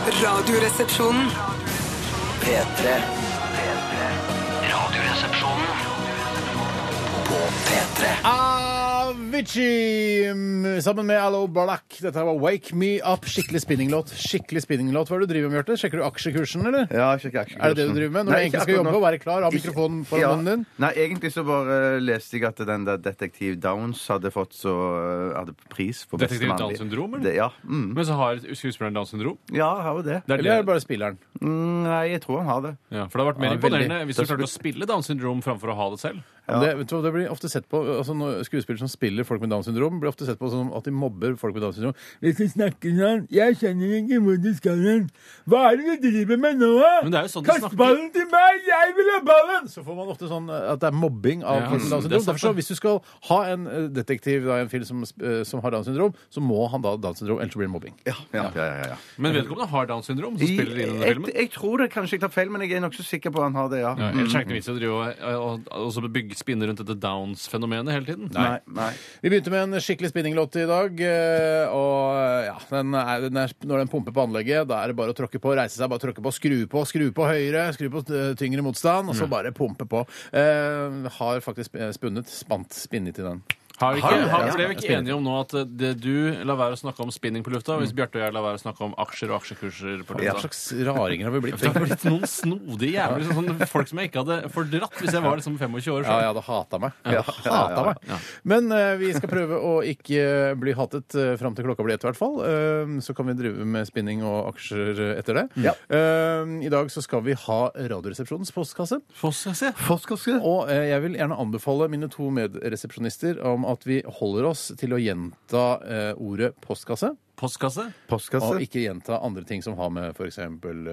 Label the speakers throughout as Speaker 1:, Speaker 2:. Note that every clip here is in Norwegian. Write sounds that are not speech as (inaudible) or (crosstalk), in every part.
Speaker 1: Radioresepsjonen.
Speaker 2: P3. Radioresepsjonen på P3.
Speaker 3: Avicii mm, sammen med Allo Balak. Dette var Wake Me Up. Skikkelig spinninglåt. Skikkelig spinninglåt. Hva er det du driver med, Bjarte? Sjekker du aksjekursen, eller?
Speaker 4: Ja, sjekk aksjekursen.
Speaker 3: Er det det du driver med? Når du
Speaker 4: Nei,
Speaker 3: egentlig
Speaker 4: ikke
Speaker 3: skal
Speaker 4: akkurat
Speaker 3: jobbe
Speaker 4: nå.
Speaker 3: og være klar, ha
Speaker 4: Ikke-
Speaker 3: mikrofonen foran
Speaker 4: Ja.
Speaker 3: munnen din?
Speaker 4: Nei, egentlig så bare eh, leste jeg at den der Detektiv Downs hadde fått så eh, hadde pris for beste
Speaker 5: Detektiv
Speaker 4: mannlige-
Speaker 5: Downs syndrom, eller?
Speaker 4: Det- Ja. Mm.
Speaker 5: Men så har skuespilleren Downs syndrom.
Speaker 4: ja, har jo det.
Speaker 5: Det er
Speaker 3: Eller er det
Speaker 5: det.
Speaker 3: bare spilleren?
Speaker 4: Mm, Nei, jeg tror han har det.
Speaker 5: Ja, for det hadde vært mer
Speaker 3: Ja, veldig.
Speaker 5: imponerende hvis du klarte å spille Downs syndrom framfor å ha det selv.
Speaker 3: Det, vet du, hva, det blir ofte sett på altså når Skuespillere som spiller folk med Downs syndrom, blir ofte sett på som at de mobber folk med Downs syndrom. Hvis du snakker sånn, jeg skjønner ikke hvor du skal hen. Hva er det du driver med nå? da?
Speaker 5: Men det er jo sånn de
Speaker 3: Kast
Speaker 5: snakker.
Speaker 3: ballen til meg! Jeg vil ha ballen! Så får man ofte sånn eh, at det er mobbing av
Speaker 5: Ja, Mm,
Speaker 3: folk med Downs
Speaker 5: det er
Speaker 3: syndrom.
Speaker 5: sant,
Speaker 3: Derfor så,
Speaker 5: det.
Speaker 3: hvis du skal ha en eh, detektiv da, i en film som, eh, som har Downs syndrom, så må han da ha Downs syndrom, ellers så blir det mobbing.
Speaker 4: Ja, ja, ja, ja, ja.
Speaker 5: Men vedkommende har Downs syndrom, som
Speaker 4: Jeg,
Speaker 5: spiller i denne filmen.
Speaker 4: jeg, jeg tror det. Kanskje jeg tar feil, men jeg er nokså sikker på han har det, ja.
Speaker 5: Ja, Ellers er det ikke noe vits i å drive og, og, og, og bygge spinne rundt dette Downs-fenomenet hele tiden.
Speaker 4: Nei, nei.
Speaker 3: Vi begynte med en skikkelig spinninglåt i dag. eh, Og ja, den er, den er, når den pumper på anlegget, da er det bare å tråkke på, reise seg, bare tråkke på, skru på, skru på høyre, skru på eh, tyngre motstand, og så bare pumpe på. Eh, har faktisk eh, spunnet, spant, spinnet i den.
Speaker 5: Har vi ikke,
Speaker 4: Har-
Speaker 5: har,
Speaker 4: ja,
Speaker 5: ble vi ikke
Speaker 3: spinning.
Speaker 5: enige om nå at eh, det du lar være å snakke om spinning på lufta, hvis Bjarte og jeg lar være å snakke om aksjer og aksjekurser på
Speaker 3: Hva
Speaker 5: lufta?
Speaker 3: slags raringer har vi blitt?
Speaker 5: Det har blitt noen snodige jævler, sånn, sånn folk som jeg ikke hadde fordratt hvis jeg var liksom 25 år.
Speaker 3: (laughs) Ja,
Speaker 5: selv.
Speaker 3: jeg hadde hata meg.
Speaker 4: Ja,
Speaker 3: Hata
Speaker 4: ja, ja, ja.
Speaker 3: meg. Men eh, vi skal prøve å ikke eh, bli hatet uh, fram til klokka blir ett, i hvert fall. Eh, så kan vi drive med spinning og aksjer eh, etter det. Eh, I dag så skal vi ha Radioresepsjonens postkasse.
Speaker 5: Få se, se.
Speaker 4: Forskerske?
Speaker 3: Og eh, jeg vil gjerne anbefale mine to medresepsjonister om at vi holder oss til å gjenta eh, ordet postkasse,
Speaker 5: Postkasse?
Speaker 4: Postkasse?
Speaker 3: og ikke gjenta andre ting som har med f.eks.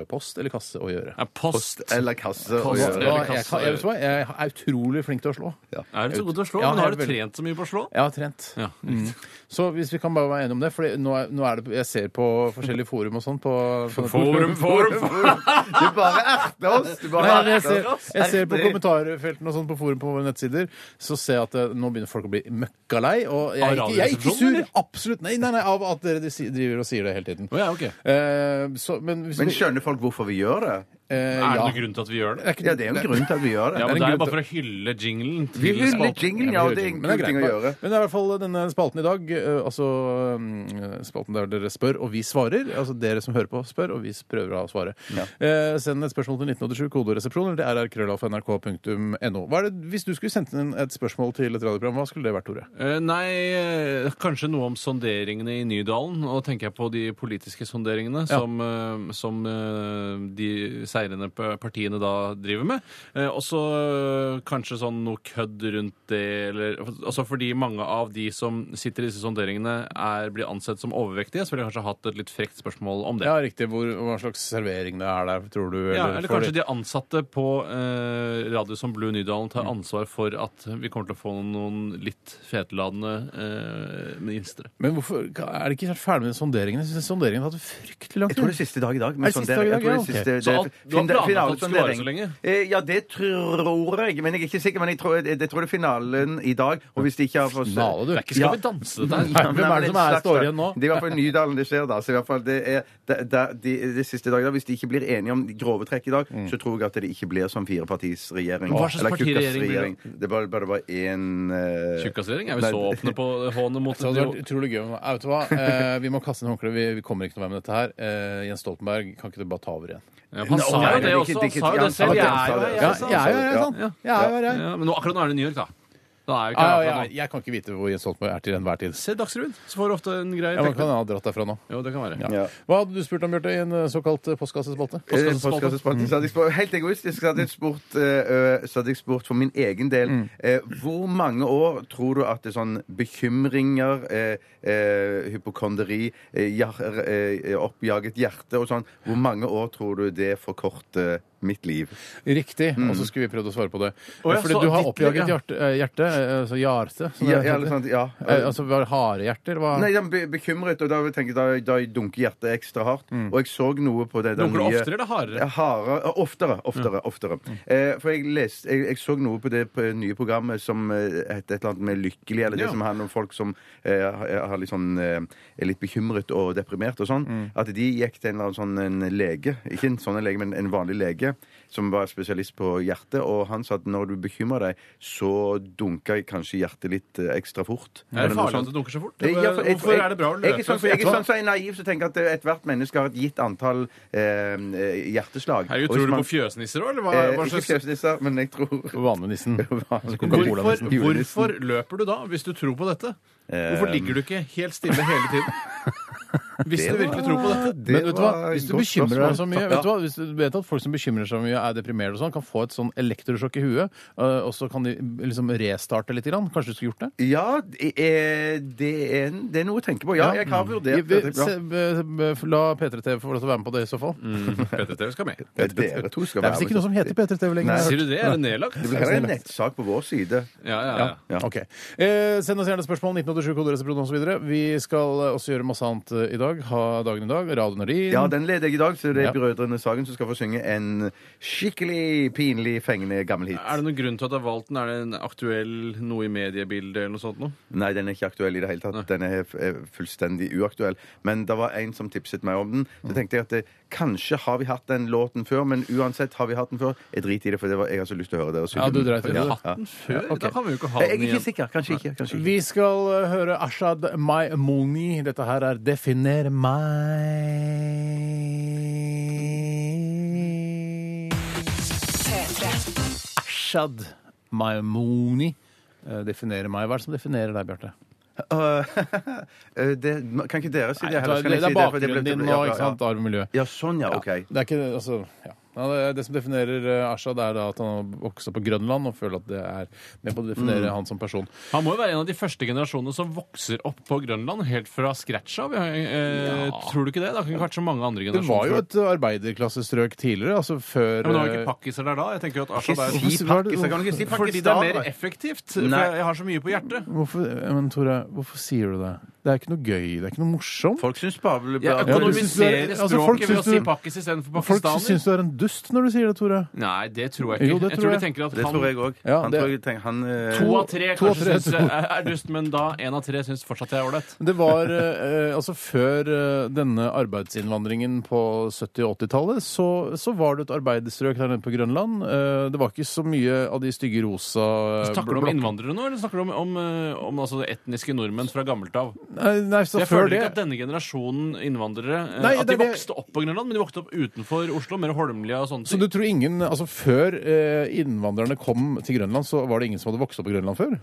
Speaker 3: post eller kasse å gjøre.
Speaker 5: Ja, post.
Speaker 4: Post eller kasse?
Speaker 5: Post
Speaker 3: Ja,
Speaker 4: å gjøre.
Speaker 5: eller
Speaker 3: jeg,
Speaker 5: kasse.
Speaker 3: kan, jeg, vet du hva? jeg er utrolig flink til å slå.
Speaker 4: Ja.
Speaker 5: Er du så god til å slå?
Speaker 3: Ja,
Speaker 5: Men har
Speaker 3: jeg
Speaker 5: du
Speaker 3: er veldig-
Speaker 5: trent så mye på å slå?
Speaker 3: Jeg har trent.
Speaker 5: Ja.
Speaker 3: Mm. Så hvis vi kan bare være enige om det, for nå er, nå er det, jeg ser på forskjellige forum og sånn på, på
Speaker 5: Forum, forum, forum.
Speaker 4: (laughs) Du bare erter oss! Du bare
Speaker 3: Nei, men jeg,
Speaker 4: erter
Speaker 3: ser,
Speaker 4: oss.
Speaker 3: jeg ser på
Speaker 4: Erter.
Speaker 3: kommentarfeltene og sånn på forum på våre nettsider, så ser jeg at eh, nå begynner folk å bli møkkalei. Og jeg er ikke, jeg er ikke sur. Absolutt. Nei, nei, nei, av at dere de si- driver og sier det hele tiden.
Speaker 5: Å ja, ok.
Speaker 3: Eh, så, men hvis
Speaker 4: Men
Speaker 3: vi-
Speaker 4: skjønner folk hvorfor vi gjør det?
Speaker 3: eh,
Speaker 5: Er det
Speaker 3: ja.
Speaker 5: noen grunn til at vi gjør det?
Speaker 3: ikke-
Speaker 4: Ja, det er jo en grunn til at vi gjør det.
Speaker 5: Ja,
Speaker 3: en
Speaker 5: men Det
Speaker 3: grunn
Speaker 5: er jo bare for å hylle jinglen.
Speaker 4: Vi
Speaker 5: til
Speaker 4: hyller
Speaker 5: spalten.
Speaker 4: jinglen, ja. Det er en
Speaker 3: Men det
Speaker 4: kul
Speaker 3: er
Speaker 4: ting
Speaker 3: greit.
Speaker 4: å gjøre.
Speaker 3: Men det er i hvert fall denne spalten i dag, eh, altså mm, spalten der dere spør og vi svarer. Altså dere som hører på spør, og vi prøver å svare. Eh, send et spørsmål til 1987, kodoresepsjon, eller det er rkrøllalfa.nrk.no. Hva er det, hvis du skulle sendt inn et spørsmål til et radioprogram, hva skulle det vært, Tore?
Speaker 5: Eh, Nei, eh, kanskje noe om sonderingene i Nydalen. Og da tenker jeg på de politiske sonderingene som, eh, som eh, de seirende p- partiene da driver med. Eh, Og så kanskje sånn noe kødd rundt det, eller Altså fordi mange av de som sitter i disse sonderingene, er, blir ansett som overvektige, så ville jeg kanskje hatt et litt frekt spørsmål om det.
Speaker 3: Ja, riktig. Hvor, hva slags servering det er der, tror du?
Speaker 5: Ja, eller
Speaker 3: får
Speaker 5: kanskje
Speaker 3: de-
Speaker 5: de ansatte på eh, Radio som Blue Nydalen tar ansvar for at vi kommer til å få noen litt fetladende eh, ministre.
Speaker 3: Men hvorfor, er det ikke helt ferdig med sonderingene? Jeg synes sonderingene har hatt fryktelig lang
Speaker 4: Jeg tror det er
Speaker 3: tid.
Speaker 4: siste dag i dag.
Speaker 3: Er
Speaker 4: men
Speaker 3: det siste dag i
Speaker 4: sondering- jeg
Speaker 3: dag, ja?
Speaker 4: tror det er
Speaker 3: Ok.
Speaker 4: siste- det
Speaker 5: Så
Speaker 4: er
Speaker 5: alt- du har
Speaker 4: fin-
Speaker 5: planlagt at
Speaker 4: finale-
Speaker 5: det skulle vare så
Speaker 4: sondering.
Speaker 5: lenge?
Speaker 4: Eh, Ja, det tror jeg, men jeg er ikke sikker. Men jeg tror, jeg, jeg tror det er finalen i dag. Og hvis de ikke har fått
Speaker 3: Finale, du.
Speaker 5: Det er ikke
Speaker 4: (laughs) Ja.
Speaker 5: Skal vi danse,
Speaker 4: (laughs)
Speaker 5: dette her?
Speaker 3: Nei, hvem er det som er står igjen nå?
Speaker 4: Det er i hvert fall Nydalen det skjer, da. Så i hvert fall det er det, det, det, det siste dag i dag. Hvis de ikke blir enige om de grove trekk i dag, så tror jeg at det ikke blir sånn firepartisregjering.
Speaker 5: Mm. Hva slags
Speaker 4: Eller
Speaker 5: partiregjering blir
Speaker 4: kukkasregjering.
Speaker 5: det?
Speaker 4: Det bør bare eh, være én
Speaker 5: Tjukkasregjering? Er vi så åpne på
Speaker 4: (laughs)
Speaker 5: hånet mot
Speaker 3: Så det hadde vært utrolig gøy. om- Ja, vet du (laughs) hva? Eh, vi må kaste inn håndkleet. Vi, vi kommer ikke noe vei med dette her. Eh, Jens Stoltenberg, kan ikke du bare ta over igjen?
Speaker 5: Ja, Han sa
Speaker 4: Nei,
Speaker 5: jo det
Speaker 4: er
Speaker 5: også.
Speaker 4: ikke-
Speaker 5: Han
Speaker 4: ikke-
Speaker 5: sa jo det selv.
Speaker 4: han
Speaker 5: Jeg
Speaker 4: sa
Speaker 5: er jo
Speaker 4: det.
Speaker 5: her,
Speaker 3: Ja, jeg
Speaker 5: jeg, sa
Speaker 3: er
Speaker 5: det.
Speaker 3: jo her, sant?
Speaker 5: Ja.
Speaker 3: Jeg er jo her, jeg.
Speaker 5: Ja, Men nå, akkurat nå er det New York, da. Da er jo ikke
Speaker 3: Ja,
Speaker 5: her
Speaker 3: ja,
Speaker 5: akkurat
Speaker 3: ja.
Speaker 5: nå.
Speaker 3: Jeg kan ikke vite hvor Jens Stoltenberg er til enhver tid.
Speaker 5: Se Dagsrevyen, så får du ofte en grei
Speaker 3: Ja, man
Speaker 5: effekt.
Speaker 3: kan ha dratt derfra nå.
Speaker 5: Jo, det kan være.
Speaker 4: Ja.
Speaker 3: Hva hadde du spurt om, Bjarte, i en eh, såkalt eh, postkassespalte?
Speaker 4: Eh, postkassespalten. Så hadde jeg spurt- Helt egoistisk så hadde jeg spurt, eh, så hadde jeg spurt for min egen del eh, Hvor mange år tror du at det er sånn bekymringer, eh, eh, hypokonderi, eh, hjer- eh, oppjaget hjerte og sånn Hvor mange år tror du det forkorter Mitt liv.
Speaker 3: Riktig. Og så skulle vi prøvd å svare på det.
Speaker 5: Å ja,
Speaker 3: Fordi
Speaker 5: så
Speaker 3: du har
Speaker 5: ditt-
Speaker 3: oppjaget
Speaker 5: ja.
Speaker 3: hjerte, eh, hjerte eh, altså hjarte. som
Speaker 4: Ja,
Speaker 3: det
Speaker 4: ja,
Speaker 3: heter.
Speaker 4: eller sånt, ja.
Speaker 3: Eh, Altså var det harehjerte, eller hva?
Speaker 4: Nei, jeg ble bekymret, og da tenker jeg da, da jeg dunker hjertet ekstra hardt.
Speaker 5: Mm.
Speaker 4: Og jeg så noe på det der
Speaker 5: Dunker du
Speaker 4: nye-
Speaker 5: oftere eller hardere?
Speaker 4: Hardere, ja, oftere,
Speaker 5: Mm.
Speaker 4: oftere, oftere. Eh, for jeg, leste, jeg, jeg så noe på det p- nye programmet som eh, heter et eller annet med 'Lykkelig', eller
Speaker 5: Ja.
Speaker 4: det som handler om folk som eh, har- har litt sånn, eh, er litt bekymret og deprimert og sånn.
Speaker 5: Mm.
Speaker 4: At de gikk til en eller annen sånn en lege, ikke en sånn en lege, men en vanlig lege, som var spesialist på hjerte, og han sa at når du bekymrer deg, så dunker kanskje hjertet litt eh, ekstra fort.
Speaker 5: Er
Speaker 4: Eller
Speaker 5: det
Speaker 4: noe
Speaker 5: farlig
Speaker 4: sånt.
Speaker 5: at det dunker så fort?
Speaker 4: Eh, ja, for jeg-
Speaker 5: Hvorfor
Speaker 4: jeg-
Speaker 5: er det bra å
Speaker 4: Jeg er
Speaker 5: løpe?
Speaker 4: sånn, for jeg er sånn så er jeg naiv som tenker at eh, ethvert menneske har et gitt antall eh, eh, hjerteslag. Og hvis
Speaker 5: Herregud, tror du
Speaker 4: man-
Speaker 5: på fjøsnisser òg, eller hva,
Speaker 4: Eh,
Speaker 5: hva
Speaker 4: ikke
Speaker 5: slags
Speaker 4: fjøsnisser, men jeg tror
Speaker 3: (laughs) Vanenissen. Altså,
Speaker 4: Hvorfor? Julenissen.
Speaker 5: Hvorfor, hvorfor løper du da, hvis du tror på dette?
Speaker 4: Eh,
Speaker 5: Hvorfor ligger du ikke helt stille hele
Speaker 4: (laughs)
Speaker 5: tiden? Hvis du virkelig tror på dette.
Speaker 4: Det
Speaker 3: Men vet du hva,
Speaker 4: var
Speaker 3: hvis du
Speaker 4: godt
Speaker 3: bekymrer deg så
Speaker 4: spørsmål.
Speaker 3: mye
Speaker 4: Ja.
Speaker 3: vet du hva, Hvis du vet at folk som bekymrer seg mye, er deprimerte og sånn, kan få et sånn elektrosjokk i huet, øh, og så kan de liksom restarte litt. Grann. Kanskje du skulle gjort det?
Speaker 4: Eh, Ja, det er, det, er, det er noe å tenke på. Ja, jeg har
Speaker 3: Vi,
Speaker 4: vurdert
Speaker 3: vi,
Speaker 4: det.
Speaker 3: se,
Speaker 4: Ja.
Speaker 3: be- be- la P3 TV få lov til å være med på det i så fall.
Speaker 4: Mm.
Speaker 5: PTTV Mm, skal med.
Speaker 4: Dere to skal
Speaker 3: Det er visst ikke noe som heter P3 TV lenger. har
Speaker 4: Nei.
Speaker 3: jeg hørt.
Speaker 5: Sier du det? Er det nedlagt?
Speaker 4: Det blir en nettsak på vår side.
Speaker 5: Ja, ja, ja.
Speaker 4: Ja.
Speaker 3: Ok. Eh, send oss gjerne spørsmål. 1987 koderesepsjon osv. Vi skal eh, også gjøre masse annet eh, i dag. Ha dagen i dag. Radio Nordin.
Speaker 4: Ja, den leder jeg i dag, så det
Speaker 3: Ja.
Speaker 4: er Brødrene Sagen som skal få synge en skikkelig pinlig fengende gammel hit.
Speaker 5: Er det noen grunn til at jeg har valgt den? Er det en aktuell noe i mediebildet eller noe sånt noe?
Speaker 4: Nei, den er ikke aktuell i det hele tatt. Den er f- er fullstendig uaktuell. Men det var en som tipset meg om den. Så tenkte jeg at eh, kanskje har vi hatt den låten før, men uansett har vi hatt den før. Jeg driter i det, for det var, jeg har så lyst til å høre dere synge
Speaker 3: Ja, du
Speaker 4: den.
Speaker 3: dreit i det.
Speaker 4: Ja,
Speaker 3: Du
Speaker 4: ja.
Speaker 5: Den før?
Speaker 3: ok.
Speaker 5: Da kan vi jo ikke ha
Speaker 4: Jeg
Speaker 5: den
Speaker 4: er ikke
Speaker 5: igjen.
Speaker 4: sikker. Kanskje ikke. Kanskje (laughs) ikke.
Speaker 3: Vi skal eh, høre Ashad Maimoni. Dette her er 'Definer meg'. Ashad Maimoni. Eh, Definere meg. Hva er det som definerer deg, Bjarte?
Speaker 4: Eh, det, kan ikke dere si
Speaker 3: Det
Speaker 4: det heller? så kan
Speaker 3: er
Speaker 4: jeg si for det ble-
Speaker 3: bakgrunnen
Speaker 4: det
Speaker 3: din
Speaker 4: ble-
Speaker 3: nå,
Speaker 4: ja, ja,
Speaker 3: ikke sant? Arv og miljø.
Speaker 4: Ja, sånn, ja. OK.
Speaker 3: Det er ikke altså, ja. Ja, det- Det som definerer eh, Ashad, er da at han har vokst opp på Grønland og føler at det er med på å
Speaker 4: Mm.
Speaker 3: definere han som person.
Speaker 5: Han må jo være en av de første generasjonene som vokser opp på Grønland helt fra scratch av. Eh, Tror du ikke det? Da kan kanskje mange andre
Speaker 3: Det var
Speaker 5: generasjoner
Speaker 3: jo
Speaker 4: sånn
Speaker 3: et arbeiderklassestrøk tidligere, altså før
Speaker 5: ja, Men det var jo
Speaker 3: eh,
Speaker 5: ikke pakkiser der da? Jeg tenker jo at Asha
Speaker 4: Ikke
Speaker 5: der
Speaker 3: Hvorfor
Speaker 4: si
Speaker 3: var det-
Speaker 4: pakkiser. Kan du ikke si
Speaker 5: Fordi det er mer
Speaker 4: pakistanere?
Speaker 5: effektivt.
Speaker 4: Nei.
Speaker 5: For jeg har så mye på hjertet.
Speaker 3: Hvorfor, men Tore, hvorfor sier du det? Det er ikke noe gøy, det er ikke noe morsomt.
Speaker 4: Folk syns Pavle
Speaker 5: Jeg
Speaker 3: Ja, du
Speaker 5: økonomiserer
Speaker 3: synes du er-
Speaker 5: språket
Speaker 3: altså, folk
Speaker 5: ved
Speaker 3: synes
Speaker 5: å si
Speaker 3: du-
Speaker 5: pakkis istedenfor
Speaker 3: Folk
Speaker 5: pakistaner.
Speaker 3: syns du er en dust når du sier det, Tore.
Speaker 5: Nei, det tror jeg ikke.
Speaker 3: Jo, det
Speaker 5: jeg
Speaker 3: tror
Speaker 5: tror
Speaker 3: jeg.
Speaker 5: de tenker at
Speaker 4: Det tror
Speaker 5: han
Speaker 4: jeg òg.
Speaker 3: Ja,
Speaker 4: han
Speaker 3: det-
Speaker 4: tror jeg tenker han eh,
Speaker 5: To av tre
Speaker 3: To av
Speaker 5: kanskje
Speaker 3: tre,
Speaker 5: syns
Speaker 3: tror jeg.
Speaker 5: er er dust, men da én av tre syns fortsatt jeg er ålreit.
Speaker 3: Det var eh, altså Før eh, denne arbeidsinnvandringen på 70- og 80-tallet, så, så var det et arbeiderstrøk der nede på Grønland. Eh, det var ikke så mye av de stygge rosa eh,
Speaker 5: Snakker du om
Speaker 3: blok-
Speaker 5: innvandrere nå, eller snakker du om, om, eh, om altså, etniske nordmenn fra gammelt av?
Speaker 3: Nei, nei så
Speaker 5: Jeg
Speaker 3: før
Speaker 5: føler
Speaker 3: det
Speaker 5: ikke at denne generasjonen innvandrere eh,
Speaker 3: Nei,
Speaker 5: At
Speaker 3: det
Speaker 5: de
Speaker 3: er det-
Speaker 5: vokste opp på Grønland, men de vokste opp utenfor Oslo, mer Holmlia og sånne
Speaker 3: Så
Speaker 5: ting.
Speaker 3: du tror ingen Altså før eh, innvandrerne kom til Grønland, så var det ingen som hadde vokst opp på Grønland før?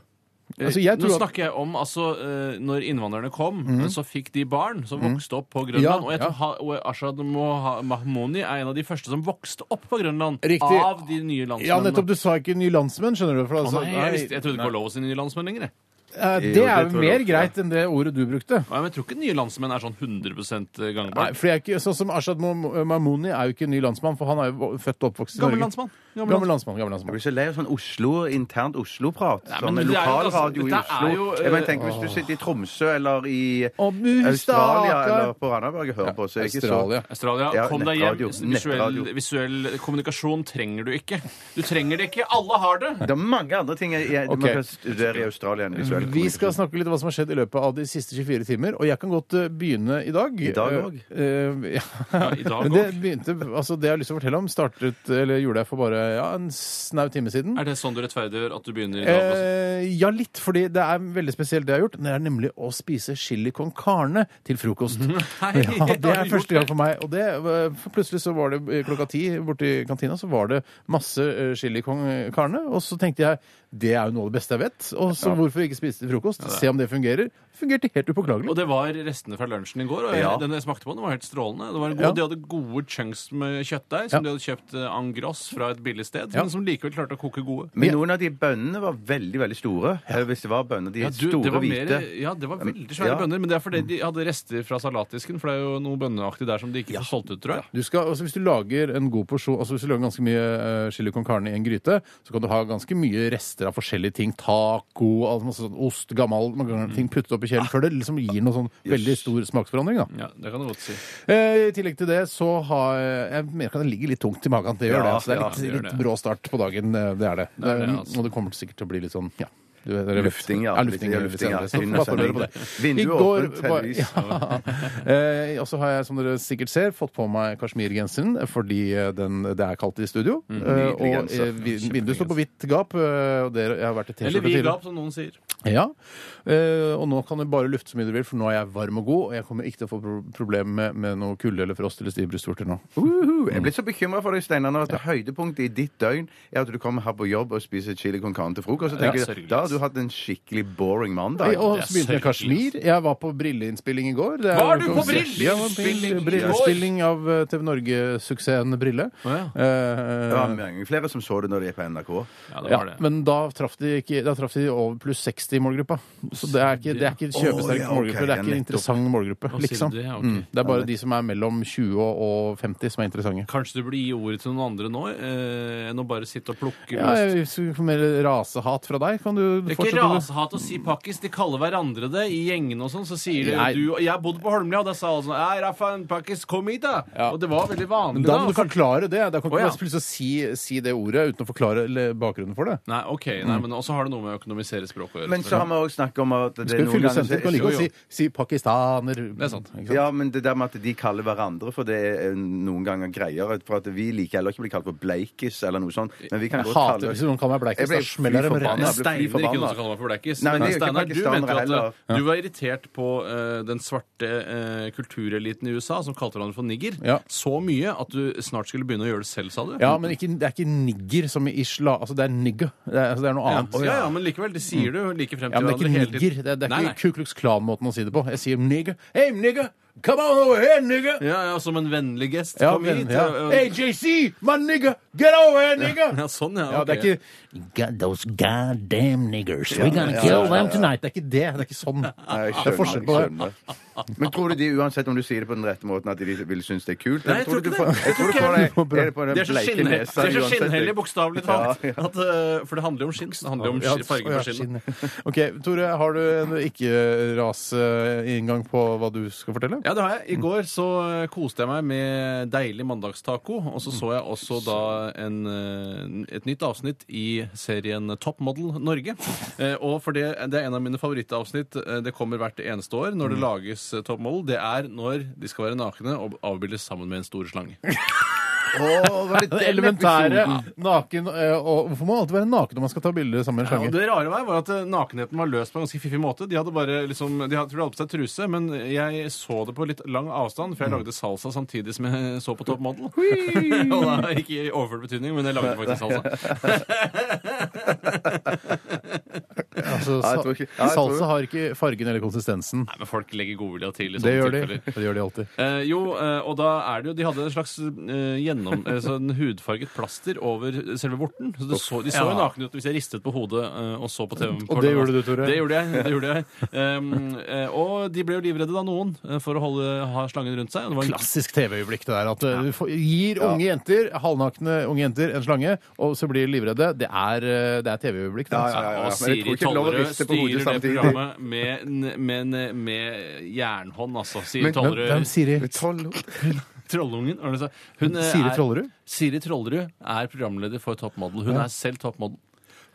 Speaker 3: Altså, jeg
Speaker 5: Eh, Nå
Speaker 3: tror at Mhm.
Speaker 5: snakker jeg om altså, eh, når innvandrerne kom, eh, så fikk de barn som vokste opp på Grønland.
Speaker 3: Ja,
Speaker 5: og jeg
Speaker 3: ja.
Speaker 5: tror Ha- og Ashad Moha- Mahmouni er en av de første som vokste opp på Grønland.
Speaker 3: Riktig.
Speaker 5: Av de nye landsmennene.
Speaker 3: Ja, nettopp. Du sa ikke nye landsmenn, skjønner du. For,
Speaker 5: Å,
Speaker 3: altså,
Speaker 5: nei, jeg, visste, jeg trodde ikke det var lov å si nye landsmenn lenger. jeg.
Speaker 3: Eh,
Speaker 4: Jo,
Speaker 3: det er
Speaker 4: det tror
Speaker 3: jo
Speaker 4: jeg
Speaker 3: mer
Speaker 4: også.
Speaker 3: greit enn det ordet du brukte.
Speaker 5: Nei, men jeg tror ikke nye landsmenn er sånn 100
Speaker 3: Nei,
Speaker 5: gangbart.
Speaker 3: for jeg er ikke, Sånn som Ashad Mahmouni er jo ikke en ny landsmann, for han er jo født og oppvokst i
Speaker 5: Gammel
Speaker 3: Norge.
Speaker 5: landsmann.
Speaker 3: Gammel, landsmann. gammel
Speaker 4: Jeg
Speaker 3: landsmann.
Speaker 4: blir så lei av sånn Oslo, internt Oslo-prat.
Speaker 5: men
Speaker 4: Sånn
Speaker 5: det er jo-
Speaker 4: lokalradio i
Speaker 5: altså, dette er
Speaker 4: Oslo.
Speaker 5: jo, eh,
Speaker 4: jeg mener, tenk hvis du sitter i Tromsø eller i
Speaker 3: Og mus,
Speaker 4: Australia
Speaker 3: stakkar.
Speaker 4: eller på Randaberg og hører på, så er det ikke så
Speaker 3: Australia.
Speaker 5: Australia,
Speaker 4: Ja,
Speaker 5: kom deg hjem.
Speaker 4: nettradio,
Speaker 5: Visuell,
Speaker 4: nettradio.
Speaker 5: visuell kommunikasjon trenger du ikke. Du trenger det ikke. Alle har det.
Speaker 4: Det er mange andre ting jeg, jeg,
Speaker 3: Ok.
Speaker 4: man kan studere i Australia enn visuell
Speaker 3: Vi skal snakke litt om hva som har skjedd i løpet av de siste 24 timer, og jeg kan godt eh, begynne i dag. I
Speaker 4: dag òg?
Speaker 3: ja.
Speaker 5: i dag
Speaker 3: Men (laughs) det
Speaker 5: òg.
Speaker 3: begynte, altså det jeg har lyst til å fortelle om, startet, eller gjorde jeg for bare ja, en snau time siden.
Speaker 5: Er det sånn du rettferdiggjør at du begynner i dag? også?
Speaker 3: Eh, ja, litt, fordi det er veldig spesielt det jeg har gjort. Det er nemlig å spise chili con carne til frokost.
Speaker 5: Hei,
Speaker 3: ja, det
Speaker 5: har
Speaker 3: er
Speaker 5: du gjort
Speaker 3: første gang for meg. Og det, eh, for plutselig så var det eh, klokka ti borti kantina, så var det masse eh, chili con carne. Og så tenkte jeg det er jo noe av det beste jeg vet. Og så hvorfor ikke spise til frokost? Se om det fungerer. fungerte helt
Speaker 5: Og
Speaker 3: upåklagelig.
Speaker 5: det var restene fra lunsjen i går. Og jeg,
Speaker 4: Ja.
Speaker 5: den jeg smakte på, den var helt strålende. Det var en god,
Speaker 3: Ja.
Speaker 5: De hadde gode chunks med kjøttdeig, som
Speaker 3: Ja.
Speaker 5: de hadde kjøpt eh, en gross fra et billig sted,
Speaker 3: Ja.
Speaker 5: men som likevel klarte å koke gode.
Speaker 4: Men noen av de bønnene var veldig veldig store. Hvis det var bønner, de
Speaker 5: Ja, du,
Speaker 4: store
Speaker 5: det var mer,
Speaker 4: hvite.
Speaker 5: ja, det var veldig svære
Speaker 4: Ja.
Speaker 5: bønner. Men det er fordi de hadde rester fra salatdisken, for det er jo noe bønneaktig der som de ikke får solgt ut, tror jeg.
Speaker 3: Du skal, altså hvis du lager en god porsjon, altså hvis du lager ganske mye eh, chili con carne i en gryte, så kan du ha ganske mye rester av forskjellige ting. Taco, altså masse sånn ost, gammel mange ganger ting puttet opp i kjelen før det liksom gir noe sånn veldig stor smaksforandring. da.
Speaker 5: Ja, det kan du godt si.
Speaker 3: Eh, I tillegg til det så har jeg merker at det ligger litt tungt i magen. Det gjør
Speaker 4: Ja,
Speaker 3: det. altså Det er
Speaker 4: ja,
Speaker 3: litt,
Speaker 5: det gjør
Speaker 3: litt
Speaker 5: det.
Speaker 3: brå start på dagen. eh, Det er det.
Speaker 5: Det er det,
Speaker 3: Eh,
Speaker 5: altså.
Speaker 3: Og det kommer sikkert til å bli litt sånn ja. du vet, dere vet.
Speaker 4: Lufting, ja.
Speaker 3: ja. Lufting,
Speaker 4: Ja,
Speaker 3: litt
Speaker 4: lufting, ja.
Speaker 3: senere, så
Speaker 4: Synd å
Speaker 3: bare for å
Speaker 4: sende
Speaker 3: høre på det.
Speaker 4: inn. Vinduet
Speaker 3: I går
Speaker 4: åpent,
Speaker 3: var-
Speaker 4: heldigvis.
Speaker 3: (laughs) Ja. Eh, Og så har jeg, som dere sikkert ser, fått på meg kasjmirgenseren fordi eh, den, det er kaldt i studio. Eh,
Speaker 4: Mm, nydelig
Speaker 3: Og
Speaker 4: genser.
Speaker 3: eh, vi- vinduet står på vidt gap. eh, Og dere, jeg har vært i T-skjorte
Speaker 5: Eller vi
Speaker 3: tidligere.
Speaker 5: gap, som noen sier.
Speaker 3: Ja, eh, og nå kan du bare lufte så mye du vil, for nå er jeg varm og god, og jeg kommer ikke til å få pro problemer med, med noe kulde eller frost eller stive brystvorter nå.
Speaker 5: Mm.
Speaker 4: Uhu, Jeg ble så bekymra for deg, Steinar, nå at høydepunktet i ditt døgn er at du kommer her på jobb og spiser chili con carne til frokost. Og
Speaker 5: Ja,
Speaker 4: tenker,
Speaker 5: sørgelig.
Speaker 4: jeg, da har du hatt en skikkelig boring
Speaker 3: Nei, og
Speaker 4: mandag.
Speaker 5: det er
Speaker 3: så altså. begynte jeg med
Speaker 5: sørgelig,
Speaker 3: Kashmir. Jeg var på brilleinnspilling i går. Det er- sånn
Speaker 5: Var du på
Speaker 3: Ja, jeg var på
Speaker 5: brilleinnspilling i går?
Speaker 3: Brilleinnspilling av eh, TV Norge-suksessen Brille.
Speaker 5: Å
Speaker 4: Det var
Speaker 3: Eh,
Speaker 4: mange flere som så det når de er på NRK.
Speaker 5: Ja, det
Speaker 3: ja,
Speaker 5: var det.
Speaker 3: men da traff de, ikke, da traff de over pluss 60 i målgruppa. Så det er ikke, det er ikke
Speaker 4: Å,
Speaker 3: kjøpesterk
Speaker 4: ja, ok,
Speaker 3: målgruppe. Det er ikke
Speaker 4: ja,
Speaker 3: en
Speaker 4: nettopp.
Speaker 3: interessant målgruppe,
Speaker 5: sier du
Speaker 3: liksom.
Speaker 5: det? Ja, ok.
Speaker 3: Mm, Det er bare de som er mellom 20 og 50 som er interessante.
Speaker 5: Kanskje du burde gi ordet til noen andre nå, eh, enn å bare sitte og plukke
Speaker 3: Ja,
Speaker 5: løs.
Speaker 3: jeg skulle få mer rasehat fra deg. Kan du
Speaker 5: Det er ikke
Speaker 3: fortsette med det?
Speaker 5: rasehat å si pakkis. De kaller hverandre det i gjengene og sånn. Så sier de
Speaker 3: Nei.
Speaker 5: du, og Jeg bodde på Holmlia, og da sa alle sånn Ei, Raffan, pakkis, kom hit, da!
Speaker 3: Ja.
Speaker 5: Og det var veldig vanlig.
Speaker 3: Men da må
Speaker 5: da. altså.
Speaker 3: du forklare det. Da kan du
Speaker 5: Å, ja.
Speaker 3: ikke bare plutselig si, si det ordet uten å forklare eller bakgrunnen for det.
Speaker 5: Nei, ok,
Speaker 3: Mm.
Speaker 5: nei, men også har det noe med å økonomisere språk å gjøre.
Speaker 4: Men så har vi òg snakket om at det
Speaker 3: Skal
Speaker 4: er
Speaker 3: jo
Speaker 4: noen
Speaker 3: fylle
Speaker 4: ganger
Speaker 3: senter. Du kan like
Speaker 5: jo,
Speaker 3: godt si, si 'pakistaner'. Det
Speaker 5: er sant.
Speaker 4: ja, men det der med at de kaller hverandre for det er eh, noen ganger greier. For at vi liker heller ikke å bli kalt for bleikis eller noe sånt. Men vi kan
Speaker 3: Jeg
Speaker 4: godt
Speaker 3: hater
Speaker 4: kalle
Speaker 3: hvis noen kaller meg bleikis.
Speaker 4: Jeg ble
Speaker 3: Da smeller jeg dem
Speaker 4: fly
Speaker 3: rett.
Speaker 4: forbanna.
Speaker 5: Men
Speaker 4: Jeg ble
Speaker 5: Steiner
Speaker 4: fly
Speaker 5: ikke noen
Speaker 4: forbanna.
Speaker 5: som kaller meg for blekkis.
Speaker 4: Nei,
Speaker 5: Men
Speaker 4: det er jo ikke
Speaker 5: Steinar, du
Speaker 4: pakistanere
Speaker 5: mente jo at
Speaker 4: heller.
Speaker 5: eh, du var irritert på eh, den svarte eh, kultureliten i USA som kalte hverandre for nigger
Speaker 3: Ja.
Speaker 5: så mye at du snart skulle begynne å gjøre det selv, sa du?
Speaker 3: Ja, men ikke, det er ikke nigger som i isla... Altså, det er nigger. Det er, altså, det er noe
Speaker 5: Ja,
Speaker 3: annet.
Speaker 5: ja, ja, men likevel, det sier du like frem til
Speaker 3: Mm. Ja, men det er ikke
Speaker 5: hverandre hele
Speaker 3: nigger.
Speaker 5: tiden.
Speaker 3: Det er, det er
Speaker 5: Nei,
Speaker 3: ikke
Speaker 5: nei.
Speaker 3: Ku Klux Klan-måten å si det på. Jeg sier nigger. Hey, nigger! Come on over here, nigger!
Speaker 5: Ja, ja, som en vennlig gest.
Speaker 3: Ja,
Speaker 5: Kom
Speaker 3: men,
Speaker 5: hit.
Speaker 3: ja.
Speaker 5: og-
Speaker 3: Hey, JC! My nigger! Get over here, nigger!
Speaker 5: ja, sånn, ja.
Speaker 3: Ja,
Speaker 5: ok.
Speaker 3: det er ikke
Speaker 2: You got those goddamn niggers. We're gonna kill them tonight.
Speaker 3: Det er ikke det. Det er ikke sånn.
Speaker 4: Nei, jeg
Speaker 3: Det er forskjell på
Speaker 4: jeg skjønner. Men tror du de, uansett om du sier det på den rette måten, at de vil synes det er kult?
Speaker 5: Nei, jeg
Speaker 4: Eller
Speaker 5: tror
Speaker 4: du
Speaker 5: ikke det.
Speaker 4: får- Jeg tror du får det. Er det på den
Speaker 5: De er så
Speaker 4: bleike
Speaker 5: skinnhe-
Speaker 4: nesa
Speaker 5: de er så
Speaker 4: uansett?
Speaker 5: skinnhellige, bokstavelig talt.
Speaker 4: Ja, ja.
Speaker 5: At, eh, for det handler jo om skinn. Det handler jo om
Speaker 3: sånn, Ja,
Speaker 5: sk- fargen
Speaker 3: ja,
Speaker 5: på skinnet.
Speaker 3: skinnet. OK, Tore, har du en ikke-rase-inngang på hva du skal fortelle?
Speaker 5: Ja, det har
Speaker 3: Mm.
Speaker 5: jeg. I går så eh, koste jeg meg med deilig mandagstaco. Og så så jeg også
Speaker 3: Mm.
Speaker 5: da en, eh, et nytt avsnitt i serien Top Model
Speaker 3: (laughs)
Speaker 5: Norge. Eh, Og for det, det er en av mine favorittavsnitt. eh, Det kommer hvert eneste år
Speaker 3: Mm.
Speaker 5: når det lages eh, Top Model. Det er når de skal være nakne og avbildes sammen med en stor slange.
Speaker 3: (laughs)
Speaker 4: Åh, var det
Speaker 3: Den
Speaker 4: den
Speaker 3: elementære
Speaker 4: episoden?
Speaker 3: naken eh, og Hvorfor må man alltid være naken når man skal ta bilde sammen med en
Speaker 5: Ja, og
Speaker 3: slange?
Speaker 5: det rare var, var at eh, nakenheten var løst på en ganske fiffig måte. De hadde bare liksom, de hadde, tror de hadde på seg truse, men jeg så det på litt lang avstand,
Speaker 3: Mm.
Speaker 5: for jeg lagde salsa samtidig som jeg så på Top Model. (laughs) Og da, ikke i overført betydning, men jeg lagde
Speaker 3: (laughs)
Speaker 5: faktisk salsa.
Speaker 3: Altså,
Speaker 4: Ja, jeg tror ikke- ja,
Speaker 3: sa-
Speaker 4: jeg tror-
Speaker 3: salsa har ikke fargen eller konsistensen.
Speaker 5: Nei, men folk legger godvilja til i
Speaker 3: Det
Speaker 5: sånne
Speaker 3: gjør de.
Speaker 5: tilfeller.
Speaker 3: Det gjør de alltid.
Speaker 5: Eh, jo, eh, og da er det jo De hadde en slags eh, gjennom, eh, sånn hudfarget plaster over selve vorten. Så det så, de så jo
Speaker 3: Ja.
Speaker 5: nakne ut hvis jeg ristet på hodet eh, og så på TV.
Speaker 3: Og det gjorde du, Tore.
Speaker 5: Det gjorde jeg. det gjorde jeg Em, eh, Og de ble jo livredde, da, noen, eh, for å holde, ha slangen rundt seg. Og det var en
Speaker 3: Klassisk TV-øyeblikk, det der. At eh, du får- gir unge jenter, halvnakne unge jenter, en slange, og så blir de livredde. Det er, eh, det er TV-øyeblikk. det,
Speaker 4: Ja,
Speaker 3: altså.
Speaker 4: ja, ja, ja.
Speaker 5: Og
Speaker 4: Men jeg tror
Speaker 5: Siri
Speaker 4: ikke det er lov å
Speaker 5: Tollerød
Speaker 4: riste på hodet
Speaker 5: styrer det
Speaker 4: samtidig.
Speaker 5: programmet med, en- med, en- med jernhånd, altså. Siri
Speaker 3: Hvem, hvem
Speaker 5: Tollerød.
Speaker 3: Siri?
Speaker 4: Tolv-
Speaker 5: Trollungen. hva er det du sa? Hun, eh,
Speaker 3: Siri
Speaker 5: er-
Speaker 3: Trollerud?
Speaker 5: Siri Trollerud er programleder for Top Model. Hun er selv Top Model.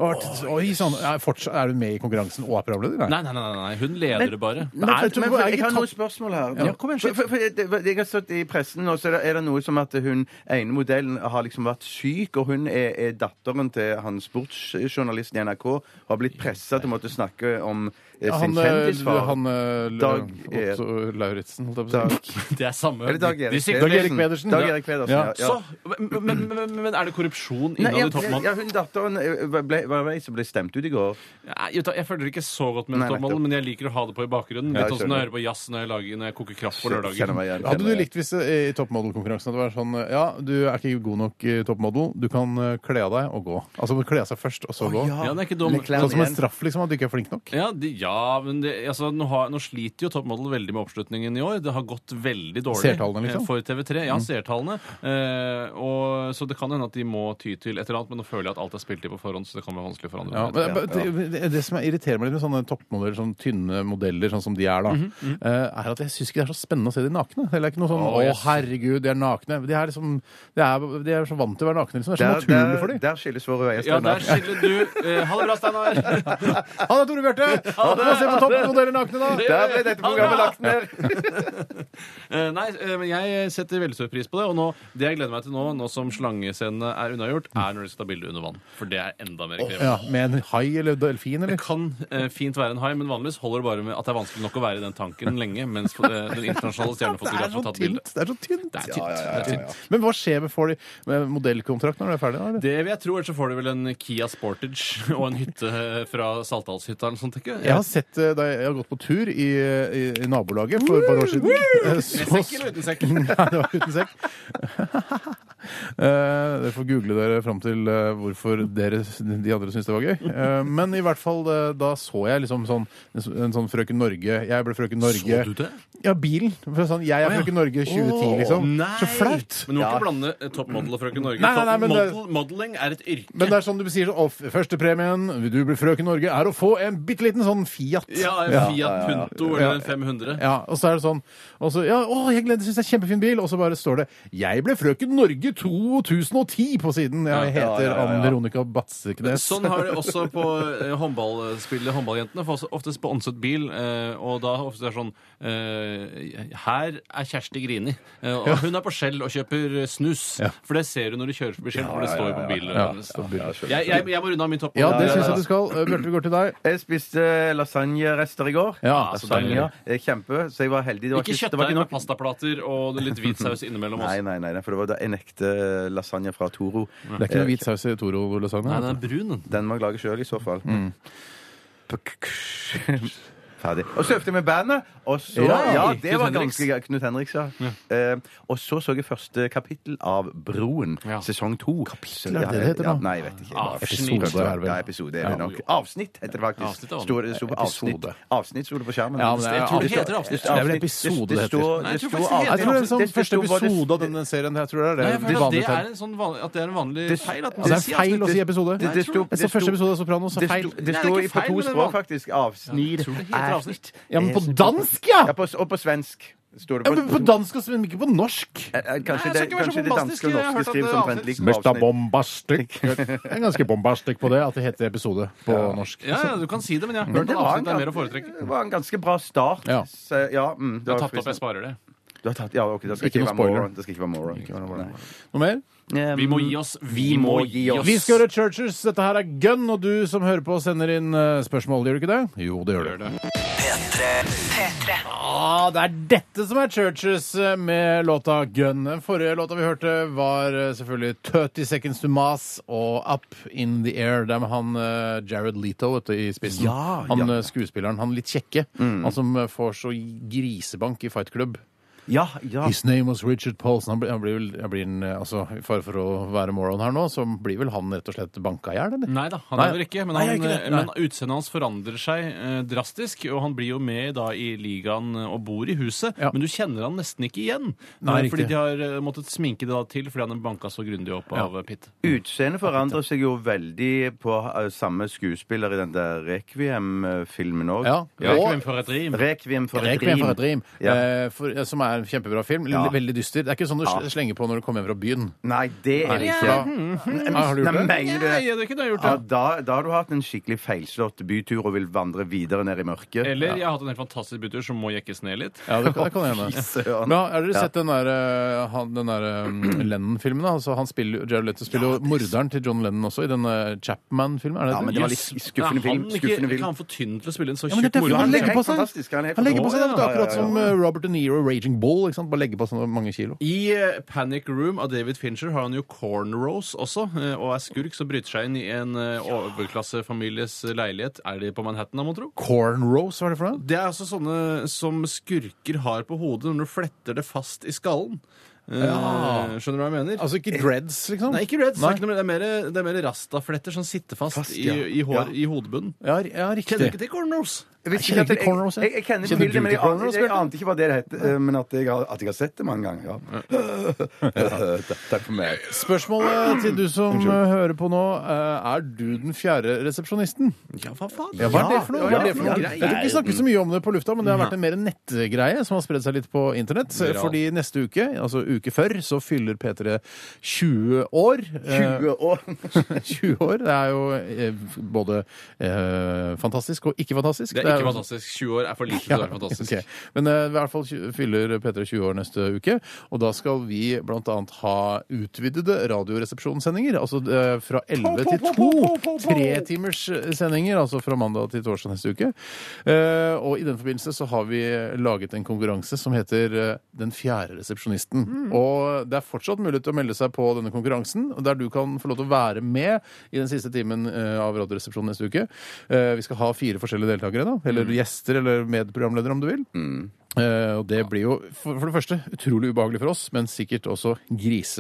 Speaker 3: Oi, sånn. er, fortsatt, er hun med i konkurransen og er programleder?
Speaker 5: Nei, nei, nei, nei, nei. hun leder det bare.
Speaker 3: Nei,
Speaker 4: Men,
Speaker 3: jeg tror-
Speaker 4: men, for,
Speaker 3: jeg har
Speaker 4: jeg
Speaker 3: ikke
Speaker 4: har noen
Speaker 3: tatt-
Speaker 4: spørsmål her.
Speaker 3: Ja, kom igjen,
Speaker 4: for, for, for, det, jeg har stått i pressen, og så er det, er det noe som at hun ene modellen har liksom vært syk, og hun er, er datteren til han sportsjournalisten i NRK, og har blitt pressa til å måtte snakke om eh, sin
Speaker 3: Han, eh,
Speaker 4: kjendisfar.
Speaker 3: han eh,
Speaker 4: Dag
Speaker 3: L- Otto Lauritzen, holdt jeg på å
Speaker 4: Dag,
Speaker 3: si.
Speaker 5: Det er samme
Speaker 4: er det Dag
Speaker 5: de
Speaker 4: Erik
Speaker 5: sier-
Speaker 3: Dag Erik Pedersen,
Speaker 4: Pedersen? Dag
Speaker 3: ja.
Speaker 4: Erik Pedersen,
Speaker 3: Ja.
Speaker 4: ja. ja.
Speaker 5: Så, men, men, men, men er det korrupsjon
Speaker 4: Nei,
Speaker 5: innad i
Speaker 4: jeg, jeg,
Speaker 5: toppmannen?
Speaker 4: ja, hun datteren eh, ble, var det ei som ble stemt ut i går.
Speaker 5: Nei, Jeg, jeg følger ikke så godt med
Speaker 4: Nei,
Speaker 5: toppmannen,
Speaker 4: nettopp.
Speaker 5: men jeg liker å ha det på i bakgrunnen.
Speaker 4: Ja,
Speaker 5: Litt
Speaker 4: jeg
Speaker 5: sånn som når jeg
Speaker 4: skjønner.
Speaker 5: hører på jazz når jeg, lager, når jeg koker kraft på
Speaker 4: Kjenner
Speaker 5: lørdagen.
Speaker 4: meg
Speaker 3: Hadde
Speaker 4: igjen, kjenner
Speaker 3: du
Speaker 4: meg igjen.
Speaker 3: likt hvis det i toppmodelkonkurransen at det var sånn Ja, du er ikke god nok i toppmodell, du kan eh, kle av deg og gå. Altså du må kle av seg først, og så gå.
Speaker 5: Ja, den er ikke dum.
Speaker 4: Med klær
Speaker 3: Sånn som en
Speaker 4: igjen.
Speaker 3: straff, liksom, at du ikke er flink nok.
Speaker 5: Ja, de, ja men det, altså, nå, har, nå sliter jo toppmodell veldig med oppslutningen i år. Det har gått veldig dårlig
Speaker 3: Seertallene, liksom?
Speaker 5: eh, for
Speaker 4: Mm.
Speaker 5: TV3. Ja, seertallene. Eh, og, så det kan hende at de må ty til et eller annet, men nå føler jeg at alt er spilt i på forhånd, så det kan være vanskelig for andre.
Speaker 3: Ja, men, men det, det som jeg irriterer meg litt med sånne toppmodeller, sånn tynne modeller sånn som de er, da, eh, er at jeg syns ikke det er så spennende å se de nakne. Det er ikke noe sånn
Speaker 5: Å,
Speaker 3: 'Å,
Speaker 5: yes.
Speaker 3: herregud, de er nakne'. De er, liksom, de er, de er så vant til å være nakne. Liksom. Det er så
Speaker 4: Der,
Speaker 3: naturlig for
Speaker 4: der,
Speaker 3: dem.
Speaker 4: der skilles våre veier.
Speaker 5: Ja,
Speaker 4: Steinar.
Speaker 5: der skiller du. Eh, ha det bra,
Speaker 4: (laughs)
Speaker 5: Steinar.
Speaker 3: Ha det, Tore Bjarte! Ha det! Se på toppmodeller nakne, da!
Speaker 4: (laughs) Der ble dette programmet lagt ned!
Speaker 5: (laughs) Eh, nei, eh, men jeg setter veldig stor pris på det. Og nå, det jeg gleder meg til nå, nå som slangescenene er unnagjort, er når de skal ta bilde under vann. For det er enda mer krevende.
Speaker 3: Ja, Med en hai eller delfin, eller?
Speaker 5: Det kan eh, fint være en hai, men vanligvis holder det bare med at det er vanskelig nok å være i den tanken lenge mens eh, den internasjonale stjernefotografen har tatt bildet.
Speaker 3: tynt. Det er så tynt.
Speaker 5: Det er tynt. Det er tynt.
Speaker 3: Men hva skjer med, får de, med modellkontrakt når du er ferdig? da, eller?
Speaker 5: Det vil jeg tro, ellers så får du vel en Kia Sportage og en hytte eh, fra Saltdalshytta eller noe sånt, ikke?
Speaker 3: Jeg har sett eh, da jeg har gått på tur i, i, i nabolaget for et par år siden. Eh, så-
Speaker 5: Med sekk eller uten sekk?
Speaker 3: (laughs) Nei, det var uten sekk. Eh, Dere får google dere fram til eh, hvorfor dere, de andre syns det var gøy. Eh, Men i hvert fall, eh, da så jeg liksom sånn, en sånn Frøken Norge Jeg ble Frøken Norge.
Speaker 5: Så du det?
Speaker 3: Ja, bilen. For Sånn, jeg er
Speaker 5: ja.
Speaker 3: Frøken Norge 2010, liksom. Så flaut!
Speaker 5: Men du må ikke blande eh, top model og frøken Norge.
Speaker 3: Nei, nei, nei, men det-
Speaker 5: model, modeling er et yrke.
Speaker 3: Men det er sånn du sier sånn «Å, f- Førstepremien du blir Frøken Norge er å få en bitte liten sånn Fiat.
Speaker 5: Ja, en
Speaker 3: Ja.
Speaker 5: Fiat Punto eller en 500.
Speaker 3: Ja, og så er det sånn og så, ja, 'Å, jeg gleder, synes det er kjempefin bil', og så bare står det 'Jeg ble Frøken Norge 2010' på siden. Jeg
Speaker 4: Ja,
Speaker 3: heter
Speaker 4: ja, ja, ja.
Speaker 3: Ann Veronica Batseknes.
Speaker 5: Sånn har de også på eh, håndballspillet Håndballjentene får også oftest på åndset bil, eh, og da ofte er det sånn eh, Her er Kjersti Grini, eh, og hun er på Skjell og kjøper eh, snus. For det ser du når du kjører forbi Skjell, for det står jo på bilen
Speaker 3: Ja,
Speaker 5: hennes.
Speaker 3: så bra.
Speaker 5: Jeg, jeg, jeg må runde av min topp.
Speaker 3: ja, det
Speaker 4: ja,
Speaker 3: syns
Speaker 4: ja.
Speaker 3: jeg du skal. Eh, Bjarte, vi går til deg.
Speaker 4: Jeg spiste lasagnerester i går.
Speaker 3: Ja,
Speaker 5: så deilig.
Speaker 4: Lasagne. Eh, Kjempe, så jeg var heldig. Det var
Speaker 5: Ikke
Speaker 4: det var
Speaker 5: kjøttdeig med pastaplater og litt hvit saus innimellom altså.
Speaker 4: Nei,
Speaker 5: også.
Speaker 4: nei, nei, nei, for det var da en ekte lasagne fra Toro.
Speaker 3: Det er ikke noe
Speaker 4: eh,
Speaker 3: hvit saus i Toro-lasagne?
Speaker 5: Nei, den er brun, den.
Speaker 4: Den må jeg lage sjøl, i så fall. Ferdig. Og så øvde jeg med bandet. Og så,
Speaker 5: Ja,
Speaker 4: ja,
Speaker 5: Knut
Speaker 4: det var
Speaker 5: Henriks.
Speaker 4: ganske gøy. Knut Henriks, ja. Eh, og så så jeg første kapittel av Broen,
Speaker 5: Ja.
Speaker 4: sesong to.
Speaker 3: er det
Speaker 4: Så-
Speaker 3: det heter da?
Speaker 4: ja, Nei, jeg vet ikke. Bare-
Speaker 5: Avsnitt.
Speaker 3: Episode er det vel.
Speaker 4: Ja, episode er det nok.
Speaker 5: Ja.
Speaker 4: Avsnitt heter det faktisk.
Speaker 5: Avsnitt er det.
Speaker 4: Sto- det sto på avsnitt.
Speaker 3: Episode.
Speaker 4: Avsnitt sto det på skjermen.
Speaker 3: Ja, men det er- Jeg tror det
Speaker 5: heter avsnitt.
Speaker 3: Det er vel episode det heter.
Speaker 4: står-
Speaker 5: Nei, jeg tror
Speaker 4: står
Speaker 5: faktisk det heter
Speaker 3: Jeg tror det er
Speaker 4: avsnitt.
Speaker 3: sånn
Speaker 4: Det
Speaker 3: første
Speaker 4: sto bare-
Speaker 3: episode av denne serien. Jeg tror det er det.
Speaker 5: Nei, jeg føler at
Speaker 3: vanlige
Speaker 5: det
Speaker 3: term.
Speaker 5: er en sånn vanlig, at det er en vanlig
Speaker 4: Det-
Speaker 5: feil. At
Speaker 3: Altså,
Speaker 5: man
Speaker 3: det
Speaker 5: skal
Speaker 3: er
Speaker 5: si
Speaker 3: feil å
Speaker 5: avsnitt.
Speaker 3: si episode.
Speaker 4: Det- det sto-
Speaker 3: Jeg så
Speaker 4: det
Speaker 3: første
Speaker 4: sto-
Speaker 3: episode av Sopranos, så
Speaker 4: Det
Speaker 3: feil.
Speaker 4: sto- Det
Speaker 5: Nei,
Speaker 4: sto
Speaker 5: det er ikke
Speaker 4: på
Speaker 5: feil,
Speaker 4: to
Speaker 5: men det er
Speaker 4: språk,
Speaker 5: vanlig.
Speaker 4: faktisk. Avsnir.
Speaker 5: Ja, jeg tror det heter avsnitt.
Speaker 3: Ja, men på dansk, ja!
Speaker 4: Ja, på, og på svensk. Står det
Speaker 3: Ja,
Speaker 4: på,
Speaker 3: men på dansk, altså, men ikke på norsk.
Speaker 4: Eh, eh, Kanskje
Speaker 5: Nei,
Speaker 4: det,
Speaker 5: jeg skal ikke være så
Speaker 4: kanskje det
Speaker 5: bombastisk.
Speaker 4: danske og
Speaker 5: Jeg har hørt
Speaker 4: norske
Speaker 5: at
Speaker 4: skrives
Speaker 5: det er
Speaker 4: omtrent
Speaker 5: avsnitt.
Speaker 4: likt. med
Speaker 3: Mesta
Speaker 4: avsnitt. (laughs)
Speaker 3: bombastikk. Jeg er ganske bombastikk på det, at det heter episode på norsk.
Speaker 5: Ja, ja, du kan si det, men jeg har
Speaker 4: Men
Speaker 5: hørt
Speaker 4: det
Speaker 5: at
Speaker 4: var, en,
Speaker 5: avsnitt er mer å foretrekke.
Speaker 4: det var en ganske bra start.
Speaker 3: Ja.
Speaker 4: Så, ja, mm, det
Speaker 5: Du har
Speaker 4: var
Speaker 5: tatt opp, jeg
Speaker 4: fristende.
Speaker 5: sparer det.
Speaker 4: Du har tatt, ja, ok, det
Speaker 3: Ikke
Speaker 4: skal ikke,
Speaker 3: noe
Speaker 4: være
Speaker 3: spoiler.
Speaker 4: moron. Det skal ikke være moron.
Speaker 3: Noe mer?
Speaker 4: Nei.
Speaker 5: Vi må gi oss.
Speaker 4: Vi må gi oss.
Speaker 3: Vi skal gjøre Churchers. Dette her er Gun, og du som hører på, sender inn eh, spørsmål. Gjør du ikke det? Jo, det gjør du. Ah, det er dette som er Churches eh, med låta Gun. Den forrige låta vi hørte, var eh, selvfølgelig 30 Seconds to Mass og Up In The Air. Det er med han eh, Jared Leto vet du, i spissen.
Speaker 4: Ja,
Speaker 3: han
Speaker 4: ja. Mm.
Speaker 3: eh, skuespilleren. Han litt kjekke. Han som eh, får så grisebank i Fight Club.
Speaker 4: Ja, ja.
Speaker 3: His name was Richard Paulson. Han blir, han blir vel han blir en, eh, altså, I fare for å være moron her nå, så blir vel han rett og slett banka i hjel, eller?
Speaker 5: Nei da, han
Speaker 3: Nei.
Speaker 5: er vel ikke, men,
Speaker 3: Nei,
Speaker 5: han, eh,
Speaker 3: jeg er ikke det.
Speaker 5: men utseendet hans forandrer seg eh, drastisk. Og han blir jo med da i ligaen eh, og bor i huset,
Speaker 3: Ja.
Speaker 5: men du kjenner han nesten ikke igjen.
Speaker 3: Nei,
Speaker 5: eh,
Speaker 3: riktig.
Speaker 5: fordi de har eh, måttet sminke det da til fordi han er banka så grundig opp
Speaker 3: Ja.
Speaker 5: av eh, Pitt.
Speaker 4: Utseendet forandrer seg jo veldig på eh, samme skuespiller i den der Requiem-filmen òg.
Speaker 3: Ja.
Speaker 5: Ja,
Speaker 3: Og-
Speaker 5: ikke hvem for et rim.
Speaker 4: Requiem for et
Speaker 3: Requiem for et rim,
Speaker 4: Ja.
Speaker 3: eh, for, eh, som er er en kjempebra film. L- Veldig dyster. Det er ikke sånn du sl- slenger på når du kommer hjem fra byen.
Speaker 4: Nei, det er det
Speaker 3: Nei,
Speaker 4: ikke.
Speaker 3: for da- Ah, har du gjort
Speaker 4: Mhm. Nei,
Speaker 3: det?
Speaker 4: mener du det?
Speaker 5: Nei, er det ikke det jeg har gjort?
Speaker 4: Ja,
Speaker 5: det?
Speaker 4: da, da har du hatt en skikkelig feilslått bytur og vil vandre videre ned i mørket.
Speaker 5: Eller jeg har hatt en helt fantastisk bytur som må jekkes ned litt.
Speaker 3: Ja, det, kan- det kan hende.
Speaker 4: søren.
Speaker 3: Men har dere sett den der, eh, han- den der um, Lennon-filmen? da? Altså, han spiller, jo- Jared Leto spiller jo morderen til John Lennon også i den eh, Chapman-filmen. er det
Speaker 4: Ja,
Speaker 3: det?
Speaker 4: men det var litt
Speaker 5: Jøss.
Speaker 4: skuffende
Speaker 5: Er
Speaker 4: film. Skuffende
Speaker 5: han ikke, er
Speaker 4: film.
Speaker 5: ikke han for tynn til å spille en så
Speaker 3: Ja, men det
Speaker 5: tjukk
Speaker 3: er derfor
Speaker 5: morder?
Speaker 3: han
Speaker 4: helt
Speaker 3: legger på
Speaker 4: fantastisk,
Speaker 3: seg.
Speaker 4: han er helt
Speaker 3: Han legger på seg det,
Speaker 5: fantastisk.
Speaker 3: er
Speaker 4: Ja, ja, ja,
Speaker 3: akkurat som eh, Robert De Niro, Raging Bull. ikke sant? Bare legger på seg noen- mange kilo.
Speaker 5: I eh, Panic Room av David Fincher har han jo cornrows også, eh, og er skurk som bryter seg inn i en eh, overklassefamilies eh, leilighet. Er de på Manhattan, da, mon tro?
Speaker 3: Cornrows, hva er det for noe?
Speaker 5: Det er altså sånne som skurker har på hodet når du fletter det fast i skallen. Eh, Skjønner du hva jeg mener?
Speaker 3: Altså ikke dreads, liksom?
Speaker 5: Nei, ikke reds. Det
Speaker 3: Nei.
Speaker 5: er ikke noe mer- det er mer, det er mer rastafletter som sitter fast,
Speaker 4: Fast, ja.
Speaker 5: i, i, hår,
Speaker 4: Ja.
Speaker 5: i hodebunnen.
Speaker 3: Ja, r- ja riktig.
Speaker 5: Kjenner du ikke til cornrows?
Speaker 4: Jeg
Speaker 3: Jeg
Speaker 4: visste ikke at
Speaker 3: kjenner
Speaker 4: det-
Speaker 3: ikke cornrows, jeg.
Speaker 4: jeg, jeg kjenner
Speaker 3: altså. Kjenner
Speaker 4: til det,
Speaker 3: du altså? til
Speaker 4: men jeg, aner-
Speaker 3: cornrows,
Speaker 4: jeg
Speaker 3: Bjørte?
Speaker 4: ante ikke hva det het. eh, Men at jeg har, at jeg har sett det mange ganger. Ja. (laughs) Takk for meg. (clears throat)
Speaker 3: Spørsmålet til du som eh, hører på nå, eh, er du den fjerde resepsjonisten?
Speaker 5: Ja, hva faen?
Speaker 3: Ja, hva er det for noe?
Speaker 4: ja,
Speaker 3: Hva er det for
Speaker 4: ja,
Speaker 3: noe?
Speaker 4: ja,
Speaker 3: Jeg tror ikke vi snakker så mye om det på lufta, men det har vært en mer nettgreie som har spredd seg litt på internett.
Speaker 5: Viral.
Speaker 3: Fordi neste uke, altså uke før, så fyller P3 20 år. Eh,
Speaker 4: 20 år.
Speaker 3: (laughs) 20 år. Det er jo eh, både eh, fantastisk og ikke fantastisk.
Speaker 5: Det er
Speaker 3: jo-
Speaker 5: ikke fantastisk. 20 år er for lite til å være fantastisk.
Speaker 3: ok. Men eh, i hvert fall tju- fyller P3 20 år neste uke, og da skal vi bl.a. ha utvidede radioresepsjonssendinger. Altså eh, fra 11 til 2. Tretimers sendinger, altså fra mandag til torsdag neste uke. Eh, og i den forbindelse så har vi laget en konkurranse som heter eh, Den fjerde resepsjonisten. Mm.
Speaker 5: Mm.
Speaker 3: Og det er fortsatt mulighet til å melde seg på denne konkurransen, og der du kan få lov til å være med i den siste timen eh, av Radioresepsjonen neste uke. Eh, vi skal ha fire forskjellige deltakere, da. Eller
Speaker 5: Mm.
Speaker 3: gjester, eller medprogramledere, om du vil. Eh, og det blir jo for, for det første utrolig ubehagelig for oss, men sikkert også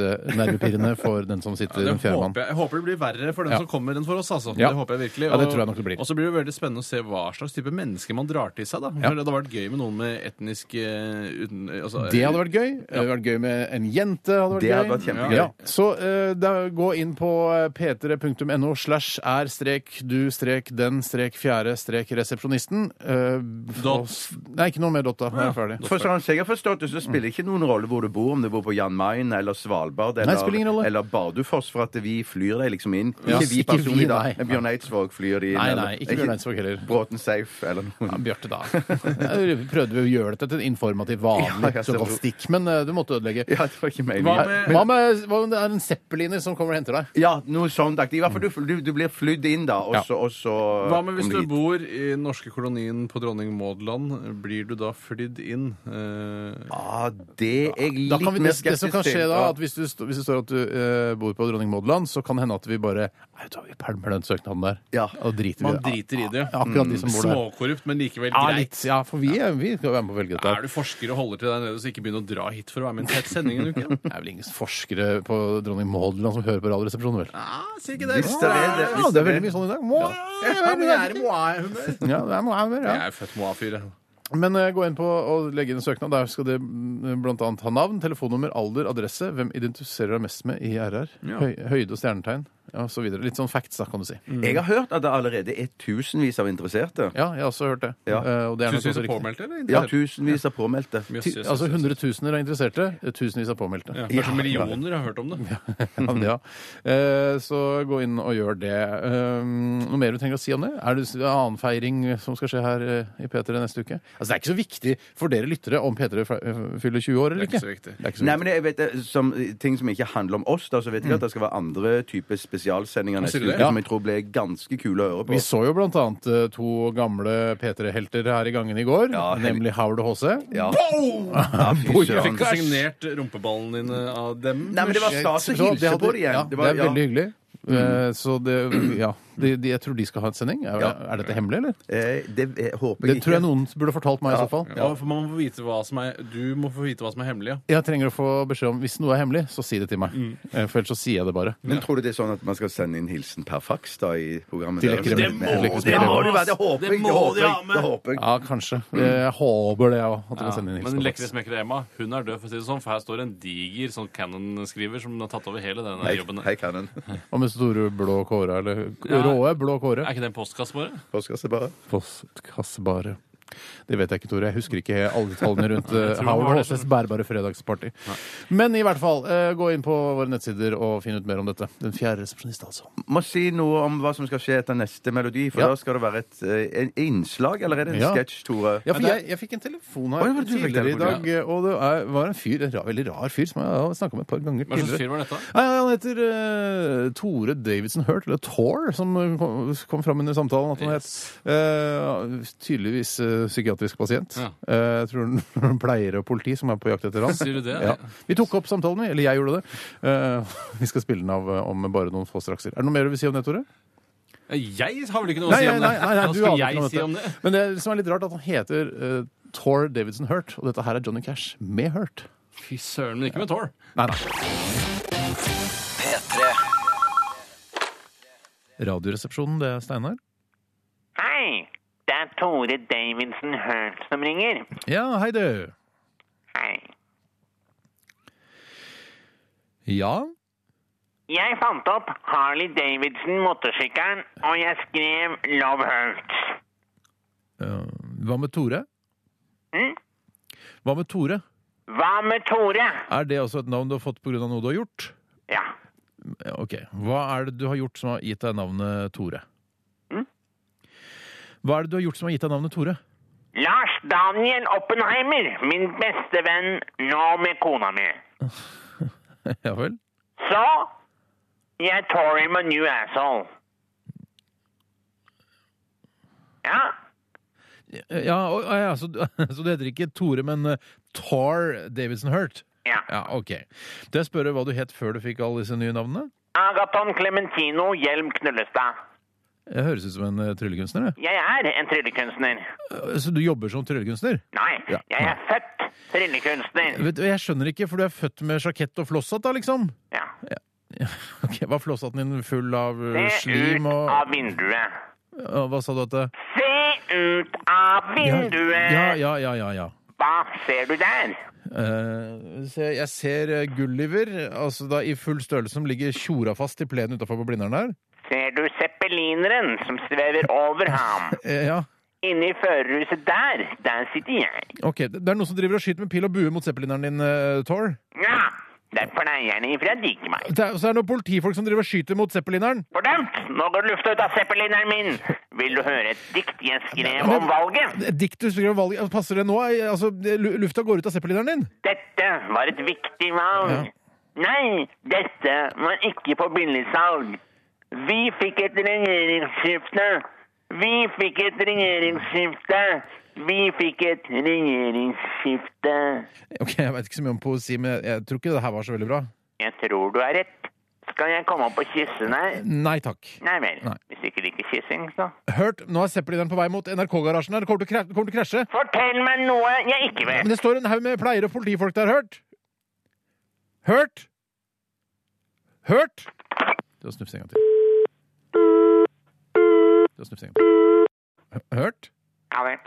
Speaker 3: grisenervepirrende for den som sitter
Speaker 5: Jeg
Speaker 3: den fjerde mann.
Speaker 5: håper, jeg håper det blir verre for den
Speaker 3: Ja.
Speaker 5: som kommer enn for oss. Altså.
Speaker 3: Ja.
Speaker 5: Det håper jeg virkelig.
Speaker 3: Ja, det tror jeg nok det blir.
Speaker 5: Og så blir det veldig spennende å se hva slags type mennesker man drar til seg. Da. For Det hadde vært gøy med noen med etnisk eh, uten, altså,
Speaker 3: Det hadde vært gøy. Det hadde vært gøy med en jente. hadde vært
Speaker 4: Det hadde
Speaker 3: gøy.
Speaker 4: vært kjempegøy.
Speaker 3: Ja. Så eh, da, gå inn på eh, p3.no slash er strek du strek den strek fjerde strek resepsjonisten. Eh,
Speaker 5: Dot.
Speaker 3: og s- Nei, ikke noe mer dot, da. Nå er jeg ferdig.
Speaker 4: For sånn jeg har forstått det, så spiller det ikke noen rolle hvor du bor, om du bor på Jan Mayen eller Svalbard eller,
Speaker 3: spiller ingen rolle.
Speaker 4: eller Bardufoss, for at vi flyr deg liksom inn.
Speaker 3: Ja,
Speaker 4: ikke vi
Speaker 3: ikke vi,
Speaker 4: personlig, da.
Speaker 3: nei.
Speaker 4: men Bjørn Eidsvåg flyr de inn.
Speaker 3: Nei,
Speaker 4: eller-
Speaker 3: nei, ikke Bjørn Eidsvåg heller.
Speaker 4: Bråten Safe eller noen.
Speaker 3: Ja, Bjarte, da. Jeg prøvde å gjøre dette til en informativ,
Speaker 4: Ja,
Speaker 3: vanlig
Speaker 4: jeg ser hvor-
Speaker 3: journalistikk, men eh, du måtte ødelegge.
Speaker 4: Ja, det var ikke
Speaker 5: Hva
Speaker 4: meningen.
Speaker 5: med-
Speaker 3: Hva med hva om det er en zeppeliner som kommer og henter deg?
Speaker 4: Ja, noe sånt. aktig. I hvert fall du, du, du blir flydd inn, da, og
Speaker 3: Ja.
Speaker 4: så, og så
Speaker 5: Hva med hvis
Speaker 4: kommer
Speaker 5: du
Speaker 4: hit.
Speaker 5: bor i den norske kolonien på Dronning Maud land? Blir du da flydd inn? Eh,
Speaker 4: Ja, det er jeg
Speaker 3: Da
Speaker 4: litt
Speaker 3: kan vi,
Speaker 4: mer
Speaker 3: det,
Speaker 4: skeptisk
Speaker 3: det som kan skje
Speaker 4: til.
Speaker 3: da,
Speaker 4: Ja.
Speaker 3: at hvis du, st- hvis det står at du eh, bor på Dronning Maud land, så kan det hende at vi bare Nei, da vi pælmer den søknaden der.
Speaker 4: Ja.
Speaker 3: Og driter
Speaker 5: man
Speaker 3: det.
Speaker 5: driter i det.
Speaker 3: Ja, akkurat de som bor der.
Speaker 5: Småkorrupt, men likevel
Speaker 3: Ja,
Speaker 5: greit.
Speaker 3: litt. Ja, for vi, er- vi skal være med på å velge dette.
Speaker 5: Er du forsker og holder til deg nede, så ikke begynn å dra hit for å være med i en tett sending en uke?
Speaker 3: (laughs) Det er vel ingen forskere på Dronning Maud land som hører på Radioresepsjonen, vel?
Speaker 5: Ja, sier ikke det.
Speaker 4: Hvis det er det.
Speaker 3: Ja, det er veldig mye sånn i dag. Må-
Speaker 5: Ja, men jeg er i Moa-humør.
Speaker 3: Ja, det er noe her, ja.
Speaker 5: Jeg er født Moa-fyr. jeg.
Speaker 3: Men eh, gå inn på og legge inn en søknad. Der skal det mm, blant annet ha navn, telefonnummer, alder, adresse. Hvem identifiserer deg mest med i RR? Høy, høyde og stjernetegn, ja, og så videre. Litt sånn facts, da, kan du si.
Speaker 4: Jeg har hørt at det allerede er tusenvis av interesserte.
Speaker 3: Ja, jeg har også hørt det.
Speaker 4: Ja.
Speaker 3: Eh, og det er nok også
Speaker 5: Tusenvis av
Speaker 3: riktig.
Speaker 5: påmeldte, eller?
Speaker 4: Ja, tusenvis av påmeldte.
Speaker 5: Jøss,
Speaker 3: Ti-
Speaker 5: jøss, jøss,
Speaker 3: Altså
Speaker 5: jøss.
Speaker 3: hundretusener av interesserte, eh, tusenvis av påmeldte.
Speaker 5: Ja, Kanskje millioner har hørt om det.
Speaker 3: (laughs) Ja, men ja. Eh, Så gå inn og gjør det. Eh, Noe mer du trenger å si om det? Er det en annen feiring som skal skje her eh, i P3 neste uke? Altså, Det er ikke så viktig for dere lyttere om P3 fe- fyller 20 år eller ikke.
Speaker 5: Det er ikke så viktig.
Speaker 3: er ikke så
Speaker 4: Nei, men jeg vet, det, som, Ting som ikke handler om oss, da, så vet jeg
Speaker 3: Mm.
Speaker 4: at det skal være andre typer spesialsendinger neste
Speaker 5: Sier du
Speaker 4: uke
Speaker 5: det?
Speaker 4: som jeg tror ble ganske kule å høre på.
Speaker 3: Vi så jo blant annet eh, to gamle P3-helter her i gangen i går,
Speaker 4: Ja, hel-
Speaker 3: nemlig Howard og HC.
Speaker 4: Ja.
Speaker 3: Ah, (laughs)
Speaker 4: fy
Speaker 3: boy,
Speaker 4: søren.
Speaker 5: Fikk du signert rumpeballen din av dem?
Speaker 4: Nei, men det var stas å
Speaker 3: Så det
Speaker 4: hilse
Speaker 3: hadde-
Speaker 4: på det igjen.
Speaker 3: Ja,
Speaker 4: Det
Speaker 3: det
Speaker 4: var, Mm.
Speaker 3: er veldig hyggelig. Eh, Så det, ja. De, de, jeg tror de skal ha en sending. Er,
Speaker 4: Ja.
Speaker 3: er dette hemmelig, eller?
Speaker 4: Eh, det eh, håper jeg
Speaker 3: Det
Speaker 4: ikke.
Speaker 3: tror jeg noen burde fortalt meg i
Speaker 4: Ja.
Speaker 3: så fall.
Speaker 5: Ja, for man må få vite hva som er, du må få vite hva som er hemmelig. Ja.
Speaker 3: Jeg trenger å få beskjed om hvis noe er hemmelig, så si det til meg.
Speaker 4: Mm.
Speaker 3: Eh, For ellers så sier jeg det bare.
Speaker 4: Men tror du det er sånn at man skal sende inn hilsen per fax da i programmet?
Speaker 3: Til
Speaker 4: deres?
Speaker 3: Lekkerøy.
Speaker 4: Det må
Speaker 3: Lekkerøy.
Speaker 4: det må det være! Det håper jeg!
Speaker 5: Det
Speaker 4: Det
Speaker 5: må
Speaker 4: håper
Speaker 5: de ha
Speaker 4: jeg!
Speaker 5: med.
Speaker 4: Det håper jeg.
Speaker 3: Ja, kanskje. Jeg håper det, jeg òg. At du kan sende inn en
Speaker 5: Men
Speaker 3: hilsen.
Speaker 5: lekre smekkere Emma hun er død, for å si det sånn, for her står en diger sånn Cannon-skriver som har tatt over hele denne
Speaker 4: Hei,
Speaker 5: jobben.
Speaker 4: hei Cannon.
Speaker 3: Og med store blå kårer, eller
Speaker 5: Ja.
Speaker 3: råe blå kårer.
Speaker 5: Er ikke det en postkasse bare?
Speaker 4: Postkasse bare.
Speaker 3: Postkassebare. Det vet jeg ikke, Tore. Jeg husker ikke alle detaljene (laughs) rundt
Speaker 5: jeg
Speaker 3: eh,
Speaker 5: tror
Speaker 3: Howard
Speaker 5: han
Speaker 3: og
Speaker 5: var det.
Speaker 3: HCs bærbare fredagsparty. Men i hvert fall, eh, gå inn på våre nettsider og finn ut mer om dette. Den fjerde resepsjonist, altså.
Speaker 4: Må si noe om hva som skal skje etter neste melodi, for
Speaker 3: Ja.
Speaker 4: da skal det være et eh, en innslag, eller er det en
Speaker 3: Ja.
Speaker 4: sketsj, Tore?
Speaker 3: Ja, for jeg, jeg fikk en telefon her
Speaker 4: Oi, hva var det du fikk
Speaker 3: tidligere i
Speaker 4: telefon?
Speaker 3: dag, eh, og det er, var en fyr, en ra, veldig rar fyr, som jeg har snakka med et par ganger
Speaker 5: Hva slags
Speaker 3: tidligere.
Speaker 5: fyr var dette?
Speaker 3: Nei, Han heter eh, Tore Davidson Hurt, eller Tor, som eh, kom, kom fram under samtalen. at han het. Eh, tydeligvis eh, psykiatrisk pasient.
Speaker 5: Ja.
Speaker 3: Eh, jeg tror (laughs) han pleier og politi som er på jakt etter han.
Speaker 5: Sier du det?
Speaker 3: Ja. Vi tok opp samtalen, vi, eller jeg gjorde det. Eh, (laughs) vi skal spille den av eh, om bare noen få strakser. Er det noe mer du vil si om det, Tore?
Speaker 5: Jeg har vel ikke noe å
Speaker 3: Nei,
Speaker 5: si
Speaker 3: nei,
Speaker 5: om det?
Speaker 3: nei, nei, nei,
Speaker 5: Hva
Speaker 3: du
Speaker 5: skal
Speaker 3: aner ikke noe
Speaker 5: jeg si
Speaker 3: om
Speaker 5: om
Speaker 3: dette.
Speaker 5: det?
Speaker 3: Men det som er litt rart, at han heter eh, Tor Davidson Hurt, og dette her er Johnny Cash med Hurt.
Speaker 5: Fy søren, men ikke med tår.
Speaker 3: Nei, nei.
Speaker 1: P3
Speaker 3: Radioresepsjonen, det er Steinar.
Speaker 6: Hei, det er Tore Davidsen Hurt som ringer.
Speaker 3: Ja, hei du.
Speaker 6: Hei.
Speaker 3: Ja.
Speaker 6: Jeg fant opp Harley Davidson motorsykkelen, og jeg skrev Love Hurt.
Speaker 3: eh, hva med Tore?
Speaker 6: Hm?
Speaker 3: Hva med Tore?
Speaker 6: Hva med Tore?
Speaker 3: Er det også et navn du har fått pga. noe du har gjort?
Speaker 6: Ja,
Speaker 3: Ja, Ok, Hva er det du har gjort som har gitt deg navnet Tore?
Speaker 6: Mm.
Speaker 3: Hva er det du har gjort som har gitt deg navnet Tore? (laughs)
Speaker 6: Lars Daniel Oppenheimer, min beste venn, nå med kona mi.
Speaker 3: ja vel?
Speaker 6: Så, jeg tore him a new asshole. Ja,
Speaker 3: Ja, å- å ja så, du- (laughs) så du heter ikke Tore, men eh, Tar Davidson Hurt?
Speaker 6: ja.
Speaker 3: Ja, ok. Skal jeg spørre hva du het før du fikk alle disse nye navnene?
Speaker 6: Agaton Clementino Hjelm Knullestad.
Speaker 3: Jeg høres ut som en eh, tryllekunstner. jeg.
Speaker 6: Jeg er en tryllekunstner.
Speaker 3: Eh, Så du jobber som tryllekunstner?
Speaker 6: Nei,
Speaker 3: Ja,
Speaker 6: jeg er
Speaker 3: nei.
Speaker 6: født tryllekunstner.
Speaker 3: Vet du, Jeg skjønner ikke, for du er født med sjakett og flosshatt, da, liksom?
Speaker 6: Ja.
Speaker 3: (laughs) Ok, Var flosshatten din full av eh,
Speaker 6: Se ut
Speaker 3: slim og
Speaker 6: av vinduet.
Speaker 3: Ja, Hva sa du at det
Speaker 6: Se ut av
Speaker 3: Ja,
Speaker 6: vinduet!
Speaker 3: ja, ja, ja, ja. ja.
Speaker 6: Hva ser du der?
Speaker 3: Eh, se, jeg ser eh, Gulliver altså da i full størrelse som ligger tjora fast i plenen utafor på Blindern der.
Speaker 6: Ser du zeppelineren som svever over ham?
Speaker 3: Eh, ja.
Speaker 6: Inne i førerhuset der, der sitter jeg.
Speaker 3: Ok, Det det er noen som driver og skyter med pil og bue mot zeppelineren din, uh, Tor.
Speaker 6: Ja, det er pleierne ifra Dikemark.
Speaker 3: Det er- Så er det noen politifolk som driver og skyter mot zeppelineren.
Speaker 6: Fordømt! Nå går lufta ut av zeppelineren min! Vil du høre et dikt jeg skrev
Speaker 3: Men-
Speaker 6: om valget?
Speaker 3: Dikt du skriver om valget altså, Passer det nå? Eh, Altså, lu- lufta går ut av zeppelineren din.
Speaker 6: Dette var et viktig valg. Nei, dette var ikke på billigsalg. Vi fikk et regjeringsskifte. Vi fikk et regjeringsskifte. Vi fikk et regjeringsskifte.
Speaker 3: Ok, Jeg veit ikke så mye om poesi, men jeg, jeg tror ikke det her var så veldig bra.
Speaker 6: Jeg tror du har rett. Skal jeg komme opp og kysse deg?
Speaker 3: Nei takk.
Speaker 6: Nei vel.
Speaker 3: Nei.
Speaker 6: Hvis du ikke liker kyssing, så.
Speaker 3: Hørt, nå er zeppelineren på vei mot NRK-garasjen her. Det Kommer til, å kra- kommer til å krasje.
Speaker 6: Fortell meg noe jeg ikke
Speaker 3: Men
Speaker 6: vet.
Speaker 3: det står en haug med pleiere og politifolk der. Hørt? Hørt? Hørt? Du har snufset en gang til. Du har snufset en gang til. Hø- Hørt?
Speaker 6: Ja vel.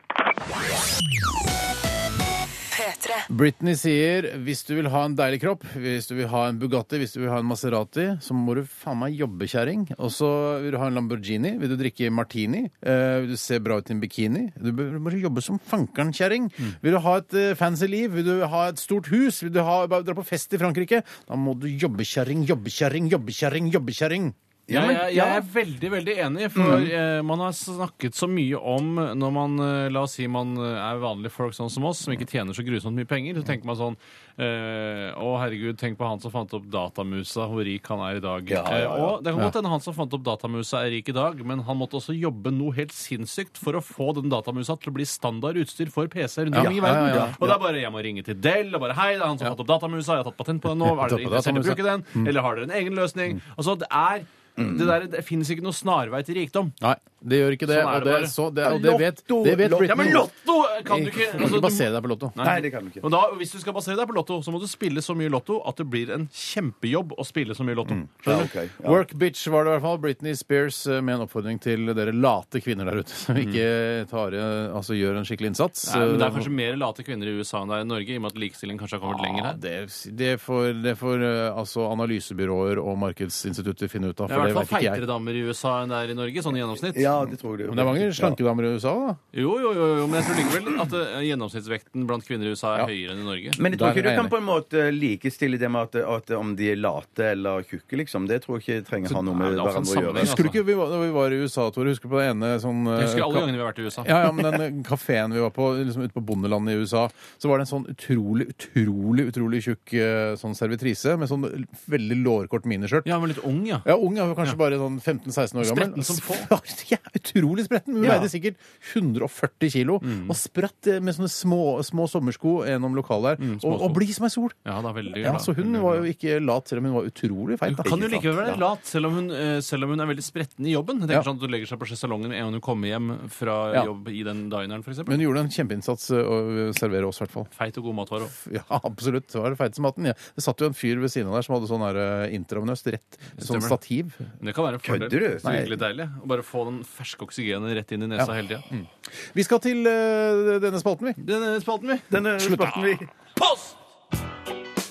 Speaker 1: P3
Speaker 3: Britney sier hvis du vil ha en deilig kropp, hvis du vil ha en Bugatti, hvis du vil ha en Maserati, så må du faen meg jobbe, kjerring. Og så vil du ha en Lamborghini, vil du drikke martini, eh, vil du se bra ut i en bikini. Du bør- du må jobbe som fankeren, kjerring.
Speaker 5: Mm.
Speaker 3: Vil du ha et eh, fancy liv, vil du ha et stort hus, vil du ha, bare dra på fest i Frankrike, da må du jobbe, kjerring, jobbe, kjerring, jobbe, kjerring, jobbe, kjerring.
Speaker 5: Ja, jeg, jeg er veldig veldig enig, for
Speaker 3: Mm.
Speaker 5: eh, man har snakket så mye om når man eh, La oss si man eh, er vanlige folk sånn som oss, som ikke tjener så grusomt mye penger. Så tenker man sånn eh, Å, herregud, tenk på han som fant opp datamusa, hvor rik han er i dag. Eh, og det kan godt hende han som fant opp datamusa, er rik i dag, men han måtte også jobbe noe helt sinnssykt for å få den datamusa til å bli standard utstyr for PC-er rundt omkring i verden.
Speaker 3: ja, ja, ja.
Speaker 5: Og det er bare jeg må ringe til Dell og bare Hei, det er han som har fant opp datamusa, jeg har tatt patent på den nå. Er
Speaker 3: Tatt
Speaker 5: dere
Speaker 3: på
Speaker 5: interessert i å
Speaker 3: datamusa.
Speaker 5: bruke bruke den,
Speaker 3: Mm.
Speaker 5: eller har dere en egen løsning? Altså, det er det, der, det finnes ikke noe snarvei til rikdom.
Speaker 3: Nei, det gjør ikke det.
Speaker 5: Sånn er
Speaker 3: og
Speaker 5: det
Speaker 3: det,
Speaker 5: bare.
Speaker 3: så, det, og det vet, det vet
Speaker 4: Lotto.
Speaker 3: Britney.
Speaker 5: Ja, men lotto kan du ikke altså,
Speaker 3: Ikke
Speaker 5: du,
Speaker 3: basere deg på lotto.
Speaker 4: Nei, det kan du ikke.
Speaker 5: og da, Hvis du skal basere deg på lotto, så må du spille så mye lotto at det blir en kjempejobb å spille så mye lotto.
Speaker 3: Mm.
Speaker 4: Ja, ok, ja.
Speaker 3: Work bitch var det i hvert fall. Britney Spears eh, med en oppfordring til dere late kvinner der ute som ikke tar, eh, altså, gjør en skikkelig innsats.
Speaker 5: Mm.
Speaker 3: Eh,
Speaker 5: Nei, men Det er kanskje mer late kvinner i USA enn det er i Norge, i og med at likestilling kanskje har kommet lenger
Speaker 3: Ja,
Speaker 5: her.
Speaker 3: det, det får, det får eh, altså analysebyråer og markedsinstitutter finne ut av.
Speaker 5: Ja, i i
Speaker 3: det
Speaker 5: hvert fall
Speaker 3: vet ikke jeg.
Speaker 5: feitere damer i USA enn det er i Norge, sånn i gjennomsnitt.
Speaker 4: Ja, det tror jeg.
Speaker 3: Men det er mange slankedamer i USA, da.
Speaker 5: Jo, jo, jo, jo, men jeg tror likevel at eh, gjennomsnittsvekten blant kvinner i USA er høyere enn i Norge.
Speaker 4: Men jeg tror
Speaker 3: Der
Speaker 4: ikke
Speaker 3: er
Speaker 4: du
Speaker 3: jeg
Speaker 4: kan
Speaker 3: enig.
Speaker 4: på en måte likestille det med at, at om de er late eller tjukke, liksom. Det tror jeg ikke trenger
Speaker 5: Så
Speaker 4: ha noe
Speaker 5: nei,
Speaker 4: med
Speaker 5: det er altså en
Speaker 4: hverandre å gjøre.
Speaker 5: sammenheng,
Speaker 3: Husker du ikke vi var, da vi var i USA, Tore? Husker du på det ene sånn
Speaker 5: Jeg husker alle
Speaker 3: eh,
Speaker 5: gangene vi har vært i USA.
Speaker 3: Ja, ja, men den eh, kafeen vi var på liksom ute på bondelandet i USA, så var det en sånn utrolig, utrolig utrolig tjukk eh, sånn servitrise med sånn veldig lårkort miniskjørt.
Speaker 5: Ja, men litt ung, ja.
Speaker 3: Ja, ung, ja, kanskje bare sånn 15-16 år gammel.
Speaker 5: Spretten som få.
Speaker 3: (laughs) Ja, utrolig spretten. Hun veide sikkert 140 kilo
Speaker 5: Mm.
Speaker 3: og spratt eh, med sånne små, små sommersko gjennom lokalet her.
Speaker 5: Mm, små
Speaker 3: og,
Speaker 5: sko.
Speaker 3: og blid som ei sol!
Speaker 5: Ja, da, veldig
Speaker 3: Ja,
Speaker 5: glad.
Speaker 3: så hun
Speaker 5: Veldig
Speaker 3: var
Speaker 5: glad.
Speaker 3: jo ikke lat, selv om hun var utrolig feit.
Speaker 5: Hun
Speaker 3: da.
Speaker 5: kan jo likevel være
Speaker 3: Ja.
Speaker 5: lat, selv om hun, eh, selv om hun er veldig spretten i jobben. Jeg
Speaker 3: Ja.
Speaker 5: tenker sånn at Hun legger seg på sjeselongen med en gang hun kommer hjem fra
Speaker 3: Ja.
Speaker 5: jobb i den dineren, f.eks.
Speaker 3: Men hun gjorde en kjempeinnsats eh, å servere oss, i hvert fall. (laughs)
Speaker 5: Feit og god matvarer òg.
Speaker 3: Ja, absolutt. Det var det feiteste maten. Ja. Det satt jo en fyr ved siden av der som hadde sånn her eh, intravenøst rett sånn
Speaker 5: Stemmer.
Speaker 3: stativ.
Speaker 5: Men Det kan være en fordel.
Speaker 4: Kødder du?
Speaker 5: Det er virkelig deilig å bare få den ferske oksygenet rett inn i nesa hele tida.
Speaker 3: Mm. Vi skal til eh, denne spalten, vi.
Speaker 5: Denne spalten, vi.
Speaker 4: Denne
Speaker 3: Slutt, da.
Speaker 4: spalten vi-
Speaker 5: Post!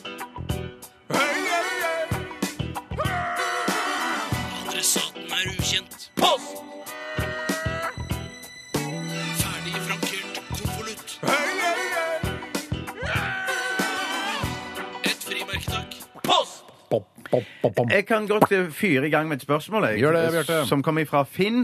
Speaker 7: Adressaten er ukjent. Post! Ferdig frankert konvolutt. Et frimerke, takk. Post!
Speaker 3: Bom, bom, bom, bom.
Speaker 4: Jeg kan godt eh, fyre i gang med et spørsmål, jeg.
Speaker 3: Gjør det, Bjarte.
Speaker 4: Som kommer fra Finn.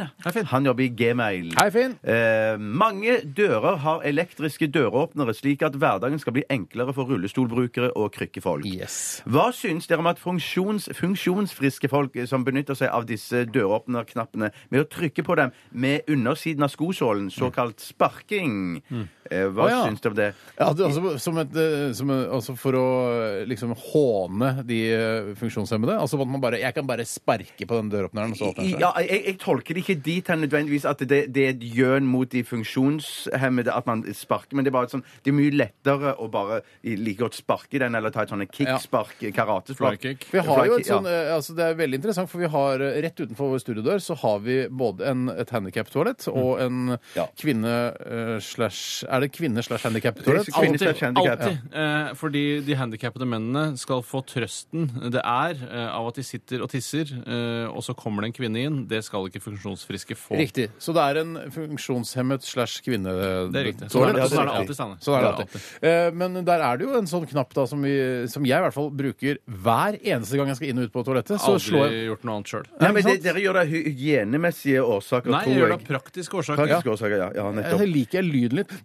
Speaker 4: Han jobber i Gmail.
Speaker 3: Hei, Finn.
Speaker 4: Eh, mange dører har elektriske døråpnere, slik at hverdagen skal bli enklere for rullestolbrukere og krykkefolk.
Speaker 3: Yes.
Speaker 4: Hva syns dere om at funksjons, funksjonsfriske folk som benytter seg av disse døråpnerknappene med å trykke på dem med undersiden av skosålen, såkalt sparking? Eh, Hva
Speaker 3: Mm. Å, ja.
Speaker 4: syns dere om det?
Speaker 3: Ja, det, altså, som et, eh, som, eh, altså for å eh, liksom håne de eh, funksjonshemmede. Altså at man bare Jeg kan bare sparke på den døråpneren, og så åpner den seg.
Speaker 4: Ja, jeg, jeg tolker det ikke dit hen nødvendigvis at det, det er et gjøn mot de funksjonshemmede at man sparker, men det er bare et sånn, det er mye lettere å bare like godt sparke den eller ta et sånn kickspark, karatespark.
Speaker 5: Flykick.
Speaker 3: Vi har jo
Speaker 4: Flykick,
Speaker 3: et sånn,
Speaker 4: ja.
Speaker 3: eh, altså Det er veldig interessant, for vi har eh, rett utenfor vår studiodør så har vi både en, et handikaptoalett og en
Speaker 4: Mm. Ja.
Speaker 3: kvinne eh, slash Er det kvinne slash
Speaker 4: Det
Speaker 3: handikaptoalett?
Speaker 4: er kvinne- Kvinner
Speaker 5: Alltid.
Speaker 4: som er handicap,
Speaker 5: alltid. Eh, fordi de handikappede mennene skal få trøsten det er eh, av at de sitter og tisser, eh, og så kommer det en kvinne inn. Det skal ikke funksjonsfriske få.
Speaker 3: Riktig. Så det er en funksjonshemmet slash kvinne...
Speaker 5: Det er riktig. Sånn er det, sånn er det alltid. Steinar.
Speaker 3: Sånn er det alltid. Eh, Men der er det jo en sånn knapp da, som, vi, som jeg i hvert fall bruker hver eneste gang jeg skal inn og ut på toalettet. Så
Speaker 5: Aldri
Speaker 3: slår jeg
Speaker 5: gjort noe annet sjøl.
Speaker 4: Nei, men
Speaker 3: ikke
Speaker 4: det,
Speaker 3: sant?
Speaker 4: dere gjør det av hygienemessige årsaker,
Speaker 5: Nei, jeg
Speaker 4: tror
Speaker 5: gjør det
Speaker 4: jeg.
Speaker 5: av praktiske årsaker.
Speaker 4: Praktiske årsaker, ja. ja nettopp.
Speaker 3: Jeg Eh, liker jeg lyden litt.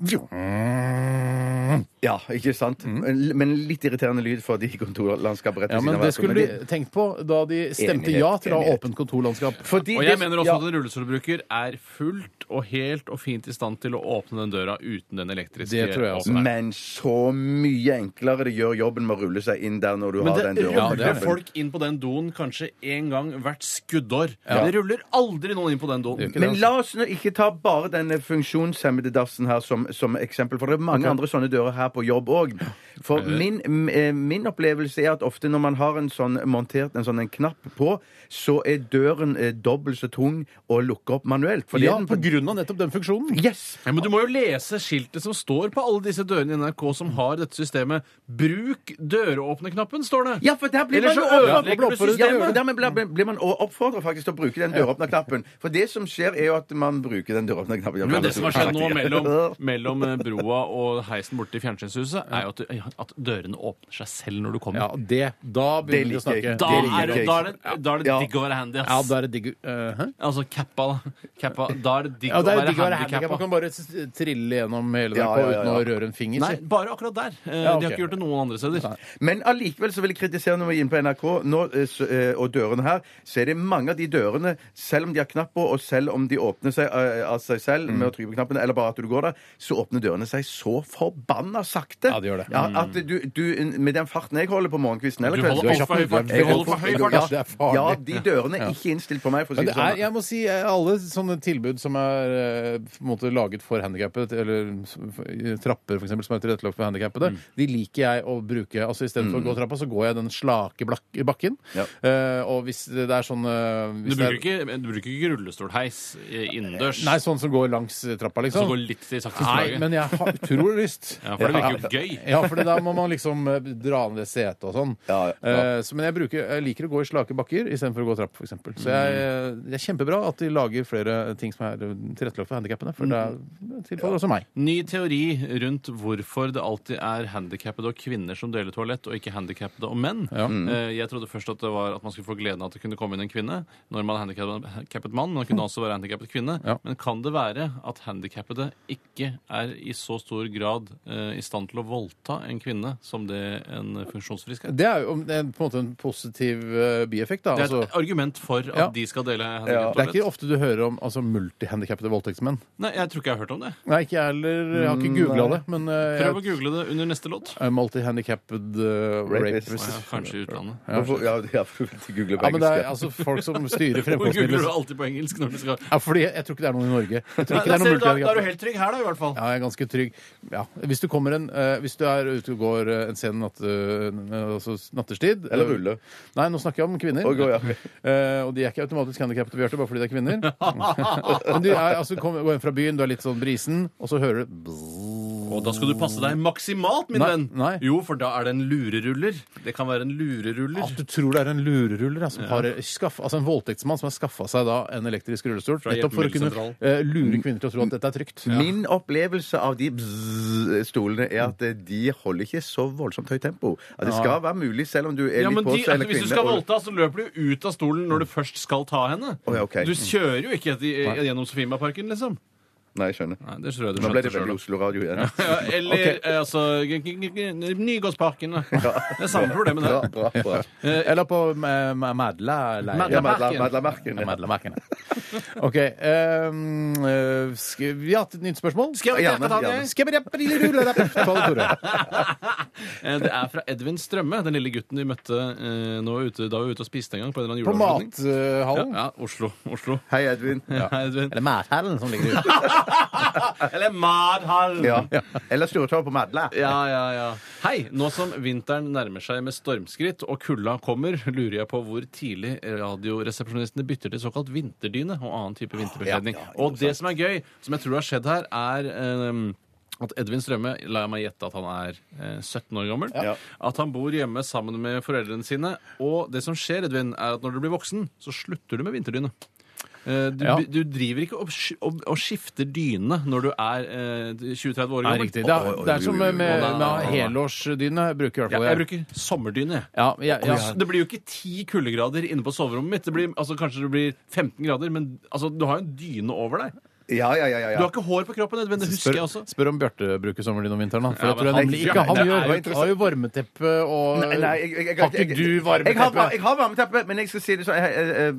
Speaker 4: Ja, ikke sant? Men- Men litt irriterende lyd for de kontorlandskapet rett ved
Speaker 3: Ja,
Speaker 4: siden
Speaker 3: men
Speaker 4: av
Speaker 3: det
Speaker 4: hverandre,
Speaker 3: skulle
Speaker 4: men
Speaker 3: de tenkt på da de stemte
Speaker 4: Enighet,
Speaker 3: ja til å ha
Speaker 4: enighet.
Speaker 3: åpent kontorlandskap.
Speaker 4: Fordi
Speaker 5: Og
Speaker 4: det-
Speaker 5: jeg mener også
Speaker 4: ja.
Speaker 5: at en rullestolbruker er fullt og helt og fint i stand til å åpne den døra uten den elektriske
Speaker 3: Det tror jeg også.
Speaker 5: åpneren.
Speaker 4: Men så mye enklere det gjør jobben med å rulle seg inn der når du har den
Speaker 5: Men det
Speaker 4: døra.
Speaker 5: ruller
Speaker 3: det er det.
Speaker 5: folk inn på den doen kanskje én gang hvert skuddår. Det ruller aldri noen inn på den doen.
Speaker 4: Men
Speaker 3: altså.
Speaker 4: la oss nå ikke ta bare denne funksjonshemmede dassen her som, som eksempel, for det er mange andre sånne dører her på jobb òg. For min, m- eh, min opplevelse er at ofte når man har en sånn montert en sånn en knapp på, så er døren eh, dobbelt så tung å lukke opp manuelt. Fordi
Speaker 3: Ja,
Speaker 4: den-
Speaker 3: på grunn av nettopp den funksjonen.
Speaker 4: Yes!
Speaker 5: Ja, men du må jo lese skiltet som står på alle disse dørene i NRK som har dette systemet. Bruk døråpneknappen, står det.
Speaker 4: Ja, for der blir
Speaker 5: Eller
Speaker 4: man
Speaker 5: så
Speaker 4: jo oppfordret-
Speaker 5: ødelegger du
Speaker 4: Ja,
Speaker 5: systemet.
Speaker 4: men dermed blir- blir man oppfordra faktisk til å bruke den døråpnerknappen. For det som skjer, er jo at man bruker den døråpnerknappen.
Speaker 5: Men det som har skjedd nå mellom, mellom eh, broa og heisen borte i fjernsynshuset, er jo at, eh, at dørene åpner seg selv når du kommer.
Speaker 3: Ja, det. Da
Speaker 4: Det
Speaker 3: begynner vi å
Speaker 4: liker
Speaker 3: snakke.
Speaker 4: jeg.
Speaker 5: Da
Speaker 4: Det liker
Speaker 5: er, det-
Speaker 4: jeg.
Speaker 5: da er det, da er det
Speaker 4: Ja.
Speaker 5: digg å være handy, ass.
Speaker 3: Ja, da er det digg eh, hæ?
Speaker 5: Altså cappa, da. Cappa. Da er det digg
Speaker 3: Ja, det
Speaker 5: å
Speaker 3: er
Speaker 5: være
Speaker 3: digg å være handikap. Man
Speaker 5: handikappa.
Speaker 3: kan bare s- trille gjennom hele
Speaker 4: Ja,
Speaker 3: NRK
Speaker 4: ja, ja,
Speaker 3: uten å
Speaker 4: ja.
Speaker 3: røre en finger.
Speaker 5: Nei,
Speaker 3: si.
Speaker 5: bare akkurat der. Eh,
Speaker 3: Ja,
Speaker 5: De
Speaker 3: ok.
Speaker 5: har ikke gjort det noen andre steder.
Speaker 4: Men allikevel så vil jeg kritisere når vi er inne på NRK nå, eh, så, eh, og dørene her, så er det mange av de dørene, selv om de har knapp på, og selv om de åpner seg eh, av seg selv
Speaker 3: Mm.
Speaker 4: med å trykke på knappen, eller bare at du går der, så åpner dørene seg så forbanna sakte.
Speaker 3: Ja, de gjør det. Mm.
Speaker 4: Ja, at du, du, med den farten jeg holder på morgenkvisten eller
Speaker 5: Du holder
Speaker 4: kvelden-
Speaker 5: alt for høy fart.
Speaker 4: Jeg
Speaker 5: Du holder for høy fart,
Speaker 4: Ja,
Speaker 5: ass.
Speaker 3: Det er farlig.
Speaker 4: Ja, de dørene er ikke innstilt på meg, for å si
Speaker 3: Men det
Speaker 4: det sånn.
Speaker 3: er, jeg må si, eh, alle sånne tilbud som er eh, på en måte laget for handikappet, eller s- f- i trapper for eksempel, som er tilrettelagt for handikappede,
Speaker 5: Mm.
Speaker 3: de liker jeg å bruke. Altså Istedenfor for å gå trappa, så går jeg den slake blak bakken.
Speaker 4: Ja.
Speaker 3: Eh, og hvis det er sånn eh,
Speaker 5: Du
Speaker 3: hvis det er,
Speaker 5: bruker ikke, du bruker ikke rullestolheis eh, innendørs.
Speaker 3: Nei, sånn som går langs eh, trappa, liksom.
Speaker 5: Som går litt i sakte
Speaker 3: Nei,
Speaker 5: slaget.
Speaker 3: men jeg har utrolig lyst.
Speaker 5: (laughs) Ja, for det virker jo gøy.
Speaker 3: Ja, for det da må man liksom eh, dra ned setet og sånn.
Speaker 4: Ja, ja.
Speaker 3: Eh, så, men jeg, bruker, jeg liker å gå i slake bakker istedenfor å gå trapp, f.eks. Så jeg, eh, det er kjempebra at de lager flere ting som er eh, tilrettelagt for handikappene, for det tilfaller også meg.
Speaker 5: Ny teori rundt hvorfor det alltid er handikappede og kvinner som deler toalett, og ikke handikappede og menn.
Speaker 3: Mm.
Speaker 5: Eh, Jeg trodde først at det var at man skulle få gleden av at det kunne komme inn en kvinne når man er handikappet mann, men man kunne også være handikappet kvinne.
Speaker 3: Ja.
Speaker 5: Men kan det være at handikappede ikke er i så stor grad eh, i stand til å voldta en kvinne som det en funksjonsfrisk er?
Speaker 3: Det er jo det er på en måte en positiv eh, bieffekt, da.
Speaker 5: Det er
Speaker 3: Altså,
Speaker 5: et argument for
Speaker 3: Ja.
Speaker 5: at de skal dele handikappet
Speaker 3: det er ikke
Speaker 5: toalett.
Speaker 3: ofte du hører om altså, multihandikappede voldtektsmenn.
Speaker 5: Nei, jeg tror ikke jeg har hørt om det.
Speaker 3: Nei, ikke jeg heller. Jeg har ikke googla det, men eh,
Speaker 5: Prøv å
Speaker 3: jeg
Speaker 5: google det under neste låt.
Speaker 3: er multihandicapped eh,
Speaker 4: Rapist.
Speaker 3: rapist.
Speaker 5: Ja, kanskje i utlandet.
Speaker 4: Hvorfor- Ja, ja, Google på
Speaker 3: Ja, men det er
Speaker 4: engelsk.
Speaker 3: altså folk som (laughs) styrer
Speaker 5: Hvorfor googler
Speaker 3: fremkomstmidler.
Speaker 5: du alltid på engelsk når du skal
Speaker 3: Ja, fordi jeg, jeg tror ikke det er noen i Norge. Jeg tror
Speaker 5: Nei,
Speaker 3: ikke det er
Speaker 5: da
Speaker 3: noen
Speaker 5: ser du, da, da er du
Speaker 3: multihandikappede.
Speaker 5: helt trygg her, da, i hvert fall.
Speaker 3: Ja, jeg er ganske trygg. Ja. Hvis du kommer en eh, Hvis du er ute og går eh, en sen natt, eh, altså nattestid
Speaker 4: Eller
Speaker 3: eh,
Speaker 4: rulle.
Speaker 3: Nei, nå snakker jeg om kvinner.
Speaker 4: Å, gå, ja.
Speaker 3: Eh, og de er ikke automatisk handikappede, Bjarte, bare fordi de er kvinner. (laughs) Men du er, altså, kom, går hjem fra byen, du er litt sånn brisen, og så hører du
Speaker 5: Og da skal du passe deg maksimalt, min
Speaker 3: Nei,
Speaker 5: venn.
Speaker 3: nei.
Speaker 5: Jo, for da er det en lureruller. Det kan være en lureruller.
Speaker 3: at du tror det er en lureruller da, som har skaff, altså en voldtektsmann som har skaffa seg da en elektrisk rullestol nettopp for å kunne
Speaker 5: hjelpemiddelsentralen.
Speaker 3: eh, lure kvinner til å tro at dette er trygt.
Speaker 4: Min opplevelse av de bzz stolene er at eh, de holder ikke så voldsomt høyt tempo. At det skal være mulig, selv om du er
Speaker 5: Ja,
Speaker 4: litt
Speaker 5: men
Speaker 4: på
Speaker 5: de, altså,
Speaker 4: seg eller
Speaker 5: Hvis
Speaker 4: kvinne.
Speaker 5: du skal
Speaker 4: og-
Speaker 5: voldta, så løper du jo ut av stolen når du først skal ta henne.
Speaker 4: Å, ja, ok.
Speaker 5: Du kjører jo ikke etter- gjennom Sofiemarken, liksom.
Speaker 4: Nei, jeg skjønner.
Speaker 5: Nei, det tror jeg du
Speaker 4: Nå ble det
Speaker 5: skjønte
Speaker 4: veldig
Speaker 5: sjøl.
Speaker 4: Oslo-radio igjen.
Speaker 5: Ja, eller eh, altså g- g- g- g- Nygårdsparken. da. Det er samme problemet,
Speaker 4: Bra,
Speaker 5: det.
Speaker 4: bra,
Speaker 5: (laughs)
Speaker 4: bra.
Speaker 3: Eller på eh, Madla leir.
Speaker 4: Ja,
Speaker 5: Madla-
Speaker 4: Madla- Madla-merken.
Speaker 3: Ja,
Speaker 4: Ja.
Speaker 3: Madla-merkene. OK. ehm, eh, skal vi ha et nytt spørsmål?
Speaker 5: Skal jeg,
Speaker 4: Ja,
Speaker 5: jeg
Speaker 4: men-
Speaker 5: ta
Speaker 4: ja,
Speaker 5: det?
Speaker 4: men-
Speaker 3: Skal vi rappe, lille rulle, rappe? Ta det, Tore.
Speaker 5: Eh, Det er fra Edvin Strømme, den lille gutten vi møtte eh, nå ute, da vi var ute og spiste en gang. På en eller
Speaker 3: På
Speaker 5: annen juleavslutning.
Speaker 3: Mathallen.
Speaker 5: Ja, Oslo. Oslo.
Speaker 4: Hei, Edvin.
Speaker 5: (laughs) Hei, Edvin.
Speaker 3: Eller Mathallen, som ligger ute.
Speaker 5: Eller Madhall!
Speaker 4: Ja. Eller Stortorv på Madla.
Speaker 5: Ja, ja, ja. Hei! Nå som vinteren nærmer seg med stormskritt og kulda kommer, lurer jeg på hvor tidlig radioresepsjonistene bytter til såkalt vinterdyne og annen type vinterbekledning. og det som er gøy, som jeg tror har skjedd her, er ehm, at Edvin Strømme, la meg gjette at han er eh, 17 år gammel, at han bor hjemme sammen med foreldrene sine. Og det som skjer, Edvin, er at når du blir voksen, så slutter du med vinterdyne. Eh, Du,
Speaker 3: Ja.
Speaker 5: du driver ikke og, sk- og, og skifter dyne når du er eh, 20-30 år
Speaker 3: Nei,
Speaker 5: gammel.
Speaker 3: riktig. Det er, det er som med, med, med helårsdyne. Jeg bruker i hvert
Speaker 5: Ja,
Speaker 3: fall
Speaker 5: jeg bruker sommerdyne. jeg.
Speaker 3: ja, jeg, ja.
Speaker 5: Altså, det blir jo ikke ti kuldegrader inne på soverommet mitt. Det blir, altså, kanskje det blir 15 grader, men altså, du har jo en dyne over deg.
Speaker 4: Ja, ja, ja. ja, ja.
Speaker 5: Du har ikke hår på kroppen, Edvin. Det husker
Speaker 3: Spør,
Speaker 5: jeg også.
Speaker 3: spør om Bjarte bruker sommerdyne om vinteren. da, For
Speaker 5: Ja,
Speaker 3: det tror jeg
Speaker 5: men
Speaker 3: nemlig
Speaker 5: han-
Speaker 3: ikke han
Speaker 4: Nei, det
Speaker 3: gjør.
Speaker 4: er jo
Speaker 3: Han har jo varmeteppe og
Speaker 4: Nei, nei, jeg- jeg- jeg-
Speaker 3: Har ikke
Speaker 4: jeg-
Speaker 3: du
Speaker 4: Jeg har,
Speaker 3: varmeteppe?
Speaker 4: jeg har varmeteppe, men jeg skal si det sånn eh, eh, eh,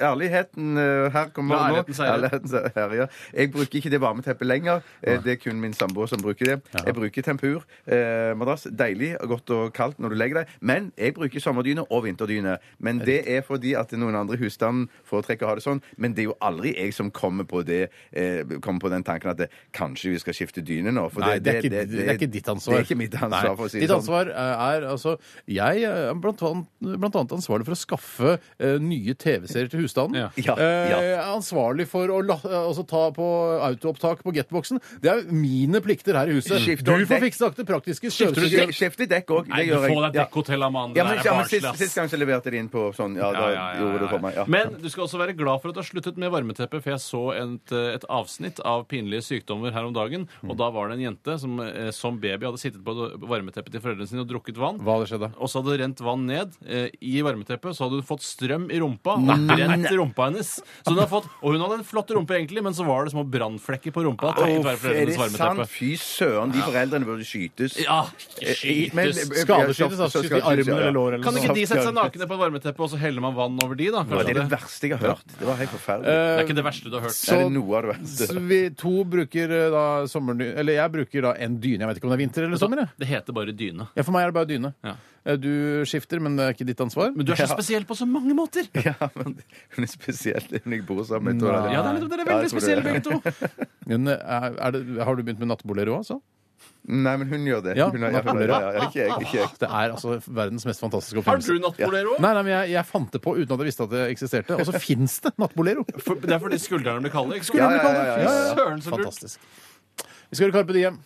Speaker 4: Ærligheten eh, her kommer
Speaker 5: La
Speaker 4: nå.
Speaker 5: ærligheten seire.
Speaker 4: Ærligheten seire, ja. Jeg bruker ikke det varmeteppet lenger. Eh, Det er kun min samboer som bruker det. Jeg bruker tempur. eh, Madrass. Deilig og godt og kaldt når du legger deg. Men jeg bruker sommerdyne og vinterdyne. Men det er fordi at noen andre i husstanden foretrekker å ha det sånn. Men det er jo aldri jeg som kommer på det eh, Kommer på den tanken at det, kanskje vi skal skifte dyne nå. For
Speaker 3: Nei, det, er ikke, det, er ikke ditt ansvar.
Speaker 4: Det er ikke mitt ansvar,
Speaker 3: Nei.
Speaker 4: for å si det
Speaker 3: ditt
Speaker 4: sånn.
Speaker 3: ansvar eh, er altså Jeg er blant annet, blant annet ansvarlig for å skaffe eh, nye TV-serier til husstanden.
Speaker 5: Ja.
Speaker 4: Ja,
Speaker 3: Eh,
Speaker 4: ja.
Speaker 3: jeg er ansvarlig for å la, eh, altså, ta på autoopptak på getboxen. Det er mine plikter her i huset.
Speaker 4: Skifte
Speaker 3: du
Speaker 4: og
Speaker 3: får
Speaker 4: dekk.
Speaker 3: fikse det praktiske
Speaker 4: Skifter du dekk?
Speaker 3: støvsugeren.
Speaker 4: Skifter dekk òg.
Speaker 5: Nei, du får deg dekkhotell, Amanda.
Speaker 4: Ja, men,
Speaker 5: Det er
Speaker 4: ja, men
Speaker 5: barnslig,
Speaker 4: sist,
Speaker 5: ass.
Speaker 4: sist gang så leverte jeg det inn på sånn. Ja, da
Speaker 5: Ja, ja, ja, ja,
Speaker 4: gjorde det
Speaker 5: ja.
Speaker 4: for meg. Ja.
Speaker 5: Men du skal også være glad for at du har sluttet med varmeteppe, for jeg så et, et avsnitt av pinlige sykdommer her om dagen,
Speaker 4: Mm.
Speaker 5: og da var det en jente som eh, som baby hadde sittet på varmeteppet til foreldrene sine og drukket vann.
Speaker 3: Hva hadde skjedd da?
Speaker 5: Og så hadde det rent vann ned eh, i varmeteppet, så hadde hun fått strøm i rumpa og brent rumpa hennes. Så hun hadde fått, og hun hadde en flott rumpe egentlig, men så var det små brannflekker på rumpa takket være
Speaker 4: Uff, er det
Speaker 5: foreldrenes
Speaker 4: sant?
Speaker 5: varmeteppe.
Speaker 4: Fy søren, de foreldrene burde skytes. Eh,
Speaker 5: Ja, ikke
Speaker 4: Men-
Speaker 5: skytes!
Speaker 3: Skadeskytes,
Speaker 4: Så- så-
Speaker 3: altså.
Speaker 4: så-
Speaker 3: Skyte i armen
Speaker 4: ja.
Speaker 3: eller låret eller
Speaker 5: Kan
Speaker 3: noe
Speaker 5: ikke
Speaker 3: sånt.
Speaker 5: de sette seg nakne på et varmeteppe, og så heller man vann over de, da?
Speaker 4: Det er
Speaker 5: Kanskje
Speaker 4: det
Speaker 5: det?
Speaker 4: verste jeg har hørt. Det var helt forferdelig.
Speaker 5: Det er ikke det verste du har hørt.
Speaker 4: er det noe av det verste?
Speaker 3: så Eh, vi to bruker eh, da sommerdyne Eller jeg bruker da en dyne. Jeg vet ikke om det er vinter eller sommer. jeg.
Speaker 5: Det heter bare dyne.
Speaker 3: Ja, For meg er det bare dyne.
Speaker 5: Ja.
Speaker 3: Eh, Du skifter, men det er ikke ditt ansvar.
Speaker 5: Men du er så spesiell på så mange måter!
Speaker 4: (laughs) Ja, men hun er spesiell hun jeg bor sammen med.
Speaker 5: Ja, det er litt, dere er
Speaker 4: Ja, jeg
Speaker 5: veldig
Speaker 4: tror det.
Speaker 5: spesielle begge to.
Speaker 3: Men eh, er er det, har du begynt med nattbolero, altså?
Speaker 4: (laughs) Nei, men hun gjør det.
Speaker 3: Ja,
Speaker 4: hun har, ja,
Speaker 3: nattbolero.
Speaker 4: ja, ja, ja, ikke jeg. Ikke jeg.
Speaker 3: Det er altså verdens mest fantastiske
Speaker 5: Har du
Speaker 3: oppfinnelse.
Speaker 5: nattbolero?
Speaker 3: Nei, nei, men jeg, jeg fant det på uten at jeg visste at det eksisterte. Og så fins det nattbolero!
Speaker 5: (laughs) For- Det er fordi skuldrene blir kalde. ikke sant?
Speaker 4: Ja, ja, ja, ja, ja, ja.
Speaker 5: Søren, så lurt.
Speaker 3: Fantastisk. Vi skal høre Carpe Diem.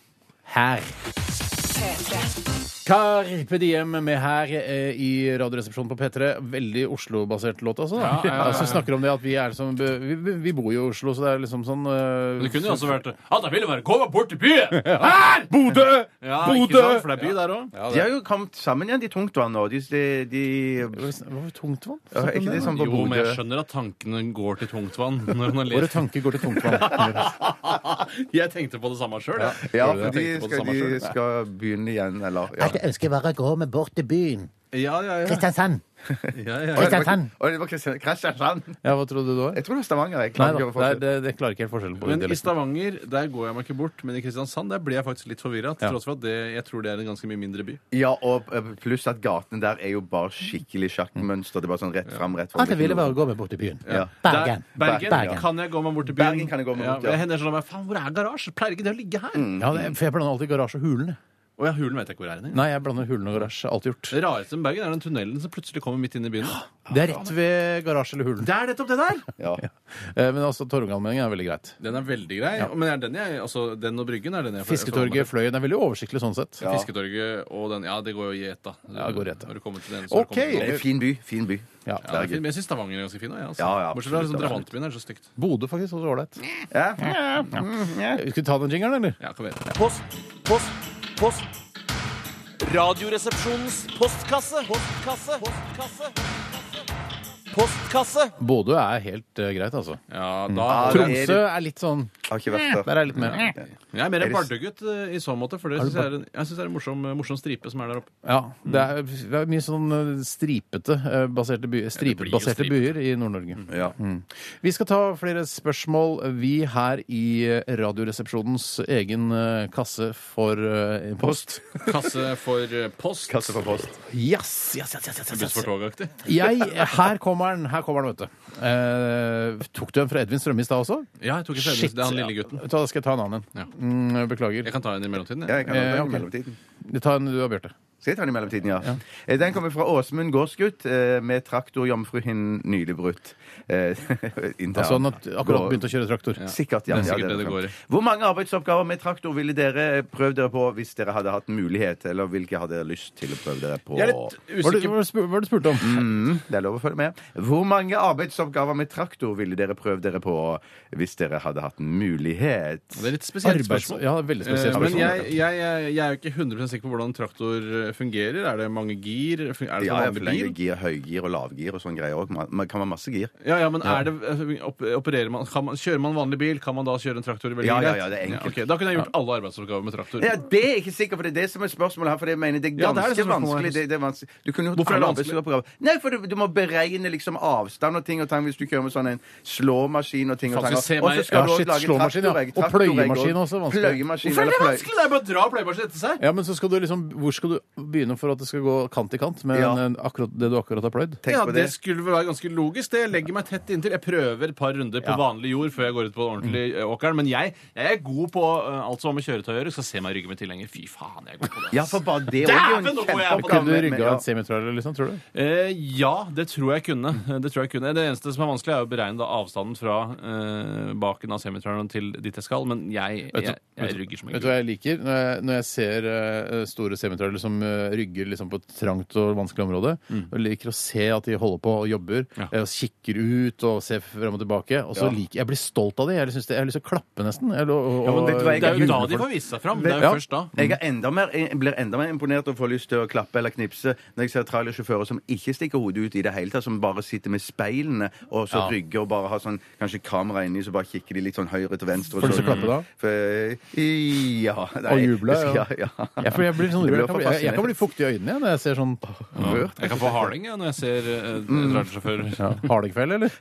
Speaker 3: Her.
Speaker 1: P3.
Speaker 3: Carpe Diem med her eh, i Radioresepsjonen på P3. Veldig Oslo-basert låt, altså. Da.
Speaker 5: Ja, ja, ja, ja.
Speaker 3: Altså, snakker om det at vi er som vi, vi- vi bor jo i Oslo, så det er liksom sånn eh,
Speaker 5: Det kunne jo også vært Ja, da ville det være Kom bort til byen!
Speaker 3: Her! Bodø!
Speaker 5: Ja, ikke
Speaker 3: Bodø!
Speaker 5: sant? For det er by der òg.
Speaker 4: De har jo kommet sammen igjen, de tungtvann nå. De, de, de,
Speaker 3: Hva var det tungtvann?
Speaker 4: ja, er ikke de sånn på
Speaker 5: Jo, men jeg
Speaker 4: Bodø?
Speaker 5: skjønner at tankene går til tungtvann (laughs) når man
Speaker 3: Våre
Speaker 5: ler.
Speaker 3: tanker går til tungtvann.
Speaker 5: (laughs) Jeg tenkte på det samme sjøl, jeg.
Speaker 4: Ja,
Speaker 5: Jeg
Speaker 4: for de
Speaker 5: tenkte på det
Speaker 4: skal,
Speaker 5: samme
Speaker 4: de
Speaker 5: selv.
Speaker 4: skal begynne igjen, eller ja.
Speaker 2: Jeg ønsker bare å gå med bort til byen.
Speaker 5: Ja, ja, ja.
Speaker 2: Kristiansand.
Speaker 5: ja, ja, ja.
Speaker 2: Kristiansand.
Speaker 4: Å, det var Kristian- Kristiansand.
Speaker 3: Ja, hva trodde du det var?
Speaker 4: Jeg tror det var Stavanger.
Speaker 3: Nei
Speaker 4: Jeg klarer
Speaker 3: da,
Speaker 4: ikke å få
Speaker 3: det, det, det klarer ikke helt forskjellen på
Speaker 5: Men i
Speaker 3: dialekten.
Speaker 5: Stavanger der går jeg meg ikke bort, men i Kristiansand der ble jeg faktisk litt forvirra. Til
Speaker 3: Ja.
Speaker 5: tross for at det, jeg tror det er en ganske mye mindre by.
Speaker 4: Ja, og eh, pluss at gatene der er jo bare skikkelig sjakkmønster. Det er bare sånn rett fram, rett fram.
Speaker 2: At jeg ville bare gå med bort til byen.
Speaker 4: Ja.
Speaker 2: Bergen.
Speaker 5: Der, Bergen,
Speaker 2: Bergen.
Speaker 5: Kan jeg gå meg bort til byen?
Speaker 4: Bergen kan jeg gå meg bort,
Speaker 5: ja.
Speaker 4: ja.
Speaker 5: men Hender sånn at jeg, Faen, hvor er garasje? Pleier ikke det å ligge her?
Speaker 3: Ja, det, for jeg blander alltid garasje og hulen. jeg.
Speaker 5: Å ja, hulen vet jeg ikke hvor er. Den.
Speaker 3: Nei, jeg blander hulen og garasje. Alt gjort.
Speaker 5: Det rareste med Bergen er den tunnelen som plutselig kommer midt inn i byen.
Speaker 3: Det er rett ved garasje eller hulen.
Speaker 5: Det er nettopp det der!
Speaker 4: Ja.
Speaker 3: Eh, Men altså, Torgallmenningen er veldig greit.
Speaker 5: Den er veldig grei. Men er den, jeg, altså, den og Bryggen er den jeg
Speaker 3: Fisketorget, Fløyen er veldig oversiktlig sånn sett.
Speaker 5: Ja. Fisketorget og den Ja, det går jo i ett, da.
Speaker 3: Ja, går i ett, ja.
Speaker 5: Når du kommer til den, så har du
Speaker 3: Ok.
Speaker 5: kommet
Speaker 4: Det
Speaker 5: til den.
Speaker 4: er en fin by. Fin by.
Speaker 3: Ja.
Speaker 5: Ja, det er fint, men jeg syns Stavanger er ganske fin. da, Ja, altså.
Speaker 4: Ja, ja,
Speaker 5: Bortsett fra
Speaker 4: absolutt,
Speaker 5: liksom,
Speaker 4: absolutt.
Speaker 5: drabantbyen er så stygt.
Speaker 3: Bodø faktisk også ålreit.
Speaker 4: Ja.
Speaker 3: Skal vi ta den jingeren, eller?
Speaker 5: Ja, kom igjen.
Speaker 7: Post, post, post. Radioresepsjonens postkasse. Postkasse. Postkasse. Postkasse.
Speaker 3: Bodø er helt eh, greit, altså.
Speaker 5: Ja, da,
Speaker 4: Ja, det er-
Speaker 3: Tromsø er litt sånn
Speaker 4: Har ikke vært
Speaker 3: Der
Speaker 4: der.
Speaker 3: er jeg litt mer
Speaker 5: Jeg er mer en
Speaker 4: Er det-
Speaker 5: bardegutt eh, i så måte, for det synes jeg, er en, jeg synes det er en morsom, eh, morsom stripe som er der oppe.
Speaker 3: Ja. Det er, det er mye sånn eh, stripete eh, baserte byer,
Speaker 5: blir jo
Speaker 3: stripebaserte
Speaker 5: stripete.
Speaker 3: byer i Nord-Norge.
Speaker 4: Ja.
Speaker 3: Vi skal ta flere spørsmål, vi her i eh, Radioresepsjonens egen eh, kasse for eh, post.
Speaker 5: Kasse for eh, post.
Speaker 4: Kasse for post.
Speaker 3: Yes, yes, yes, yes, yes,
Speaker 5: Buss
Speaker 3: yes.
Speaker 5: for tog-aktig.
Speaker 3: Jeg, her kommer den, her kommer den, vet du. Eh, tok du en fra Edvin Strømme i stad også?
Speaker 5: Ja, jeg tok ikke
Speaker 3: Shit.
Speaker 5: Shit. Det er han lille gutten.
Speaker 3: Vet du hva, Da skal jeg ta en annen en.
Speaker 5: Ja.
Speaker 3: Mm, beklager.
Speaker 5: Jeg kan ta en i mellomtiden.
Speaker 4: Ja,
Speaker 5: Jeg.
Speaker 4: jeg kan ta den
Speaker 3: Eh, ok.
Speaker 4: i mellomtiden.
Speaker 3: Ta en du da, Bjarte.
Speaker 4: Skal jeg ta den i mellomtiden, ja. Eh, Den kommer fra Åsmund Gårdsgutt eh, med 'Traktorjomfruhinnen nylig brutt'. Eh, (laughs)
Speaker 3: Altså han har akkurat begynt å kjøre traktor.
Speaker 4: Sikkert, ja.
Speaker 5: Det er sikkert
Speaker 4: ja,
Speaker 5: det det går i.
Speaker 4: Hvor mange arbeidsoppgaver med traktor ville dere prøvd dere på hvis dere hadde hatt mulighet, eller hvilke hadde dere lyst til å prøve dere på?
Speaker 5: jeg er litt
Speaker 3: Hva var det
Speaker 5: usikker.
Speaker 3: hva var det spu- hva var det du spurte om?
Speaker 4: Mm, det er lov å følge med. Hvor mange arbeidsoppgaver med traktor ville dere prøvd dere på hvis dere hadde hatt mulighet?
Speaker 5: Det er litt spesielt
Speaker 3: Arbeids...
Speaker 5: spørsmål.
Speaker 3: Ja, veldig
Speaker 5: Eh,
Speaker 3: spesielt
Speaker 5: men
Speaker 3: spørsmål.
Speaker 5: jeg, jeg, jeg, jeg er jo ikke 100 sikker på hvordan en traktor eh, fungerer. Er det mange gir? Er det som
Speaker 4: Ja, jeg
Speaker 5: vanlig
Speaker 4: forlenger
Speaker 5: bil?
Speaker 4: gir, høygir og lavgir og sånn greier òg. Man kan man masse gir.
Speaker 5: Ja, ja, men er det, op- opererer man, kan man, Kjører man vanlig bil, kan man da kjøre en traktor veldig
Speaker 4: Ja, ja,
Speaker 5: greit?
Speaker 4: ja, det er enkelt.
Speaker 5: ok, Da kunne jeg gjort alle arbeidsoppgaver med traktor.
Speaker 4: Ja, det er jeg ikke sikker på. Det er det som er spørsmålet her. For jeg mener det er
Speaker 5: Ja, det
Speaker 4: ganske
Speaker 5: er det som er spørsmålet.
Speaker 4: vanskelig. Det, det er vanskelig. Du kunne gjort
Speaker 5: Hvorfor er det
Speaker 4: alle
Speaker 5: vanskelig?
Speaker 4: arbeidsoppgaver. Nei, for du, du må beregne liksom avstand og ting og tang hvis du kjører med sånn en slåmaskin og ting og
Speaker 5: Faen,
Speaker 4: tang.
Speaker 5: så se
Speaker 4: Og
Speaker 5: meg-
Speaker 4: så skal
Speaker 3: Ja,
Speaker 4: du også
Speaker 3: shit,
Speaker 4: lage
Speaker 3: slåmaskin, ja.
Speaker 4: traktoregg,
Speaker 3: Og
Speaker 4: traktoregg
Speaker 3: pløyemaskin
Speaker 4: og-
Speaker 3: også, vanskelig.
Speaker 4: Pløyemaskin
Speaker 5: Hvorfor er
Speaker 4: eller
Speaker 5: det
Speaker 4: pløy-
Speaker 5: vanskelig? Det er bare å dra pleiebasjen etter seg.
Speaker 3: Ja, men så skal du liksom, Hvor skal du begynne for at det skal gå kant i kant med
Speaker 4: Ja.
Speaker 3: en- akkurat det du akkurat har pløyd?
Speaker 4: Tenk
Speaker 5: ja,
Speaker 4: på
Speaker 5: det.
Speaker 4: det.
Speaker 5: skulle vel være ganske logisk. Det Jeg legger meg tett inntil. Jeg prøver et par runder på vanlig jord før jeg går ut på den
Speaker 4: Mm.
Speaker 5: ordentlige eh, åkeren. Men jeg, jeg er god på eh, alt som har med kjøretøy å gjøre. Skal se meg rygge med tilhenger. Fy faen, jeg er god på det.
Speaker 4: Ja,
Speaker 5: ass.
Speaker 4: for bare det også er jo en
Speaker 5: Dæven, nå må jeg-
Speaker 4: kjempeoppgave
Speaker 3: Kunne du
Speaker 4: med- med-
Speaker 3: rygga
Speaker 4: ja.
Speaker 3: en semitrailer, liksom? Tror du?
Speaker 5: Eh, ja, det tror jeg kunne. Det tror jeg kunne. Det eneste som er vanskelig, er å beregne da avstanden fra eh, baken av semitraileren til dit jeg skal, men jeg,
Speaker 3: Vet du-
Speaker 5: jeg, jeg rygger som en
Speaker 3: Vet du
Speaker 5: gud.
Speaker 3: hva jeg liker? Når jeg, når jeg ser eh, store semitrailer som eh, rygger liksom på et trangt og vanskelig område,
Speaker 4: Mm.
Speaker 3: og liker å se at de holder på og jobber,
Speaker 5: Ja.
Speaker 3: eh, og kikker ut og ser frem og tilbake, og så
Speaker 4: Ja.
Speaker 3: liker jeg blir stolt av det. Jeg, synes det, jeg har lyst til å klappe, nesten. Eller, og, og,
Speaker 4: vet du hva jeg-
Speaker 5: Det er jo da
Speaker 3: julefolk.
Speaker 5: de får vise seg fram. Det er jo
Speaker 3: Ja.
Speaker 5: først da.
Speaker 4: Jeg, er enda mer, jeg blir enda mer imponert og får lyst til å klappe eller knipse når jeg ser trailersjåfører som ikke stikker hodet ut i det hele tatt, som bare sitter med speilene og så
Speaker 5: Ja.
Speaker 4: rygger og bare har sånn kanskje kamera inni, så bare kikker de litt sånn høyre til venstre. og
Speaker 3: Får du
Speaker 4: så-
Speaker 3: lyst til å klappe da?
Speaker 4: For, eh, ja. nei,
Speaker 3: Og juble,
Speaker 4: jeg-
Speaker 3: ja.
Speaker 4: (laughs) ja, ja.
Speaker 3: Ja, for jeg blir sånn
Speaker 4: Jeg
Speaker 3: rørt. Jeg,
Speaker 4: blir
Speaker 3: kan bli- jeg, jeg kan bli
Speaker 4: fascinert.
Speaker 3: fuktig i øynene jeg, når jeg ser sånn
Speaker 4: Rørt.
Speaker 5: Jeg kan få harding jeg, når jeg ser eh,
Speaker 3: Mm.
Speaker 5: trailersjåfører.
Speaker 3: ja, Hardingfelle,
Speaker 4: (laughs)
Speaker 3: eller?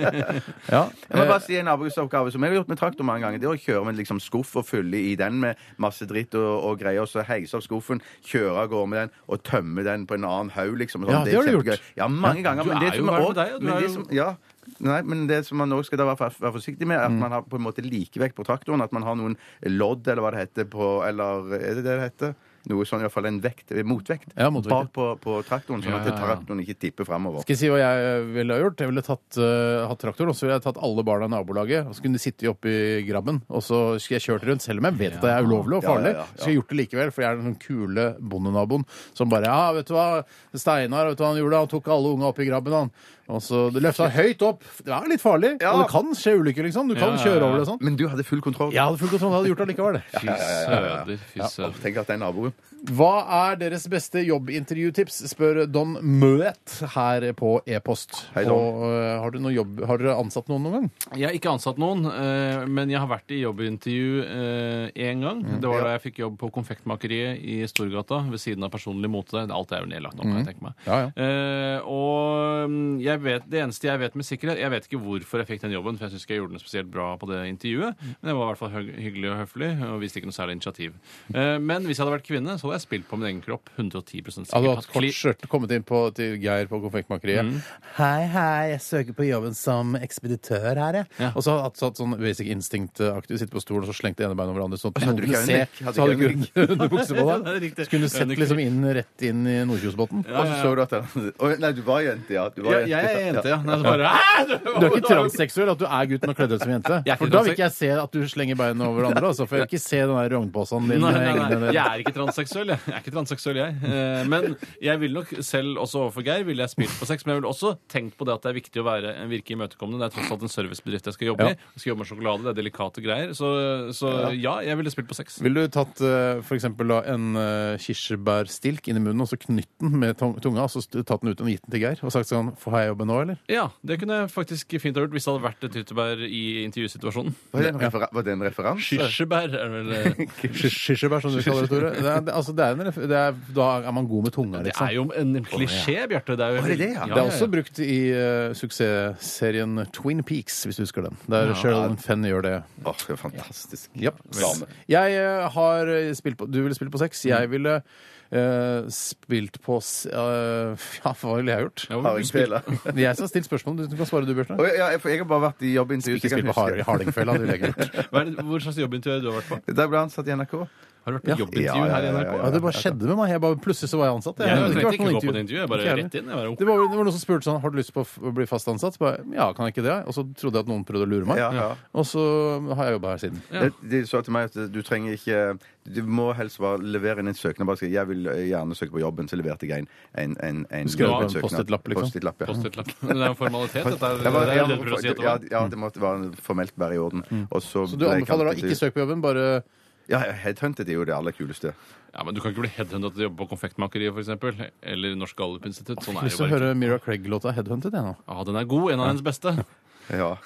Speaker 3: ja.
Speaker 4: Jeg må
Speaker 5: Eh,
Speaker 4: bare si en arbeidsoppgave som jeg har gjort med traktor mange ganger. Det er å kjøre med liksom skuff og fylle i den med masse dritt og, og greier, og så heise opp skuffen, kjøre av gårde med den og tømme den på en annen haug, liksom. og sånn.
Speaker 3: Ja, det har du
Speaker 4: kjempegøy.
Speaker 3: gjort.
Speaker 4: Ja, mange ganger.
Speaker 5: du
Speaker 4: Men det
Speaker 5: er jo
Speaker 4: som er
Speaker 5: verre
Speaker 4: også-
Speaker 5: med deg, og du
Speaker 4: men
Speaker 5: er
Speaker 4: det
Speaker 5: jo-
Speaker 4: som- Ja. Nei, men det som man også skal da være, være forsiktig med, er at
Speaker 5: Mm.
Speaker 4: man har på en måte likevekt på traktoren. At man har noen lodd, eller hva det heter, på Eller er det det det heter? noe sånn, i hvert fall en vekt, eh, motvekt,
Speaker 3: Ja, motvekt, ja.
Speaker 4: bak på, på traktoren, sånn at
Speaker 5: Ja, ja, ja.
Speaker 4: traktoren ikke tipper framover.
Speaker 3: Skal jeg si hva jeg eh, ville ha gjort? Jeg ville tatt, eh, hatt traktoren, og så ville jeg tatt alle barna i nabolaget, og så kunne de sitte oppe i grabben, og så skulle jeg kjørt rundt, selv om jeg vet at det er ulovlig og
Speaker 4: Ja, ja,
Speaker 3: farlig.
Speaker 4: ja, ja.
Speaker 3: Så skulle jeg gjort det likevel, for jeg er den sånn kule bondenaboen som bare, ja, vet du hva, Steinar, vet du hva han gjorde? Han tok alle unga opp i grabben, han. Og så det løftet han høyt opp. Det er litt farlig,
Speaker 4: Ja.
Speaker 3: og det kan skje ulykker, liksom. Du kan
Speaker 5: Ja, ja, ja.
Speaker 3: kjøre over det sånn.
Speaker 4: Men du hadde full kontroll.
Speaker 3: Jeg hadde full kontroll, jeg hadde gjort det likevel.
Speaker 5: Fy søder. Fy søder.
Speaker 4: Tenk at det er naboen.
Speaker 3: Hva er deres beste jobbintervjutips, spør Don Møet her på e-post.
Speaker 4: Hei, Don.
Speaker 3: Og, eh, Har, du noe jobb- har dere ansatt noen noen gang?
Speaker 5: Jeg har ikke ansatt noen, eh, men jeg har vært i jobbintervju én gang.
Speaker 3: Mm.
Speaker 5: Det var da jeg fikk jobb på Konfektmakeriet i Storgata ved siden av Personlig mote. Alt er jo nedlagt nå, kan jeg tenke meg.
Speaker 3: Mm. Ja, ja.
Speaker 5: Eh, og mm, jeg vet, det eneste jeg vet med sikkerhet Jeg vet ikke hvorfor jeg fikk den jobben, for jeg syns ikke jeg gjorde den spesielt bra på det intervjuet.
Speaker 3: Mm.
Speaker 5: Men jeg var i hvert fall høg- hyggelig og høflig og viste ikke noe særlig initiativ. Eh, men hvis jeg hadde vært kvinne, så hadde jeg spilt på min egen kropp. 110 sikkert.
Speaker 3: Hadde du hatt
Speaker 5: Kli-
Speaker 3: Altså,
Speaker 5: Mm.
Speaker 3: kort skjørt, kommet inn på, til Geir på Konfektmakeriet. Hei, hei, jeg søker på jobben som ekspeditør her, jeg.
Speaker 5: Ja.
Speaker 3: Og så hadde du hatt sånn basic instinct-aktig, sitte på stolen og så slengte ene beinet over andre, sånn at
Speaker 4: Hadde
Speaker 3: noen
Speaker 4: du
Speaker 3: kunne
Speaker 4: ikke
Speaker 3: se.
Speaker 4: øyne? Hadde
Speaker 3: Så hadde
Speaker 4: ikke
Speaker 3: du (laughs) ikke underbukse på
Speaker 5: (laughs) Ja, det er
Speaker 3: deg.
Speaker 5: riktig.
Speaker 3: Så kunne du sett
Speaker 5: Øynene-
Speaker 3: liksom inn, rett inn i Nordkjosbotn.
Speaker 4: Og så så du at han (laughs) Å, Nei, du var jente, ja. Du var
Speaker 5: ja,
Speaker 4: jente.
Speaker 5: jeg er jente, ja. Nei, så bare, (laughs) «Æ,
Speaker 3: Du er ikke transseksuell, at du er gutten og kledd ut som jente.
Speaker 5: Jeg er ikke
Speaker 3: For da vil
Speaker 5: transek-
Speaker 3: ikke jeg se at du slenger beina over andre. Altså, for jeg vil ikke se den der rognposen din.
Speaker 5: Nei,
Speaker 3: med
Speaker 5: nei,
Speaker 3: egne-
Speaker 5: nei, jeg er ikke transseksuell, jeg. jeg er ikke transseksuell, jeg. Eh, Men jeg ville nok selv også overfor Geir ville jeg spilt på sex, men jeg ville også tenkt på det at det er viktig å være, virke imøtekommende. Det er tross alt en servicebedrift jeg skal jobbe
Speaker 3: Ja.
Speaker 5: i. Jeg skal jobbe med sjokolade, det er delikate greier. Så, så ja, jeg ville spilt på sex.
Speaker 3: Ville du tatt eh, for eksempel da, en eh, kirsebærstilk inn i munnen og så knytt den med tong- tunga, og så st- tatt den ut og gitt den til Geir og sagt sånn Får jeg jobben nå,
Speaker 5: (laughs)
Speaker 3: eller?
Speaker 5: Ja, det kunne jeg faktisk fint ha gjort hvis det hadde vært et tyttebær i intervjusituasjonen.
Speaker 4: Var det en refera- var det en referanse?
Speaker 5: Kirsebær er vel eh,
Speaker 3: Kirsebær, som du kaller det, Tore. Det er, det, altså, det er en, ref- det er, da er man god med tunga,
Speaker 5: (laughs) Det
Speaker 3: liksom.
Speaker 5: er jo en klisjé, Bjarte. Det er jo
Speaker 4: Å, er det det, ja?
Speaker 3: Det er også brukt i eh, suksessserien Twin Peaks, hvis du husker den. Der Sherilyn Fenn gjør det.
Speaker 4: Åh, det er fantastisk.
Speaker 3: Japp.
Speaker 4: Dame.
Speaker 3: Jeg eh, har spilt på Du ville spilt på sex.
Speaker 5: Mm.
Speaker 3: Jeg ville eh, spilt på s- eh, (laughs) Ja, hva ville jeg gjort?
Speaker 5: Ja, hvor-
Speaker 4: Hardingfela. (laughs)
Speaker 3: Det er (laughs) jeg som har stilt spørsmål. Du kan svare du, Bjørte.
Speaker 4: Å, ja, jeg, for jeg har bare vært i jobbintervju.
Speaker 3: Ikke
Speaker 4: så jeg
Speaker 3: spill
Speaker 4: kan
Speaker 3: på har
Speaker 4: huske.
Speaker 3: hardingfella. det ville
Speaker 4: (laughs)
Speaker 3: jeg ikke gjort.
Speaker 5: Hva er det- Hvor slags jobbintervju har du vært på?
Speaker 4: Der ble han satt i NRK.
Speaker 5: Har du vært på jobbintervju
Speaker 4: Ja, ja,
Speaker 5: her i
Speaker 4: ja,
Speaker 5: NRK?
Speaker 4: ja,
Speaker 3: Ja, det bare skjedde med meg. Jeg bare, plutselig så var jeg ansatt.
Speaker 5: Jeg
Speaker 3: hadde
Speaker 5: trengte ikke
Speaker 3: vært noe
Speaker 5: gå på det intervjuet. Jeg bare
Speaker 3: Ikke jeg
Speaker 5: rett inn. Jeg bare,
Speaker 3: Det var, det var noen som spurte sånn Har du lyst på å f- å bli fast ansatt? Så bare, ja, kan jeg ikke det? Og så trodde jeg at noen prøvde å lure meg.
Speaker 4: Ja, ja.
Speaker 3: Og så har jeg jobba her siden.
Speaker 4: Det- De sa til meg at du trenger ikke Du må helst bare levere inn en søknad. Bare si 'jeg vil gjerne søke på jobben', så leverte jeg inn en, en, en
Speaker 3: Skrev
Speaker 5: på en
Speaker 4: søknad.
Speaker 3: post-it-lapp, liksom?
Speaker 4: Post-it-lapp, ja.
Speaker 5: Post-it-lapp. Men det er jo formalitet. Dette er,
Speaker 4: Jeg var-
Speaker 5: det er
Speaker 4: jeg
Speaker 5: det Mm. du prøver å si
Speaker 4: ja,
Speaker 5: etterpå.
Speaker 4: ja, det måtte være formelt være i orden. Og så,
Speaker 3: Så du anbefaler da ikke søk på jobben, bare
Speaker 4: Ja, headhunted er jo det aller kuleste.
Speaker 5: Ja, men Du kan ikke bli headhuntet til å jobbe på Konfektmakeriet for eksempel, eller Norsk Gallup-institutt. Sånn
Speaker 3: Lyst
Speaker 5: er det
Speaker 3: til å
Speaker 5: bare
Speaker 3: høre
Speaker 5: ikke.
Speaker 3: Mira Craig-låta 'Headhunted', jeg nå.
Speaker 5: Ja, Den er god. En av hennes beste.
Speaker 4: Ja.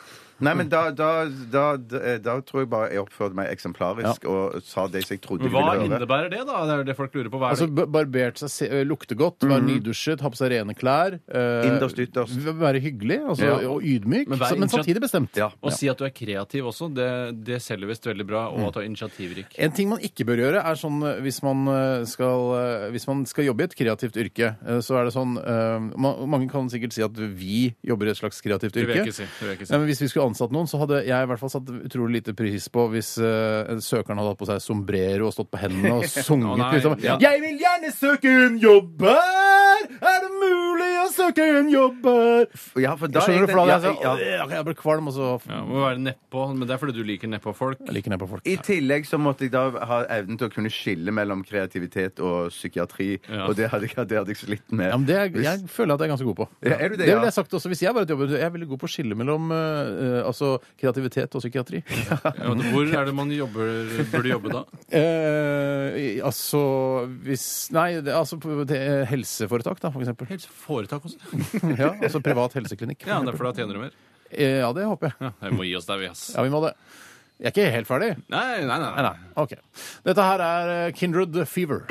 Speaker 4: Nei, men da, da, da, da, da tror jeg bare jeg oppførte meg eksemplarisk og sa det som jeg trodde de
Speaker 5: Men Hva
Speaker 4: ville høre.
Speaker 5: innebærer det, da? Det er jo det folk lurer på. Hva er
Speaker 3: Altså
Speaker 5: det?
Speaker 3: b- Barbert seg, se, ø, lukte godt, være nydusjet, ha på seg rene klær. eh,
Speaker 4: Mhm. Innerst, ytterst.
Speaker 3: v- Være hyggelig altså,
Speaker 4: Ja.
Speaker 3: og ydmyk,
Speaker 5: Men
Speaker 3: men,
Speaker 5: vær
Speaker 3: men
Speaker 5: innsatt-
Speaker 3: samtidig bestemt.
Speaker 4: Ja.
Speaker 5: Å si at du er kreativ også, det, det selger visst veldig bra, og at du er initiativrik.
Speaker 3: En ting man ikke bør gjøre, er sånn eh, hvis man, eh, skal, eh, hvis man skal jobbe i et kreativt yrke, eh, så er det sånn eh, ma- Mange kan sikkert si at vi jobber i et slags kreativt
Speaker 5: Det
Speaker 3: yrke.
Speaker 5: vil jeg ikke si. Det vil jeg ikke
Speaker 3: Nei,
Speaker 5: si.
Speaker 3: men hvis vi skulle ansatt noen, så hadde jeg i hvert fall satt utrolig lite pris på hvis eh, søkeren hadde hatt på seg sombrero og stått på hendene
Speaker 5: (laughs)
Speaker 3: og sunget
Speaker 5: Å, nei,
Speaker 3: liksom.
Speaker 5: ja.
Speaker 3: Jeg vil gjerne søke en jobb her! Er det mulig å søke en jobb her?
Speaker 4: Ja, for da
Speaker 3: Skjønner du? For da hadde jeg
Speaker 4: ja,
Speaker 3: sånn
Speaker 4: ja.
Speaker 3: «Åh, Jeg ble kvalm, og så f-
Speaker 5: Ja, må være nedpå, men Det er fordi du liker nedpå-folk.
Speaker 3: jeg liker ned på folk.
Speaker 4: I tillegg så måtte jeg da ha evnen til å kunne skille mellom kreativitet og psykiatri.
Speaker 5: Ja.
Speaker 4: Og det hadde, jeg- det hadde jeg slitt med.
Speaker 3: Ja, men det er, jeg føler at jeg er ganske god på.
Speaker 4: Ja, er du det,
Speaker 3: det ville
Speaker 4: ja?
Speaker 3: jeg sagt også hvis jeg var et jobbet. Jeg er veldig god på å skille mellom eh, eh, altså, kreativitet og
Speaker 4: (laughs)
Speaker 3: psykiatri.
Speaker 5: Ja, men Hvor er det man jobber, burde jobbe da?
Speaker 3: (laughs) Eh, i- altså hvis Nei, det, altså på- det er helseforetak, da, for eksempel.
Speaker 5: Helt foretak også.
Speaker 3: Ja, altså privat
Speaker 4: (laughs)
Speaker 3: helseklinikk.
Speaker 5: Ja, Derfor da tjener du mer.
Speaker 3: Eh, ja, det håper jeg.
Speaker 5: Ja, jeg må gi oss der, vi, ass.
Speaker 3: Ja, vi må det. Jeg er ikke helt ferdig.
Speaker 5: Nei, nei, nei. nei.
Speaker 3: OK. Dette her er eh, Kindred Fever.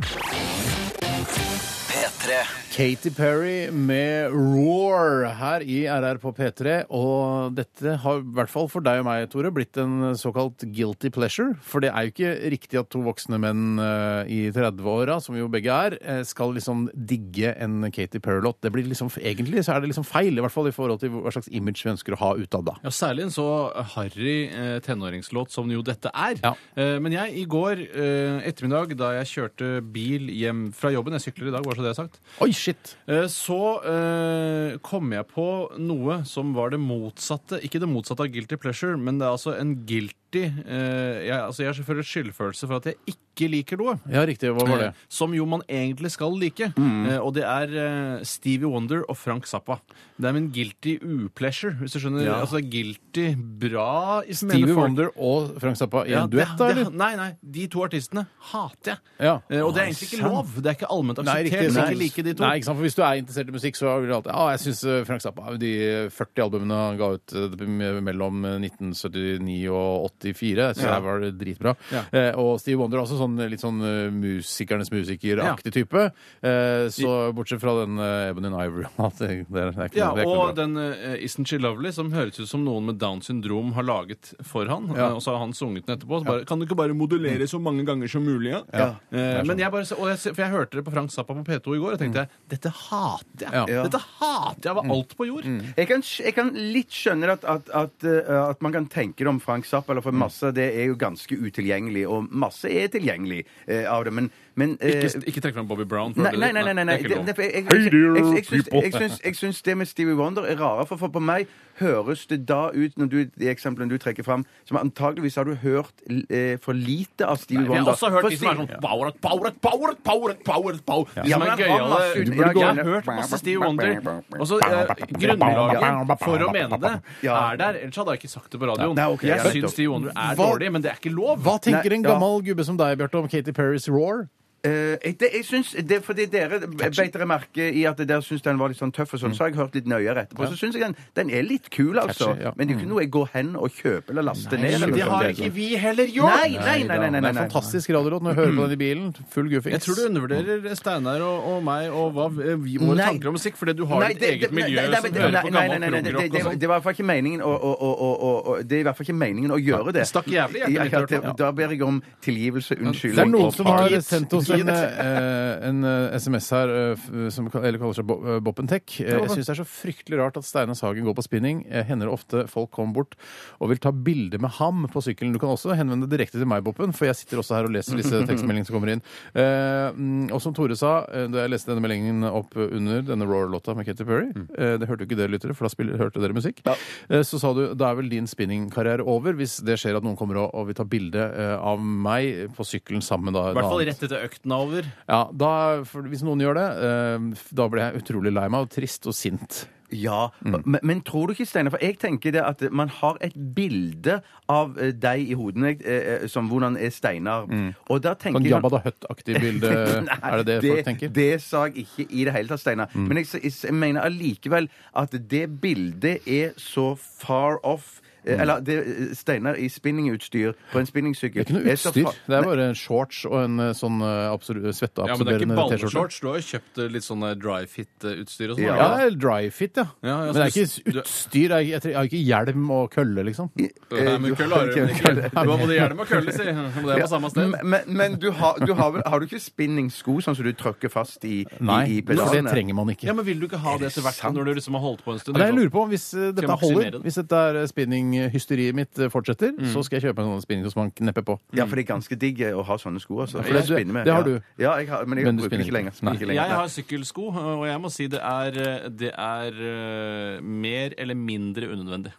Speaker 1: P3.
Speaker 3: Katy Perry med Roar her i RR på P3. Og dette har i hvert fall for deg og meg, Tore, blitt en såkalt guilty pleasure. For det er jo ikke riktig at to voksne menn eh, i 30-åra, som vi jo begge er, eh, skal liksom digge en Katy Perry-låt. Det blir liksom, Egentlig så er det liksom feil, i hvert fall i forhold til hva slags image vi ønsker å ha utad da.
Speaker 5: Ja, Særlig en så harry eh, tenåringslåt som jo dette er.
Speaker 3: Ja.
Speaker 5: Eh, Men jeg, i går eh, ettermiddag, da jeg kjørte bil hjem fra jobben Jeg sykler i dag, bare så det er sagt.
Speaker 3: Oi, shit!
Speaker 5: Eh, Så eh, kom jeg på noe som var det motsatte. Ikke det motsatte av guilty pleasure, men det er altså en guilty eh, jeg, altså jeg har selvfølgelig skyldfølelse for at jeg ikke liker noe.
Speaker 3: Ja, riktig. Hva var det? Mm.
Speaker 5: Eh, Som jo man egentlig skal like. Eh, og det er eh, Stevie Wonder og Frank Zappa. Det er min guilty upleasure, hvis du skjønner. Altså guilty bra i
Speaker 3: Stevie Wonder og Frank Zappa i en duett, da, eller?
Speaker 5: Nei, nei. De to artistene hater jeg.
Speaker 3: Ja.
Speaker 5: Eh, og det
Speaker 3: Nei,
Speaker 5: er egentlig ikke
Speaker 3: sant.
Speaker 5: lov. Det er ikke allment
Speaker 3: Nei,
Speaker 5: akseptert.
Speaker 3: riktig.
Speaker 5: å
Speaker 3: Nei.
Speaker 5: ikke like de to.
Speaker 3: Nei, ikke sant? For hvis du er interessert i musikk, så vil du alltid Ja, jeg syns Frank Zappa De 40 albumene han ga ut eh, mellom 1979 og 84, så her var det dritbra.
Speaker 5: Ja.
Speaker 3: Eh, og Steve Wonder er også sånn litt sånn eh, musikernes musikeraktig type. Eh, så bortsett fra den eh, Ebony and Ivory (laughs) det, det er ikke,
Speaker 5: Ja,
Speaker 3: det er ikke
Speaker 5: og
Speaker 3: noe bra.
Speaker 5: den eh, Isn't She Lovely, som høres ut som noen med Downs syndrom har laget for han.
Speaker 3: Ja.
Speaker 5: eh, Og så har han sunget den etterpå. Så bare, Kan du ikke bare modulere
Speaker 4: Mm.
Speaker 5: så mange ganger som mulig? Ja? Eh,
Speaker 4: sånn.
Speaker 5: men jeg bare, og jeg, for jeg hørte det på Frank Zappa på P2 i går,
Speaker 4: Mm.
Speaker 5: og tenkte jeg, dette hater jeg.
Speaker 3: Ja.
Speaker 5: Dette hater jeg var alt på jord.
Speaker 4: Jeg kan, jeg kan litt skjønne at, at, at, eh, at man kan tenke det om Frank Zappa, eller for
Speaker 3: Mm.
Speaker 4: masse det er jo ganske utilgjengelig, og masse er tilgjengelig eh, av det, men, men eh,
Speaker 5: Ikke, ikke trekk fram Bobby Brown. for
Speaker 4: Nei,
Speaker 5: det-
Speaker 4: nei, nei. nei, nei,
Speaker 5: det er
Speaker 4: Det-
Speaker 5: ikke
Speaker 4: nei,
Speaker 5: lov.
Speaker 4: for jeg- jeg-
Speaker 3: Hey there,
Speaker 4: jeg- jeg syns-
Speaker 3: people.
Speaker 4: jeg syns- Jeg syns det med Stevie Wonder er rarere, for, for på meg høres det da ut, når du, de eksemplene du trekker fram, som antageligvis har du hørt eh, for lite av Stevie
Speaker 5: Jeg
Speaker 4: Wonder.
Speaker 5: har også hørt
Speaker 4: For
Speaker 5: de som er
Speaker 4: Steve-
Speaker 5: sånn power, power, power, power, power, power. De
Speaker 4: Ja,
Speaker 5: som
Speaker 4: men han
Speaker 5: er
Speaker 4: har
Speaker 5: gøyale.
Speaker 4: masse ut-
Speaker 5: Jeg
Speaker 4: ja,
Speaker 5: har
Speaker 4: ja.
Speaker 5: hørt masse Steve Wonder. Og så eh, grunnlaget for å mene det
Speaker 4: Ja.
Speaker 5: er der. Ellers hadde jeg ikke sagt det på radioen.
Speaker 4: Nei, ok,
Speaker 5: Jeg
Speaker 4: ja.
Speaker 5: syns Steve Wonder
Speaker 3: Hva-
Speaker 5: er dårlig, men det er ikke lov.
Speaker 3: Hva tenker
Speaker 4: Nei,
Speaker 3: en
Speaker 4: ja.
Speaker 3: gammel gubbe som deg, Bjarte, om Katy Perrys Roar?
Speaker 4: Eh, jeg- det, jeg syns, det er fordi dere beit dere merke i at dere syns den var litt sånn tøff, og sånn, så har jeg hørt litt nøyere etterpå. Så syns jeg den, den er litt kul, altså.
Speaker 3: Catchy, ja.
Speaker 4: Men det er jo
Speaker 5: Mm.
Speaker 4: ikke noe jeg går hen og kjøper eller laster ned. eller
Speaker 5: Det
Speaker 4: noe
Speaker 5: har
Speaker 4: sånt.
Speaker 5: ikke vi heller gjort!
Speaker 4: Nei, nei, nei, nei, nei, nei,
Speaker 3: Det er
Speaker 4: nei.
Speaker 3: en fantastisk radiolåt når du hører på den i bilen. Full guffings.
Speaker 5: Jeg tror du undervurderer Steinar og, og meg og hva vi, våre
Speaker 4: Nei.
Speaker 5: tanker om musikk, fordi du har
Speaker 4: Nei,
Speaker 5: ditt eget miljø
Speaker 4: nei, nei,
Speaker 5: som
Speaker 4: nei,
Speaker 5: hører
Speaker 4: nei,
Speaker 5: på
Speaker 4: nei,
Speaker 5: gammel
Speaker 4: nei, nei,
Speaker 5: progrock
Speaker 4: det-
Speaker 5: og sånn.
Speaker 4: Det var i hvert fall ikke meningen å, å, å, å, å, å Det er i hvert fall ikke meningen å gjøre det.
Speaker 5: det stakk jævlig i hjertet
Speaker 4: Ja, ja,
Speaker 5: mitt, i hvert fall.
Speaker 4: det- Da ber jeg om tilgivelse, unnskyld.
Speaker 3: Det er noen
Speaker 4: og-
Speaker 3: som har
Speaker 4: Gitt.
Speaker 3: sendt oss
Speaker 5: (laughs)
Speaker 3: en, eh, en eh, SMS her eh, f- som kal- eller kaller seg Bo- eh, Boppentech. Eh, Jeg syns det er så fryktelig rart at Steinar Sagen går på spinning. Eh, Hender det ofte folk kommer bort og vil ta bilde med ham på sykkelen. Du kan også henvende deg direkte til meg, Boppen, for jeg sitter også her og leser
Speaker 5: (laughs)
Speaker 3: disse tekstmeldingene som kommer inn. Eh, mm, Og som Tore sa eh, da jeg leste denne meldingen opp under denne Roar-låta med Katy Perry
Speaker 5: Mm.
Speaker 3: eh, Det hørte jo ikke dere lyttere, for da spiller, hørte dere musikk. Eh, Så sa du da er vel din spinningkarriere over hvis det skjer at noen kommer og, og vil ta bilde eh, av meg på sykkelen sammen da.
Speaker 5: I hvert fall
Speaker 3: da-
Speaker 5: rett etter økten er over.
Speaker 3: Ja, da, for hvis noen gjør det, eh, da blir jeg utrolig lei meg og trist og sint. Sånn
Speaker 4: Ja,
Speaker 3: Mm.
Speaker 4: men, men tror du ikke, Steinar, for jeg tenker det at man har et bilde av eh, deg i hodet jeg, eh, eh, som hvordan er Steinar. Og da tenker
Speaker 3: Sånn
Speaker 4: jeg-
Speaker 3: Jabba da Hutt-aktig bilde,
Speaker 4: (laughs) Nei,
Speaker 3: er det det folk tenker? Mm.
Speaker 4: Det sa jeg ikke i det hele tatt, Steinar. Men jeg, s- jeg mener allikevel at det bildet er så far off. eh,
Speaker 3: Mm.
Speaker 4: Eller det, eh, Steinar i spinningutstyr på en spinningsykkel
Speaker 3: Det er ikke noe utstyr. Det er bare en shorts og en eh, sånn eh, absor-
Speaker 5: Ja, men
Speaker 3: svetteabsorberende
Speaker 5: det er ikke
Speaker 3: T-skjorte.
Speaker 5: balleshorts. Du har jo kjøpt eh, litt sånn der dry fit-utstyr og sånn.
Speaker 4: Ja.
Speaker 3: Ja,
Speaker 5: har
Speaker 3: det
Speaker 5: du
Speaker 3: er dry fit, ja.
Speaker 5: Ja, ja,
Speaker 3: men det er
Speaker 5: så du-
Speaker 3: ikke utstyr. Jeg, jeg, tre- jeg har ikke hjelm og kølle, liksom.
Speaker 4: Eh,
Speaker 5: det? Nei, men
Speaker 4: (laughs)
Speaker 5: kølle har du vel ikke. Du har både hjelm og kølle, si. Det er på samme sted.
Speaker 4: Men, men du har, du har, vel, har du ikke spinningsko sånn som du trykker fast i,
Speaker 3: Nei,
Speaker 4: i, i
Speaker 3: for det
Speaker 4: pedalene?
Speaker 3: trenger man ikke.
Speaker 5: Ja, men vil du ikke ha det etter hvert når du liksom har holdt på en stund?
Speaker 3: Nei, jeg lurer på om Hvis eh, dette
Speaker 5: maksimere
Speaker 3: holder,
Speaker 5: det. Mm.
Speaker 3: hvis dette er spinninghysteriet mitt eh, fortsetter, så skal jeg kjøpe en sånn spinning som man knepper på.
Speaker 4: Ja, for det er ganske digg eh, å ha sånne sko. Altså.
Speaker 3: for det-
Speaker 4: Jeg spinner med,
Speaker 3: det har
Speaker 4: ja.
Speaker 3: du.
Speaker 4: Ja, jeg har, men jeg
Speaker 3: Men du
Speaker 4: bruker
Speaker 3: spinner
Speaker 4: det ikke
Speaker 3: ikke.
Speaker 4: lenger. Spinner ikke lenger.
Speaker 5: Jeg har sykkelsko, og jeg må si det er, det er eh, mer eller mindre unødvendig.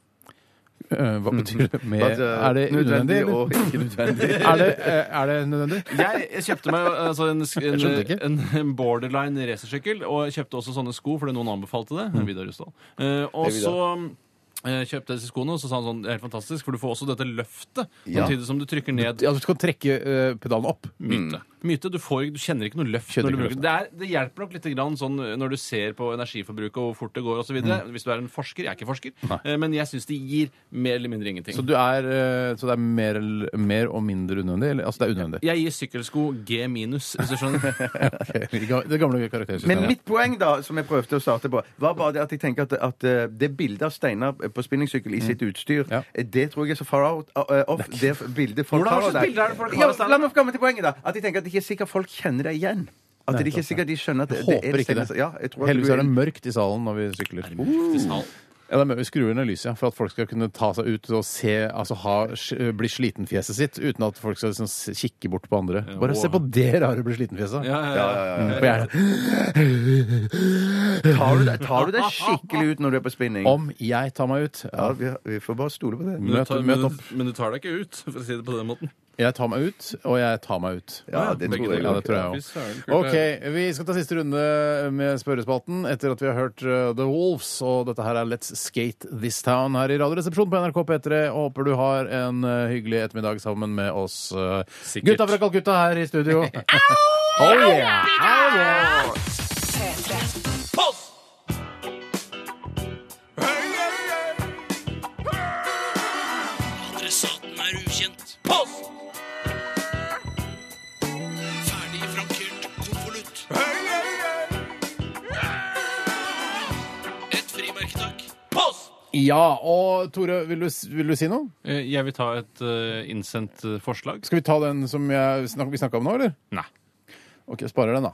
Speaker 3: Eh, Hva betyr det? Med,
Speaker 4: At, eh,
Speaker 3: er det unødvendig,
Speaker 4: nødvendig
Speaker 3: eller?
Speaker 4: og (laughs) ikke nødvendig?
Speaker 3: Er det, eh, er det nødvendig?
Speaker 5: Jeg, jeg kjøpte meg altså, en, sk-
Speaker 3: Jeg skjønte ikke.
Speaker 5: en, en borderline racersykkel, og jeg kjøpte også sånne sko fordi noen anbefalte det.
Speaker 3: Mm.
Speaker 5: Vidar Rusdal. Eh, og så eh, kjøpte jeg disse skoene, og så sa han sånn Det er helt fantastisk, for du får også dette løftet
Speaker 4: Ja.
Speaker 5: samtidig som du trykker ned
Speaker 3: Ja, du skal trekke eh, pedalen opp.
Speaker 5: myntet. Mm. myte. Du, får, du kjenner ikke noe løft.
Speaker 3: Kjenner
Speaker 5: Når du
Speaker 3: ikke
Speaker 5: bruker. Det, er, det hjelper nok litt grann, sånn, når du ser på energiforbruket og hvor fort det går osv. videre
Speaker 3: Mm.
Speaker 5: Hvis du er en forsker. Jeg er ikke forsker, eh, men jeg syns det gir mer eller mindre ingenting.
Speaker 3: Så, du er, eh, så det er mer, eller- mer og mindre unødvendig? Eller, altså, det er unødvendig.
Speaker 5: jeg gir sykkelsko G minus, hvis du
Speaker 3: (laughs)
Speaker 5: skjønner.
Speaker 3: Ok, Det gamle karaktersystemet.
Speaker 4: Men mitt poeng, da, som jeg prøvde å starte på, var bare det at jeg tenker at, at eh, det bildet av Steinar eh, på spinningsykkel i sitt utstyr,
Speaker 3: Mm. Ja.
Speaker 4: eh, det tror jeg er så far out eh, off. Det bildet folk
Speaker 5: Hvordan- hva
Speaker 4: har av
Speaker 5: slags
Speaker 4: deg.
Speaker 5: bilder er det folk har av
Speaker 4: Ja,
Speaker 5: Steinar?
Speaker 4: la meg komme til poenget, da. At jeg tenker at det ikke er sikkert folk kjenner deg igjen. At det ikke er sikkert de skjønner at det,
Speaker 3: Jeg
Speaker 4: det
Speaker 3: håper ikke
Speaker 4: Steinar-
Speaker 3: det.
Speaker 4: Ja, jeg tror at
Speaker 3: Heldigvis
Speaker 4: du
Speaker 3: er det mørkt i salen når vi sykler. Uh, Ja, det er, mørkt. vi skrur ned lyset ja, for at folk skal kunne ta seg ut og se, altså ha, bli slitenfjeset sitt uten at folk skal liksom s- kikke bort på andre. Bare se på det rare bli slitenfjeset.
Speaker 5: Ja, ja, ja.
Speaker 3: For jeg er
Speaker 4: tar, du deg, tar du
Speaker 3: (laughs)
Speaker 4: deg skikkelig ut når du er på spinning?
Speaker 3: Om jeg tar meg ut?
Speaker 4: Ja,
Speaker 3: Ja.
Speaker 4: vi, vi får bare stole på det.
Speaker 5: Men, du
Speaker 3: Møt,
Speaker 5: tar,
Speaker 3: møt
Speaker 5: men,
Speaker 3: opp.
Speaker 5: du- men du tar deg ikke ut, for å si det på den måten.
Speaker 3: Jeg tar meg ut, og jeg tar meg ut.
Speaker 4: Ja, det
Speaker 5: begge
Speaker 4: tror jeg.
Speaker 5: deler.
Speaker 3: Ja, det
Speaker 4: nok.
Speaker 3: tror jeg
Speaker 5: Fy søren,
Speaker 3: også.
Speaker 5: kult.
Speaker 3: OK, vi skal ta siste runde med spørrespalten etter at vi har hørt uh, The Wolves, og dette her er Let's Skate This Town her i Radioresepsjonen på NRK P3. Og håper du har en uh, hyggelig ettermiddag sammen med oss uh,
Speaker 5: Sikkert.
Speaker 3: gutta fra Kalkutta her i (laughs) studio. oh yeah! Oh, yeah.
Speaker 1: P3.
Speaker 3: Ja, og Tore, vil du, s- vil du si noe?
Speaker 5: Eh, Jeg vil ta et eh, innsendt eh, forslag.
Speaker 3: Skal vi ta den som jeg snak, vi snakka om nå, eller?
Speaker 5: Nei.
Speaker 3: OK, jeg sparer den, da.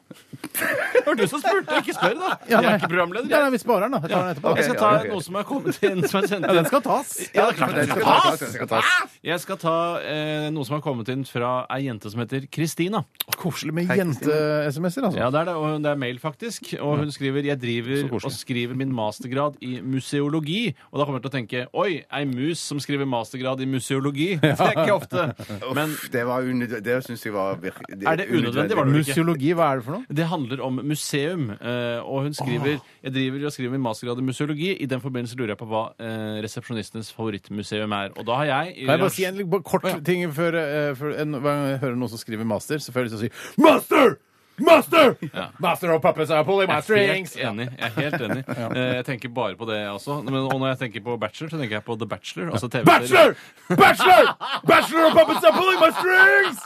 Speaker 5: Det var du som spurte! Ikke spør, da!
Speaker 3: Ja,
Speaker 5: Jeg
Speaker 3: nei.
Speaker 5: er ikke programleder.
Speaker 3: Ja,
Speaker 5: Jeg,
Speaker 3: nei, vi sparer den, da. Jeg tar den etterpå.
Speaker 4: ok.
Speaker 5: jeg skal ta
Speaker 4: ok.
Speaker 5: noe som er kommet inn, som er sendt
Speaker 3: Ja,
Speaker 5: inn.
Speaker 3: den skal tas.
Speaker 5: Ja, det er klart
Speaker 4: Den
Speaker 5: den skal
Speaker 4: skal
Speaker 3: Ah!
Speaker 5: tas.
Speaker 4: tas, den skal tas.
Speaker 5: Jeg skal ta eh, noe som har kommet inn fra ei jente som heter Kristina.
Speaker 3: Koselig med jente-SMS-er, altså.
Speaker 5: Ja, det er det, og det er mail, faktisk. Og hun skriver jeg
Speaker 3: Så
Speaker 5: driver
Speaker 3: koselig.
Speaker 5: og skriver min mastergrad i museologi. Og da kommer jeg til å tenke oi, ei mus som skriver mastergrad i museologi.
Speaker 3: (laughs)
Speaker 5: Det er ikke ofte. Men
Speaker 4: Uff, det var unødvendig. Det syns jeg var virkelig
Speaker 5: Er det unødvendig, var det? ikke.
Speaker 3: Museologi, hva er det for noe?
Speaker 5: det handler om museum, eh, og hun skriver Jeg driver og skriver min mastergrad i museologi. I den forbindelse lurer jeg på hva eh, resepsjonistenes favorittmuseum er. Og da har jeg i
Speaker 3: Kan jeg bare si en litt bare kort ting før, eh, før en, hver gang jeg hører noen som skriver master, så får jeg lyst til å si Master! Master! Master of puppets are pulling my
Speaker 5: Jeg er helt
Speaker 3: strings!
Speaker 5: enig. Jeg er helt
Speaker 3: (laughs)
Speaker 5: enig. Eh, Jeg tenker bare på det, jeg også. Men, og når jeg tenker på bachelor, så tenker jeg på The Bachelor. Altså TV
Speaker 3: Bachelor! Bachelor! Bachelor of puppets are pulling my strings!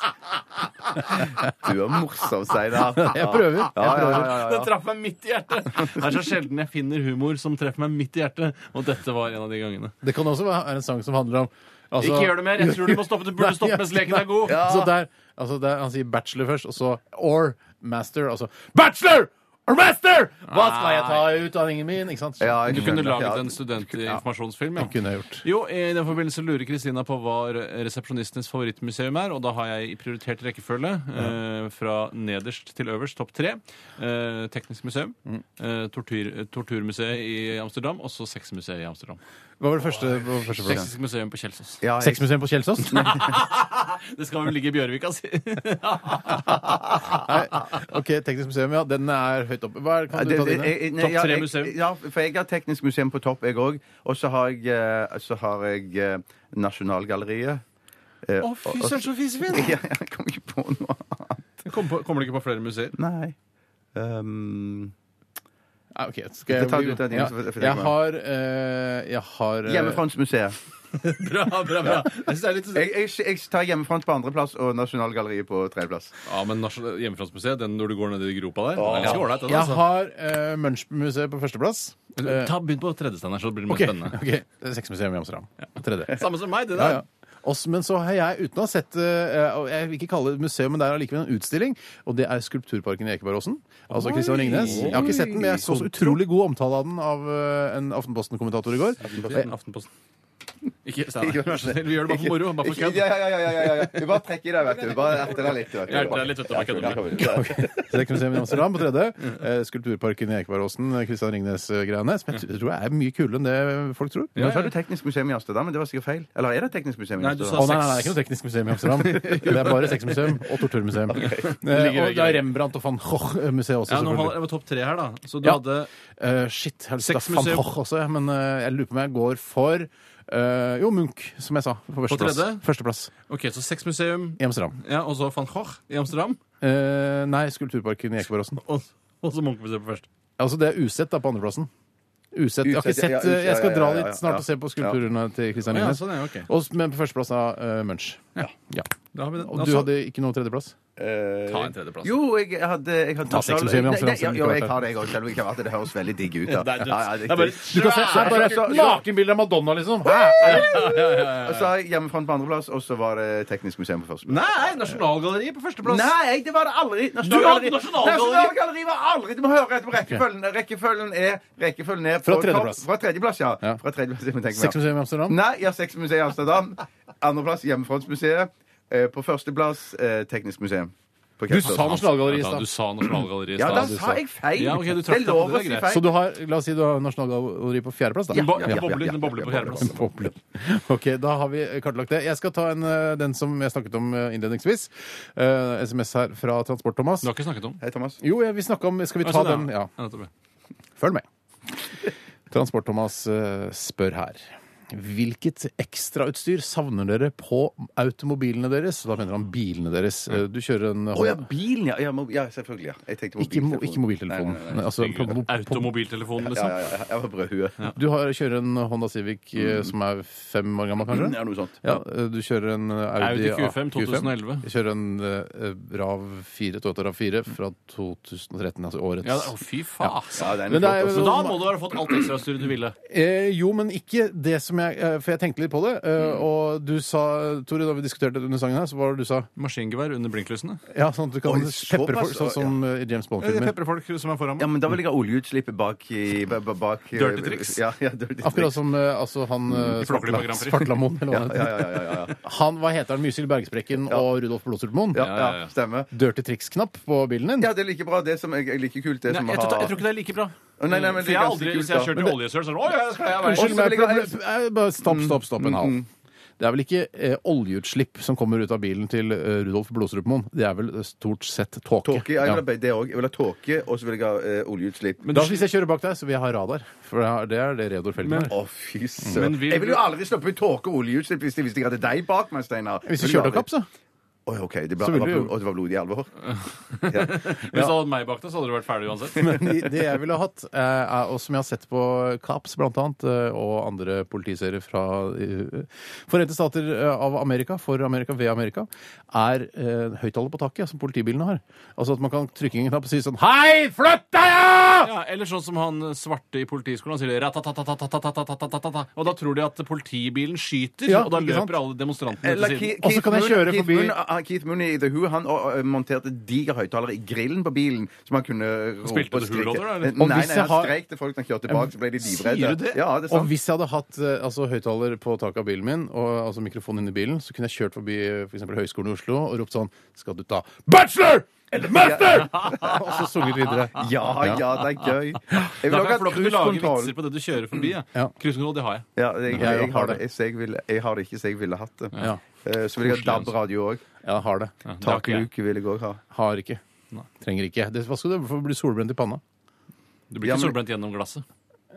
Speaker 4: Du er morsom, Steinar.
Speaker 3: (laughs) Jeg prøver. Jeg
Speaker 4: Ja, ja,
Speaker 3: prøver.
Speaker 4: ja, ja, ja.
Speaker 5: Den traff meg midt i hjertet! Det er så sjelden jeg finner humor som treffer meg midt i hjertet, og dette var en av de gangene.
Speaker 3: Det kan også være en sang som handler om altså-
Speaker 5: Ikke gjør det mer! Jeg tror du
Speaker 3: (laughs)
Speaker 5: må stoppe. Du burde stoppe mens leken er god.
Speaker 3: Ja. Så der, altså der, han sier bachelor først, og så or master, og så bachelor! or Master! Hva skal jeg ta i utdanningen min? Ikke sant?
Speaker 4: Ja, jeg
Speaker 5: Du kunne
Speaker 4: skjønner. Ja,
Speaker 5: laget en studentinformasjonsfilm.
Speaker 3: Kunne jeg gjort.
Speaker 5: Jo, i den forbindelse lurer Kristina på hva re- resepsjonistenes favorittmuseum er, og da har jeg i prioritert rekkefølge eh, fra nederst til øverst, topp tre. Eh, teknisk museum,
Speaker 3: Mm.
Speaker 5: eh, tortur, eh, torturmuseet i Amsterdam, og så sexmuseet i Amsterdam.
Speaker 3: Hva var det første? hva var det første programmet?
Speaker 5: Teknisk museum på Kjelsås.
Speaker 4: Ja, jeg-
Speaker 3: Sexmuseum på Kjelsås?
Speaker 4: (laughs)
Speaker 5: Det skal vel ligge i
Speaker 3: (laughs)
Speaker 5: Bjørvika, si.
Speaker 3: Nei, ok, Teknisk museum, ja. Den er høyt oppe. Hva er,
Speaker 4: Ja,
Speaker 3: kan du
Speaker 4: det-
Speaker 3: ta
Speaker 4: det-
Speaker 3: dine?
Speaker 4: jeg- nei,
Speaker 5: Topp
Speaker 4: ja,
Speaker 5: tre
Speaker 4: jeg-
Speaker 5: museum.
Speaker 4: Ja, for jeg har Teknisk museum på topp, jeg òg. Og så har jeg, eh, så har jeg eh, Nasjonalgalleriet. Eh,
Speaker 5: Å, fy søren, så fisefin!
Speaker 4: og- (laughs)
Speaker 5: (laughs)
Speaker 4: Ja, jeg kom ikke på noe annet.
Speaker 5: Kommer du ikke på flere museer?
Speaker 4: Nei. Um,
Speaker 3: Ja, Ah, ok, skal jeg,
Speaker 4: Det tar du ut av din,
Speaker 3: ja,
Speaker 4: så får jeg- får jeg
Speaker 3: jeg
Speaker 4: meg.
Speaker 3: har eh, Jeg har eh,
Speaker 4: Hjemmefrontsmuseet.
Speaker 5: Bra, bra, bra. Jeg synes det er litt...
Speaker 4: Jeg, jeg, jeg tar Hjemmefront på andreplass og Nasjonalgalleriet på tredjeplass.
Speaker 5: Ja, men nasjonal- Hjemmefrontsmuseet, den når du går ned i gropa der, den er ganske ålreit. den,
Speaker 3: Jeg
Speaker 5: altså.
Speaker 3: har uh, Munch-museet på førsteplass. Eh,
Speaker 5: Ta Begynn på tredje, Steinar, så blir det mer
Speaker 3: ok,
Speaker 5: spennende.
Speaker 3: ok, Sexmuseum i Amsterdam. Tredje.
Speaker 5: (laughs) Samme som meg, det
Speaker 3: Ja,
Speaker 5: der.
Speaker 3: ja. Også, men så har jeg, uten å ha sett eh, og Jeg vil ikke kalle det et museum, men det er allikevel en utstilling. Og det er Skulpturparken i Ekebergåsen. Altså Kristian Ringnes. Jeg har ikke sett den, men jeg så så utrolig god omtale av den av eh, en Aftenposten-kommentator i går.
Speaker 5: Aftenposten. Aftenposten. (laughs) Ikke Steinar, vær så snill. (laughs) Vi gjør det bare for moro. Bare for
Speaker 4: Ikke-
Speaker 5: kødd.
Speaker 4: Ja, ja, ja, ja, ja, ja. Vi bare trekker i deg, vet du. Bare erter deg litt. Vet du.
Speaker 5: Jeg erter deg litt, vet du. Bare kødder med
Speaker 3: Eh, (laughs) Sexmuseum i Amsterdam på tredje. Eh, Skulpturparken i Ekebergåsen, eh, Kristian Ringnes-greiene. Som jeg t- tror jeg er mye kulere enn det folk tror.
Speaker 4: Nå sa du Teknisk museum i Amsterdam, men det var sikkert feil. Eller er det Teknisk museum i
Speaker 5: Nei, du
Speaker 4: Amsterdam?
Speaker 5: sa
Speaker 3: Å nei, nei, nei, det er ikke noe teknisk museum i Amsterdam. Det er bare sexmuseum og torturmuseum. Eh, og det er Rembrandt og van Gogh-museet også,
Speaker 5: Ja, nå holder
Speaker 3: selvfølgelig.
Speaker 5: jeg med topp tre her, da. Så du
Speaker 3: Ja.
Speaker 5: hadde
Speaker 3: Eh, shit, jeg har lyst til å ta van
Speaker 5: Sexmuseum.
Speaker 3: Gogh også, men eh, jeg lurer på om jeg går for Eh, jo, Munch, som jeg sa. På førsteplass.
Speaker 5: tredje?
Speaker 3: førsteplass
Speaker 5: Ok, Så sexmuseum
Speaker 3: i Amsterdam.
Speaker 5: ja, og så van Gogh i Amsterdam.
Speaker 3: Eh, nei, Skulpturparken i Ekebergåsen.
Speaker 5: Og, og så Munchmuseet på først.
Speaker 3: Altså, det er Usett da, på andreplassen. Usett. Jeg har ikke
Speaker 4: Usett,
Speaker 3: sett
Speaker 4: ja, ja,
Speaker 3: eh, Jeg skal
Speaker 4: ja, ja,
Speaker 3: dra
Speaker 4: ja, ja,
Speaker 3: dit snart
Speaker 4: ja.
Speaker 3: og se på skulpturene til Christian
Speaker 5: Ja,
Speaker 3: Linnes.
Speaker 5: sånn er, ok.
Speaker 3: Og s- Men på førsteplass da, eh, Munch.
Speaker 5: Ja.
Speaker 3: Ja.
Speaker 5: Da har vi den.
Speaker 3: Og du
Speaker 5: Altså,
Speaker 3: hadde ikke noe tredjeplass?
Speaker 4: Eh,
Speaker 5: Ta en tredjeplass.
Speaker 4: Jo, jeg hadde, jeg hadde
Speaker 3: Ta sexmuseum i
Speaker 4: Nei,
Speaker 3: Amsterdam,
Speaker 4: nei, Ja,
Speaker 3: som
Speaker 4: jo,
Speaker 3: ikke
Speaker 4: jeg
Speaker 3: var
Speaker 4: har det, jeg òg. Selv om ikke har vært det. Det høres veldig digg ut. da.
Speaker 5: Det er dødt.
Speaker 4: Ja, ja, altså,
Speaker 5: Det er bare-
Speaker 4: riktig.
Speaker 3: Du kan se
Speaker 4: Så-
Speaker 3: her, bare
Speaker 4: så- så-
Speaker 3: nakenbilder av Madonna, liksom! Hæ?
Speaker 4: Og så er Hjemmefront på andreplass, og så var det Teknisk museum på første.
Speaker 5: Nei, Nasjonalgalleriet på førsteplass!
Speaker 4: Nei, det var det aldri.
Speaker 5: hadde Nasjonalgalleri.
Speaker 4: Nasjonalgalleri var aldri Du må høre etter på rekkefølgen. Rekkefølgen er, rekkefølgen er
Speaker 3: Fra
Speaker 4: på
Speaker 3: tredjeplass.
Speaker 4: topp- Fra tredjeplass, ja.
Speaker 3: Ja.
Speaker 4: Fra tredjeplass, jeg må tenke meg om.
Speaker 3: Sexmuseum i Amsterdam?
Speaker 4: Nei, ja, Sexmuseet i Amsterdam. Andreplass Hjemmefrontsmuseet. Eh, På førsteplass eh, Teknisk museum. På
Speaker 3: Du
Speaker 4: Kepler.
Speaker 3: sa Nasjonalgalleriet i
Speaker 5: Ja, da,
Speaker 3: stad.
Speaker 5: du sa Nasjonalgalleriet i
Speaker 4: Ja, da
Speaker 5: stad.
Speaker 4: sa jeg feil.
Speaker 5: Ja, ok, du
Speaker 4: det
Speaker 5: trakk
Speaker 4: er
Speaker 5: deg
Speaker 4: lov
Speaker 5: på
Speaker 4: å
Speaker 5: det,
Speaker 4: si
Speaker 5: det er greit.
Speaker 3: Så
Speaker 4: feil.
Speaker 3: du har, la oss si du har Nasjonalgalleriet på fjerdeplass, da?
Speaker 5: Den bo- den
Speaker 4: ja,
Speaker 5: bobler-
Speaker 4: ja,
Speaker 5: den bobler
Speaker 4: ja,
Speaker 5: på
Speaker 4: ja,
Speaker 5: fjerdeplass.
Speaker 3: Boble. Ok, da har vi kartlagt det. Jeg skal ta en, eh, den som jeg snakket om eh, innledningsvis. Eh, SMS her fra Transport-Thomas.
Speaker 5: Du har ikke snakket om
Speaker 4: Hei, Thomas.
Speaker 3: Jo, jeg- vi snakka om Skal vi ta
Speaker 5: Sånn, ja.
Speaker 3: den? Ja.
Speaker 5: Ja, nettopp, ja.
Speaker 3: Følg med. Transport-Thomas eh, spør her. Hvilket ekstrautstyr savner dere på automobilene deres? Da mener han bilene deres. Eh, Du kjører en
Speaker 4: Å ja, bilen, ja. Ja, mo- ja selvfølgelig. ja. Jeg tenkte
Speaker 3: Ikke, mo
Speaker 4: mobiltelefon.
Speaker 3: ikke mobiltelefonen.
Speaker 4: Nei,
Speaker 3: (laughs)
Speaker 4: nei, nei.
Speaker 3: Altså, på, på, på,
Speaker 5: Automobiltelefonen,
Speaker 4: Ja,
Speaker 5: liksom.
Speaker 4: ja, ja, jeg var brødhue. (clears throat) Ja.
Speaker 3: du har, kjører en Honda Civic
Speaker 4: Mm.
Speaker 3: eh, som er fem år gammel, kanskje?
Speaker 4: noe sånt.
Speaker 3: Ja, eh, du kjører en eh, Audi,
Speaker 5: Audi Q5 2011.
Speaker 3: Jeg kjører en eh, RAV 4, Toyota RAV 4 fra 2013, altså årets.
Speaker 5: Mm. Ja, å, fy faen. altså.
Speaker 4: Ja, den er
Speaker 3: Men det er-
Speaker 4: flott også.
Speaker 5: Men da må du ha fått alt ekstrastyret du ville.
Speaker 3: Eh, jo, men ikke det som jeg eh, For jeg tenkte litt på det. eh, Og du sa, Tore, da vi diskuterte det under sangen her, så var det du sa
Speaker 5: Maskingevær under blinklysene.
Speaker 3: Ja, sånn at du kan
Speaker 4: Oi,
Speaker 3: pepre folk,
Speaker 4: såpass,
Speaker 3: sånn som eh, i James Bond-filmer.
Speaker 5: Pepperfolk som er foran
Speaker 4: Ja,
Speaker 5: meg.
Speaker 4: men da vil jeg ha oljeutslippet bak i ba- ba- bak, eh,
Speaker 5: Dirty tricks.
Speaker 4: Ja, ja, dirty
Speaker 3: Akkurat som eh, altså, han eh,
Speaker 5: I Flåklypa Mm, Grand
Speaker 3: Svartla-
Speaker 5: Prix.
Speaker 3: Svartlamoen, eller hva han
Speaker 4: tricks.
Speaker 3: heter.
Speaker 4: Ja, ja, ja, ja, ja, ja.
Speaker 3: Han, hva heter han? Mysil Bergsprekken og Rudolf Blodsultmoen?
Speaker 4: ja,
Speaker 5: ja, ja.
Speaker 4: ja stemmer.
Speaker 3: Dirty tricks-knapp på bilen din?
Speaker 4: Ja, det er like bra. Det som jeg, jeg liker kult, det
Speaker 5: Nei,
Speaker 4: som
Speaker 5: jeg,
Speaker 4: har
Speaker 5: tror, jeg tror ikke det er like bra.
Speaker 4: Å, nei, nei, men det er
Speaker 5: For jeg har
Speaker 4: ganske
Speaker 5: aldri,
Speaker 4: kult,
Speaker 5: Hvis jeg
Speaker 4: da.
Speaker 5: har kjørt i oljesøl, så er det sånn Å, ja, det skal jeg være.
Speaker 3: Unnskyld meg,
Speaker 4: vil jeg-
Speaker 3: proble- eh, bare stopp, stopp, stopp en hal. Det er vel ikke eh, oljeutslipp som kommer ut av bilen til eh, Rudolf Blodstrupmoen. Det er vel eh, stort sett tåke.
Speaker 4: Tåke, ja, jeg
Speaker 3: Ja.
Speaker 4: vil ha det òg. Jeg vil ha tåke, og så vil jeg ha eh, oljeutslipp.
Speaker 3: Da, hvis jeg kjører bak deg, så vil jeg ha radar. For det er- det er det Reodor Felgen har.
Speaker 5: Men-
Speaker 4: Å, fy søren.
Speaker 5: Men vil
Speaker 4: Jeg ville jo
Speaker 5: du-
Speaker 4: aldri sluppet ut tåke og oljeutslipp hvis jeg hvis jeg hadde deg bak meg, Steinar.
Speaker 3: Hvis du
Speaker 4: Ville
Speaker 3: kjører deg
Speaker 4: aldri-
Speaker 3: kapp, så.
Speaker 4: Oi, OK. Det, ble,
Speaker 3: Så vil
Speaker 4: det, var
Speaker 3: du jo-
Speaker 4: blod, og det var blodig
Speaker 3: (laughs)
Speaker 4: alvor.
Speaker 5: Hvis du hadde hatt meg bak deg, så hadde du vært ferdig uansett.
Speaker 3: Men (laughs) de- det jeg ville ha hatt, eh, er, og som jeg har sett på Kaps blant annet, eh, og andre politiserier fra eh, Forente stater eh, av Amerika, for Amerika, ved Amerika, er eh, høyttaler på taket, som politibilene har. Altså at man kan trykke en knapp og si sånn Hei, flytt deg! Ja!
Speaker 5: Ja, eller sånn som han svarte i politiskolen. Han sier ratatatatatatatatatatata, Og da tror de at politibilen skyter,
Speaker 3: Ja,
Speaker 5: og da
Speaker 3: ikke sant?
Speaker 5: løper alle demonstrantene
Speaker 4: Eller
Speaker 5: til
Speaker 4: Ke-
Speaker 5: siden.
Speaker 3: Og så kan jeg
Speaker 4: Moon-
Speaker 3: kjøre
Speaker 4: Keith
Speaker 3: forbi-
Speaker 4: Moon, ah, Keith Mooney i The Who han ah, ah, monterte diger høyttalere i grillen på bilen, som han kunne rope
Speaker 5: Spilte
Speaker 4: og
Speaker 5: The
Speaker 4: skrike.
Speaker 5: Who-låter, da,
Speaker 4: Nei,
Speaker 5: eller?
Speaker 3: Og
Speaker 4: nei,
Speaker 3: hvis jeg
Speaker 4: han
Speaker 3: har-
Speaker 4: streik til folk som kjørte bak, så ble de livredde.
Speaker 5: Sier du det?
Speaker 4: Ja, det er
Speaker 3: Og
Speaker 4: sant.
Speaker 3: hvis jeg hadde hatt eh, altså, høyttaler på taket av bilen min, og altså, mikrofon inni bilen, så kunne jeg kjørt forbi eh, for eksempel Høgskolen i Oslo og ropt sånn Skal du ta bachelor eller master?! (laughs) og så sunget videre.
Speaker 4: Ja, ja, det er
Speaker 3: (laughs)
Speaker 4: gøy. Jeg
Speaker 5: Da
Speaker 4: vil
Speaker 5: kan
Speaker 4: også ha
Speaker 5: jeg få lov til å
Speaker 4: cruise
Speaker 5: lage
Speaker 4: control.
Speaker 5: vitser på det du kjører forbi. ja.
Speaker 3: Ja.
Speaker 5: Cruise control, det har jeg.
Speaker 4: Ja, jeg, jeg,
Speaker 3: Ja, jeg har
Speaker 4: har
Speaker 3: det.
Speaker 4: det. Jeg, så jeg, vil, jeg har det ikke, så jeg ville hatt det.
Speaker 3: Ja.
Speaker 4: Eh, Så vil jeg ha DAB-radio òg.
Speaker 3: Ja, har det.
Speaker 5: det har ikke jeg.
Speaker 4: Takluke vil jeg òg ha.
Speaker 3: Har ikke. Trenger ikke. Det, hva skal du for å bli solbrent i panna?
Speaker 5: Du blir
Speaker 4: Ja,
Speaker 5: ikke
Speaker 4: men-
Speaker 5: solbrent gjennom glasset.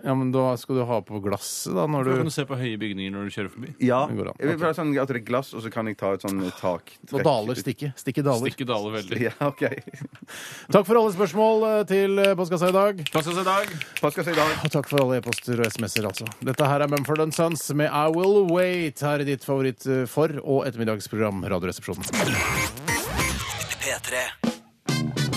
Speaker 3: Ja, men Da skal du ha på glasset, da, når
Speaker 5: Da kan
Speaker 3: du
Speaker 5: du se på høye bygninger når du kjører forbi.
Speaker 4: Ja.
Speaker 3: Det går an.
Speaker 4: Jeg vil bare ha sånn at det er glass, og så kan jeg ta et sånn tak.
Speaker 3: Når daler stikker. Stikke daler.
Speaker 5: Stikke daler veldig.
Speaker 4: (laughs) Ja, OK.
Speaker 3: Takk for alle spørsmål eh, til eh, postkassa i dag.
Speaker 5: Takk skal du ha i dag.
Speaker 4: Hva skal jeg si da?
Speaker 3: Og takk for alle e-poster og SMS-er, altså. Dette her er Mumford Sons med I Will Wait her i ditt favoritt eh, for- og ettermiddagsprogram Radioresepsjonen.
Speaker 1: P3.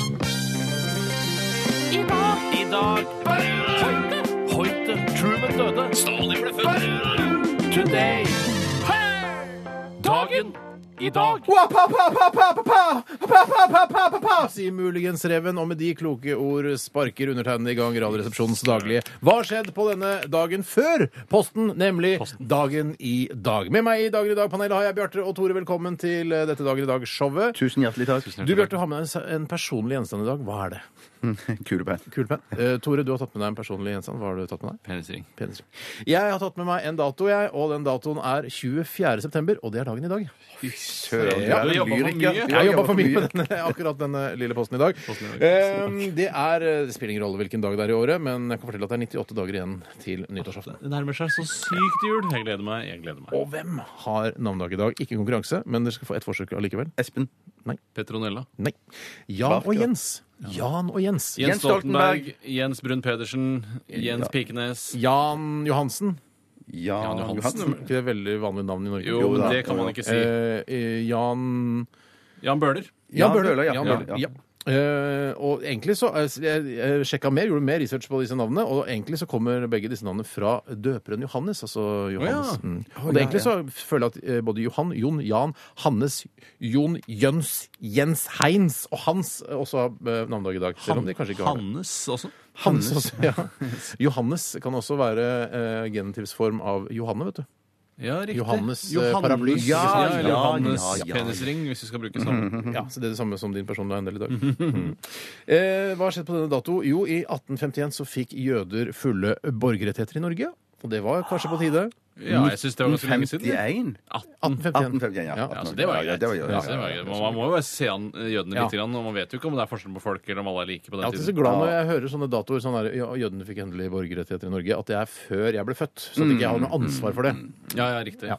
Speaker 5: I dag Hoite, Hoite, Truman døde. Stalin ble født. Today. Dagen i dag.
Speaker 3: Pa-pa-pa-pa-pa-pa-pa-pa-pa-pa-pa, sier muligens reven, og med de kloke ord sparker undertegnede i gang Radioresepsjonens daglige Hva skjedde på denne dagen før posten, nemlig dagen i dag? Med meg i Dagen i dag-panelet har jeg Bjarte og Tore. Velkommen til eh, dette Dagen i dag-showet.
Speaker 4: Tusen hjertelig takk.
Speaker 3: Du Bjarte har med deg en s- en personlig gjenstand i dag. Hva er det?
Speaker 4: (laughs) Kulepenn.
Speaker 3: Kulepenn. Eh, Tore, du har tatt med deg en personlig gjenstand. Hva har du tatt med deg?
Speaker 5: Penisring.
Speaker 3: Penisring. Jeg har tatt med meg en dato, jeg, og den datoen er 24. september, og det er dagen i dag.
Speaker 5: Fy
Speaker 4: søren.
Speaker 3: Ja,
Speaker 5: du jobber for mye.
Speaker 4: Du har
Speaker 5: Jeg
Speaker 3: Jeg jobba
Speaker 4: jobbet
Speaker 3: for mye med denne, akkurat denne lille posten i dag. Eh, Det, er, det spiller ingen rolle hvilken dag det er i året, men jeg kan fortelle at det er 98 dager igjen til nyttårsaften.
Speaker 5: Det nærmer seg så sykt jul. Jeg gleder meg. jeg gleder meg.
Speaker 3: Og hvem har navnedag i dag? Ikke konkurranse, men dere skal få ett forsøk allikevel.
Speaker 4: Espen.
Speaker 5: Petronella.
Speaker 3: Nei. Jan og Jens. Jan og Jens.
Speaker 5: Jens
Speaker 4: Stoltenberg.
Speaker 5: Stoltenberg. Jens Brun Pedersen. Jens Pikenes.
Speaker 3: Jan Johansen.
Speaker 4: Jan
Speaker 3: Johansen.
Speaker 4: Johansen.
Speaker 3: Ikke det veldig vanlige navn i Norge?
Speaker 5: Jo,
Speaker 4: Jo da.
Speaker 5: det kan man ikke si.
Speaker 3: Eh, eh, Jan
Speaker 5: Jan Bøhler.
Speaker 4: Jan
Speaker 3: Jan Bøhler.
Speaker 4: Bøhler, ja.
Speaker 3: Jan
Speaker 4: Ja,
Speaker 3: Bøhler,
Speaker 4: ja.
Speaker 3: ja. Eh, og egentlig så eh, jeg, jeg sjekka mer, gjorde mer research på disse navnene, og egentlig så kommer begge disse navnene fra døperen Johannes. Altså Johannes.
Speaker 5: Å ja.
Speaker 3: Mm. Og det egentlig så føler jeg at eh, både Johan, Jon, Jan, Hannes, Jon, Jøns, Jens, Heins og Hans eh, også har eh, navnedag i dag. Selv om de kanskje ikke har det.
Speaker 5: Hannes også.
Speaker 3: Hans også, ja. Johannes kan også være eh, genitivsform av Johanne, vet du.
Speaker 5: Ja, riktig.
Speaker 3: Johannes, eh, paraply.
Speaker 4: Ja,
Speaker 5: Ja, eller
Speaker 4: ja,
Speaker 5: Johannes
Speaker 4: ja, ja.
Speaker 5: penisring, hvis vi skal bruke
Speaker 4: Mhm.
Speaker 5: sammen.
Speaker 3: Ja, så Det er det samme som din personlige eiendel i dag. Mhm. Eh, hva har skjedd på denne dato? Jo, i 1851 så fikk jøder fulle borgerrettigheter i Norge. Og det var kanskje på tide.
Speaker 5: Ja, jeg syns det var ganske lenge siden.
Speaker 4: 51?
Speaker 3: 1851.
Speaker 4: 1851, ja.
Speaker 3: Ja,
Speaker 5: Ja, så det var jo
Speaker 4: Ja,
Speaker 5: greit.
Speaker 4: det var jo-
Speaker 5: Ja, så det var greit. Man man må jo bare se an eh, jødene
Speaker 3: Ja.
Speaker 5: litt, grann, og man vet jo ikke om det er forskjell på folk, eller om alle er like på
Speaker 3: Jeg er
Speaker 5: den
Speaker 3: alltid så
Speaker 5: tiden.
Speaker 3: glad når jeg hører sånne datoer sånn der, ja, jødene fikk endelig borgerrettigheter i Norge, at det er før jeg ble født. Så at ikke jeg har
Speaker 4: Mm.
Speaker 3: noe ansvar for det.
Speaker 5: Ja, ja, riktig.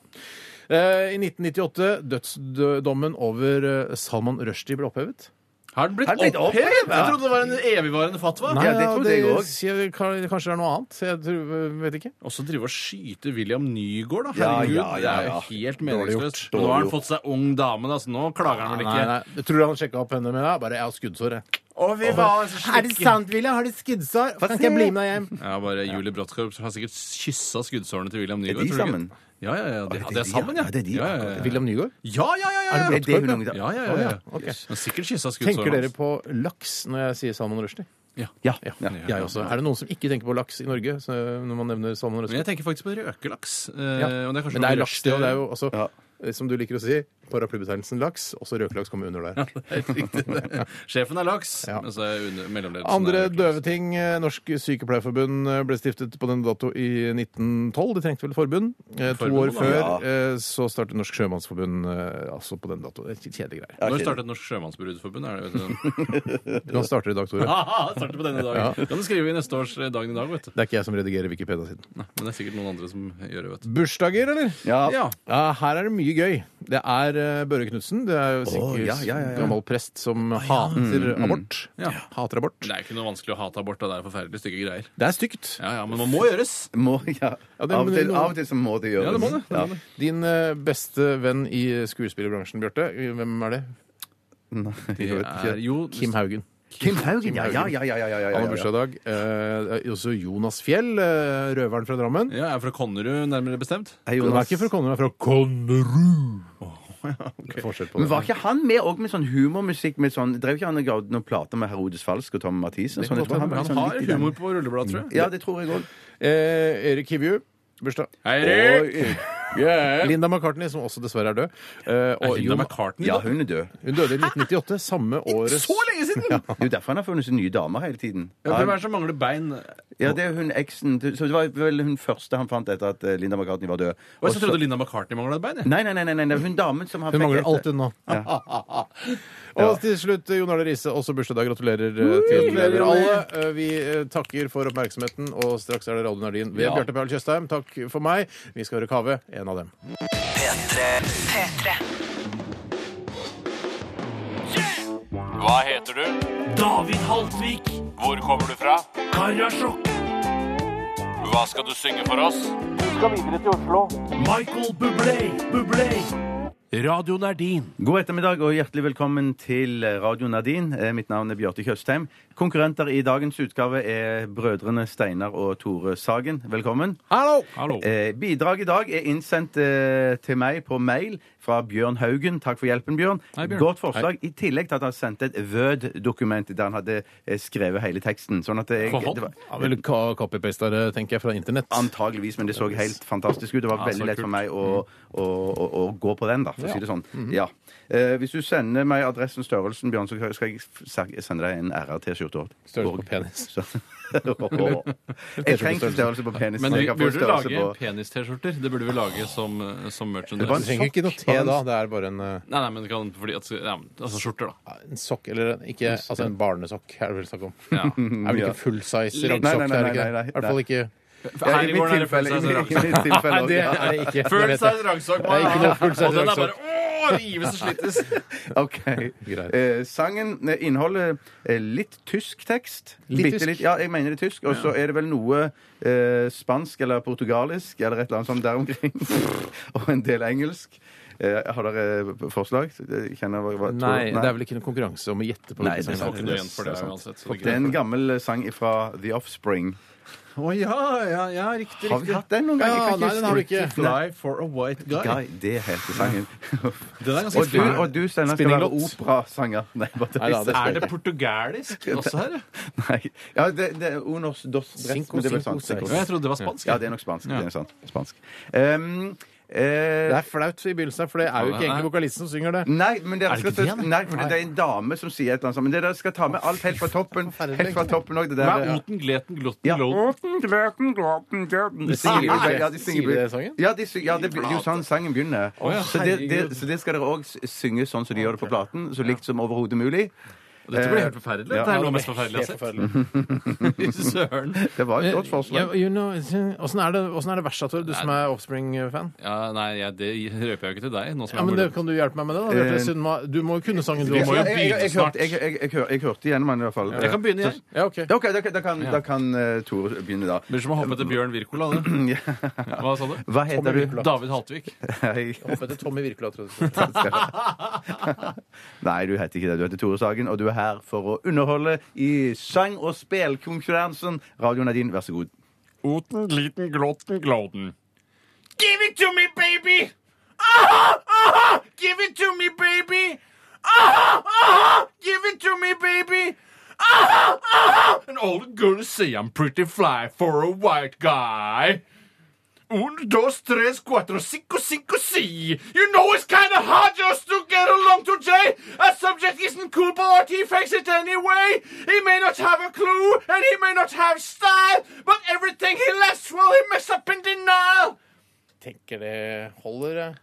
Speaker 3: Eh, I 1998 dødsdommen over eh, Salman Rushdie ble opphevet.
Speaker 5: Har den blitt
Speaker 4: Har den blitt
Speaker 5: opphevet?
Speaker 4: opphevet?
Speaker 5: Jeg trodde det var en evigvarende fatwa.
Speaker 4: Nei. Ja, det trodde jeg også.
Speaker 3: sier- kan- Kanskje det er noe annet. Jeg tror, eh, vet ikke.
Speaker 5: Og så drive og skyte William Nygaard, da.
Speaker 4: Ja,
Speaker 5: Herregud,
Speaker 4: ja, ja, ja.
Speaker 5: det er jo helt
Speaker 3: Dårlig gjort.
Speaker 5: meningsløst. Men Nå har han fått seg ung dame, da, så nå klager han vel
Speaker 3: Nei,
Speaker 5: ikke.
Speaker 3: nei. Jeg tror han sjekka opp henne med deg. Bare jeg har skuddsår, jeg.
Speaker 5: Å, vi var altså
Speaker 3: Er det sant, William? Har du skuddsår? Kan ikke jeg bli med deg hjem?
Speaker 5: Ja, bare Julie Bråttkorps har sikkert kyssa skuddsårene til William Nygaard.
Speaker 4: de
Speaker 5: tror du ikke?
Speaker 4: sammen?
Speaker 5: Ja, ja, ja. De,
Speaker 4: det er
Speaker 5: ja, de er
Speaker 4: de,
Speaker 5: sammen,
Speaker 4: ja.
Speaker 5: ja.
Speaker 4: Ja, det er de,
Speaker 5: ja, ja, ja.
Speaker 3: William Nygaard?
Speaker 5: Ja, ja, ja, ja.
Speaker 4: Er det
Speaker 3: Bråttkorp,
Speaker 4: det hun-
Speaker 5: Ja, ja, ja. ja.
Speaker 3: Ok.
Speaker 5: Han har Sikkert kyssa
Speaker 3: Tenker
Speaker 5: skuddsårene.
Speaker 3: dere på laks når jeg sier Salman Rushdie?
Speaker 5: Ja.
Speaker 3: Ja,
Speaker 5: ja.
Speaker 3: jeg også. Er det noen som ikke tenker på laks i Norge så når man nevner Salman
Speaker 5: Men
Speaker 3: Rushdie?
Speaker 5: jeg tenker faktisk på røkelaks. eh,
Speaker 3: Ja.
Speaker 5: og det er kanskje
Speaker 3: Men det er
Speaker 5: noe
Speaker 3: laks, det, og det er jo
Speaker 5: (laughs)
Speaker 3: altså
Speaker 4: Ja.
Speaker 3: eh, Som du liker å si, paraplybetegnelsen laks, også røkelaks kommer under der.
Speaker 5: Røkelaks. Riktig. Sjefen er laks,
Speaker 3: Ja.
Speaker 5: og så er under- mellomledelsen
Speaker 3: Andre
Speaker 5: er røkelaks.
Speaker 3: døve ting. eh, Norsk Sykepleierforbund eh, ble stiftet på denne dato i 1912. De trengte vel forbund. Eh, To
Speaker 5: Forbund,
Speaker 3: år
Speaker 5: da.
Speaker 3: før
Speaker 4: Ja.
Speaker 3: eh, så startet Norsk Sjømannsforbund eh, altså på denne dato. Det er Kjedelige greier.
Speaker 5: Når startet Norsk Sjømannsbrudeforbund? Er det, sånn? vet du?
Speaker 3: Nå starter i dag, Tore.
Speaker 5: Ah, (laughs) starter på denne dagen. Kan du skrive i neste års eh, dagen i dag, vet du.
Speaker 3: Det er ikke jeg som redigerer Wikipedia-siden.
Speaker 5: Nei, men det er sikkert noen andre som gjør det, vet du.
Speaker 3: Bursdager, eller?
Speaker 4: Ja.
Speaker 5: Ja.
Speaker 3: Ja, her er det mye gøy. Det er eh, Børre Knutsen. Det er jo sikkert
Speaker 4: ja, ja, ja, ja.
Speaker 3: gammel prest som hater abort.
Speaker 5: Ja.
Speaker 3: Hater abort.
Speaker 5: Det er jo ikke noe vanskelig å hate abort, da. det er forferdelig stygge greier.
Speaker 3: Det er stygt.
Speaker 5: Ja, ja, men man må gjøres.
Speaker 4: Må, ja.
Speaker 3: det-
Speaker 4: av, og til,
Speaker 3: noen-
Speaker 4: av og til så må det gjøres.
Speaker 5: Ja, det må det, det må det.
Speaker 3: Din eh, beste venn i skuespillerbransjen, Bjarte, hvem er det?
Speaker 4: Jeg
Speaker 5: Det
Speaker 4: vet
Speaker 5: er jo
Speaker 3: Kim Haugen.
Speaker 4: Kim Haugen, ja, ja, ja. ja, ja, ja, ja,
Speaker 3: Han har
Speaker 4: ja,
Speaker 3: bursdag i dag. Eh, også Jonas Fjell, eh, røveren fra Drammen.
Speaker 5: Ja, jeg er fra Konnerud, nærmere bestemt.
Speaker 4: Hei,
Speaker 3: Han er
Speaker 4: Jonas.
Speaker 3: ikke fra Konnerud, han er fra Konnerud. Det er Forskjell på
Speaker 4: Men var
Speaker 3: det.
Speaker 4: ikke han med òg med sånn humormusikk? Med sånn, drev ikke han og ga ut noen plater med Herodes Falsk og Tom Mathisen? og
Speaker 3: kan
Speaker 4: sånn? Jeg
Speaker 3: godt
Speaker 4: tror
Speaker 3: hende,
Speaker 4: var
Speaker 5: Han
Speaker 4: sånn
Speaker 5: har
Speaker 4: litt i den-
Speaker 5: humor på rulleblad, tror jeg.
Speaker 4: Ja, det tror jeg òg.
Speaker 3: Eh, Erik Hivju, bursdag.
Speaker 5: Hei, Erik!
Speaker 3: Linda McCartney, som også dessverre er død. Eh,
Speaker 5: Er
Speaker 3: og
Speaker 5: Linda
Speaker 3: Jon-
Speaker 5: McCartney,
Speaker 4: Ja,
Speaker 5: da?
Speaker 4: hun er død.
Speaker 3: Hun døde i 1998, samme året
Speaker 5: Så lenge siden! Ja.
Speaker 4: Det er jo derfor han har funnet seg nye damer hele tiden.
Speaker 5: Hvem er det som mangler bein?
Speaker 4: Ja, det er hun eksen til- Så det var vel hun første han fant etter at eh, Linda McCartney var død.
Speaker 5: Og
Speaker 4: Og
Speaker 5: jeg
Speaker 4: så-
Speaker 5: trodde Linda McCartney mangla et bein. jeg.
Speaker 4: Nei, nei, nei, nei, nei, nei, hun damen som han
Speaker 3: Hun
Speaker 4: fikk
Speaker 3: mangler
Speaker 4: etter-
Speaker 3: alt hun nå. (laughs) Og til slutt, Jon Arne Riise, også bursdag. Gratulerer eh, til dere alle. Eh, Vi eh, takker for oppmerksomheten, og straks er det Radio Nardin ved Bjarte Paul Tjøstheim. Takk for meg. Vi skal høre Kave, en av dem.
Speaker 1: P3. P3.
Speaker 8: Hva heter du? David Haltvik. Hvor kommer du fra? Karasjok. Hva skal du synge for oss? Du skal videre til Oslo. Michael Bublé, Bublé. Radioen er din.
Speaker 4: God ettermiddag og hjertelig velkommen til Radio Nadine. Eh, Mitt navn er Bjarte Tjøstheim. Konkurrenter i dagens utgave er brødrene Steinar og Tore Sagen. Velkommen.
Speaker 3: Hallo!
Speaker 5: Hallo.
Speaker 4: Eh, bidrag i dag er innsendt eh, til meg på mail fra Bjørn Haugen. Takk for hjelpen, Bjørn.
Speaker 5: Hei, Bjørn.
Speaker 4: Godt forslag. I tillegg til at han sendte et Word-dokument der han hadde eh, skrevet hele teksten. Sånn at jeg,
Speaker 5: For hånd?
Speaker 4: det var
Speaker 3: Ja, vel, ka- copy-pastere, tenker jeg, fra internett.
Speaker 4: Antageligvis, men det så helt fantastisk ut. Det var
Speaker 5: Ja, så
Speaker 4: veldig lett
Speaker 5: kult. Mm. Mm-hmm.
Speaker 4: for meg å, å, å, å gå på den, da. for for å si det sånn. Ja. Eh, hvis du sender meg adressen størrelsen, Bjørn, så skal jeg f- sende deg en (laughs) RR-T-skjorte.
Speaker 3: Størrelse på penis.
Speaker 4: jeg trenger ikke størrelse på penis.
Speaker 5: Men
Speaker 4: jeg
Speaker 5: vi
Speaker 4: kan få
Speaker 5: burde
Speaker 4: størrelse altså
Speaker 5: lage
Speaker 4: på-
Speaker 5: penis-T-skjorter. Det burde vi lage som, eh, som
Speaker 3: Du
Speaker 5: merchandise.
Speaker 3: trenger ikke noe te da. Det er bare en, eh,
Speaker 5: Nei, nei, men det kan, fordi at, ja, men, altså skjorter, da.
Speaker 3: en sokk, eller en- ikke altså en barnesokk, er det vel snakk om.
Speaker 4: (laughs)
Speaker 5: Ja.
Speaker 3: Er vel ikke full size
Speaker 4: Nei,
Speaker 3: raggsokker?
Speaker 4: nei, nei,
Speaker 3: er det ikke
Speaker 4: nei, nei,
Speaker 3: det? I hvert fall
Speaker 4: nei.
Speaker 3: ikke
Speaker 4: Ja,
Speaker 5: Her i gården er det full
Speaker 4: i
Speaker 5: size
Speaker 4: mitt
Speaker 5: raggsokker.
Speaker 4: tilfelle- i mitt
Speaker 3: (laughs)
Speaker 4: tilfelle også,
Speaker 3: Det
Speaker 4: ja.
Speaker 3: er det ikke. det
Speaker 5: Full
Speaker 3: vet jeg.
Speaker 5: size raggsock.
Speaker 3: Det er ikke noe full size
Speaker 5: Og den er
Speaker 3: raggsock.
Speaker 5: bare åh, rives og slites.
Speaker 4: OK.
Speaker 3: (laughs) Greit.
Speaker 4: Eh, sangen eh, inneholder eh, litt tysk tekst.
Speaker 3: Litt
Speaker 4: Bitte
Speaker 3: tysk?
Speaker 4: litt. Ja, jeg mener det er tysk. Og så er det vel noe eh, spansk eller portugalisk eller et eller annet sånt der omkring. (laughs) og en del engelsk. Eh, har dere forslag? Eh, Kjenner hva, hva, tror-
Speaker 3: Nei, det er vel ikke noe konkurranse om å gjette på
Speaker 4: Nei,
Speaker 3: hvilken
Speaker 4: det
Speaker 5: Får
Speaker 3: sang
Speaker 5: ikke
Speaker 3: det
Speaker 5: noe
Speaker 3: er.
Speaker 5: igjen for det uansett. så det er
Speaker 4: Det er en
Speaker 5: greit.
Speaker 4: gammel sang fra The Offspring.
Speaker 5: Å ja, ja, ja, riktig,
Speaker 4: Har vi hatt den noen gang? Jeg
Speaker 3: Ja,
Speaker 4: kan
Speaker 3: nei, den har vi ikke.
Speaker 5: Fly for a white guy.
Speaker 4: Guy, det heter sangen.
Speaker 3: (laughs)
Speaker 5: Den er
Speaker 4: og
Speaker 5: ganske
Speaker 4: du,
Speaker 5: fæl.
Speaker 4: og du Steinar, skal
Speaker 3: Spinning
Speaker 4: være
Speaker 3: Lots.
Speaker 4: operasanger. Nei, bare
Speaker 3: Nei da, det
Speaker 5: Er det portugalisk også her? ja?
Speaker 4: (laughs) Nei. Ja, det, det er Unos dos tres,
Speaker 3: Cinco,
Speaker 4: men det er vel
Speaker 3: cinco,
Speaker 4: spansk.
Speaker 3: cinco.
Speaker 5: Ja, Jeg trodde det var spansk.
Speaker 4: Ja, det er nok spansk. Det er sant. spansk. Ehm, eh,
Speaker 3: Det er flaut i begynnelsen, for det er jo ikke egentlig vokalisten som synger det.
Speaker 4: Nei, men dere
Speaker 5: Er det
Speaker 4: skal
Speaker 5: ikke
Speaker 4: ta,
Speaker 5: det, da?
Speaker 4: nei, for det er en dame som sier et eller annet sånt. Men dere skal ta med alt helt fra toppen. Helt fra toppen også, det
Speaker 5: Hva
Speaker 4: der.
Speaker 5: er Oten, Gleten, Glotten,
Speaker 4: Ja.
Speaker 5: Loten?
Speaker 4: De synger jo
Speaker 3: Nei,
Speaker 4: ja, de synger,
Speaker 3: sier det sangen?
Speaker 4: Ja, de synger, ja det, blir- det er jo sånn sangen begynner.
Speaker 5: ja,
Speaker 4: så, det,
Speaker 5: herregud.
Speaker 4: det, så det skal dere òg synge sånn som de gjør det på platen. Så likt som overhodet mulig.
Speaker 5: Dette
Speaker 3: eh,
Speaker 5: blir helt forferdelig. Dette er noe av det mest forferdelige
Speaker 3: Helt
Speaker 5: jeg har sett.
Speaker 3: forferdelig. altså. Mm-hmm.
Speaker 5: Fy (laughs) søren.
Speaker 4: Det var et godt forslag.
Speaker 3: Eh, Ja, you know, Åssen er det, åssen er det verset, Tore, du som er Offspring-fan?
Speaker 5: Ja, nei, jeg, det røper jeg jo ikke til deg. Nå som
Speaker 3: Ja,
Speaker 5: jeg
Speaker 3: men
Speaker 5: er
Speaker 3: det,
Speaker 5: mordet.
Speaker 3: Kan du hjelpe meg med det? da? Bjarte?
Speaker 4: Eh,
Speaker 3: Siden ma- Du må jo kunne sangen, du
Speaker 5: Vi
Speaker 3: også.
Speaker 5: må jo
Speaker 4: Jeg, jeg, jeg, jeg,
Speaker 5: begynne
Speaker 4: hørte- jeg, jeg, jeg, hør- jeg hørte gjennom den i hvert fall.
Speaker 5: Jeg kan begynne, jeg.
Speaker 3: Ja, ok.
Speaker 4: Ja, OK, da, kan- da kan, da kan eh, Tore begynne, da.
Speaker 5: Blir som å hoppe etter Bjørn Wirkola.
Speaker 3: (clears throat)
Speaker 5: det. Hva sa du?
Speaker 4: Hva heter (laughs)
Speaker 3: Tommy
Speaker 4: du?
Speaker 3: Wirkola.
Speaker 5: David Haltvik.
Speaker 4: Hei.
Speaker 3: Hopp etter Tommy Wirkola, tror (laughs) jeg.
Speaker 4: Nei, du heter ikke det. Du heter Tore Sagen, og du er her for å underholde i sang- og spelkonkurransen. Radioen er din, vær så god.
Speaker 8: Oten, liten, glotten, gloden.
Speaker 7: Give it to me, baby! Aha, aha! Give it to me, baby! Aha,
Speaker 8: Uh-huh,
Speaker 7: aha! Give it to me, baby!
Speaker 8: Uh-huh, And all the girls say I'm pretty fly for a white guy. Un, dos, tres, cuatro, cinco, cinco, si. You know it's kind of hard just to get along today. A subject isn't cool, but he fakes it anyway. He may not have a clue, and he may not have style, but everything he lacks, well, he makes up in denial. eh,
Speaker 3: Tenker det holder, jeg.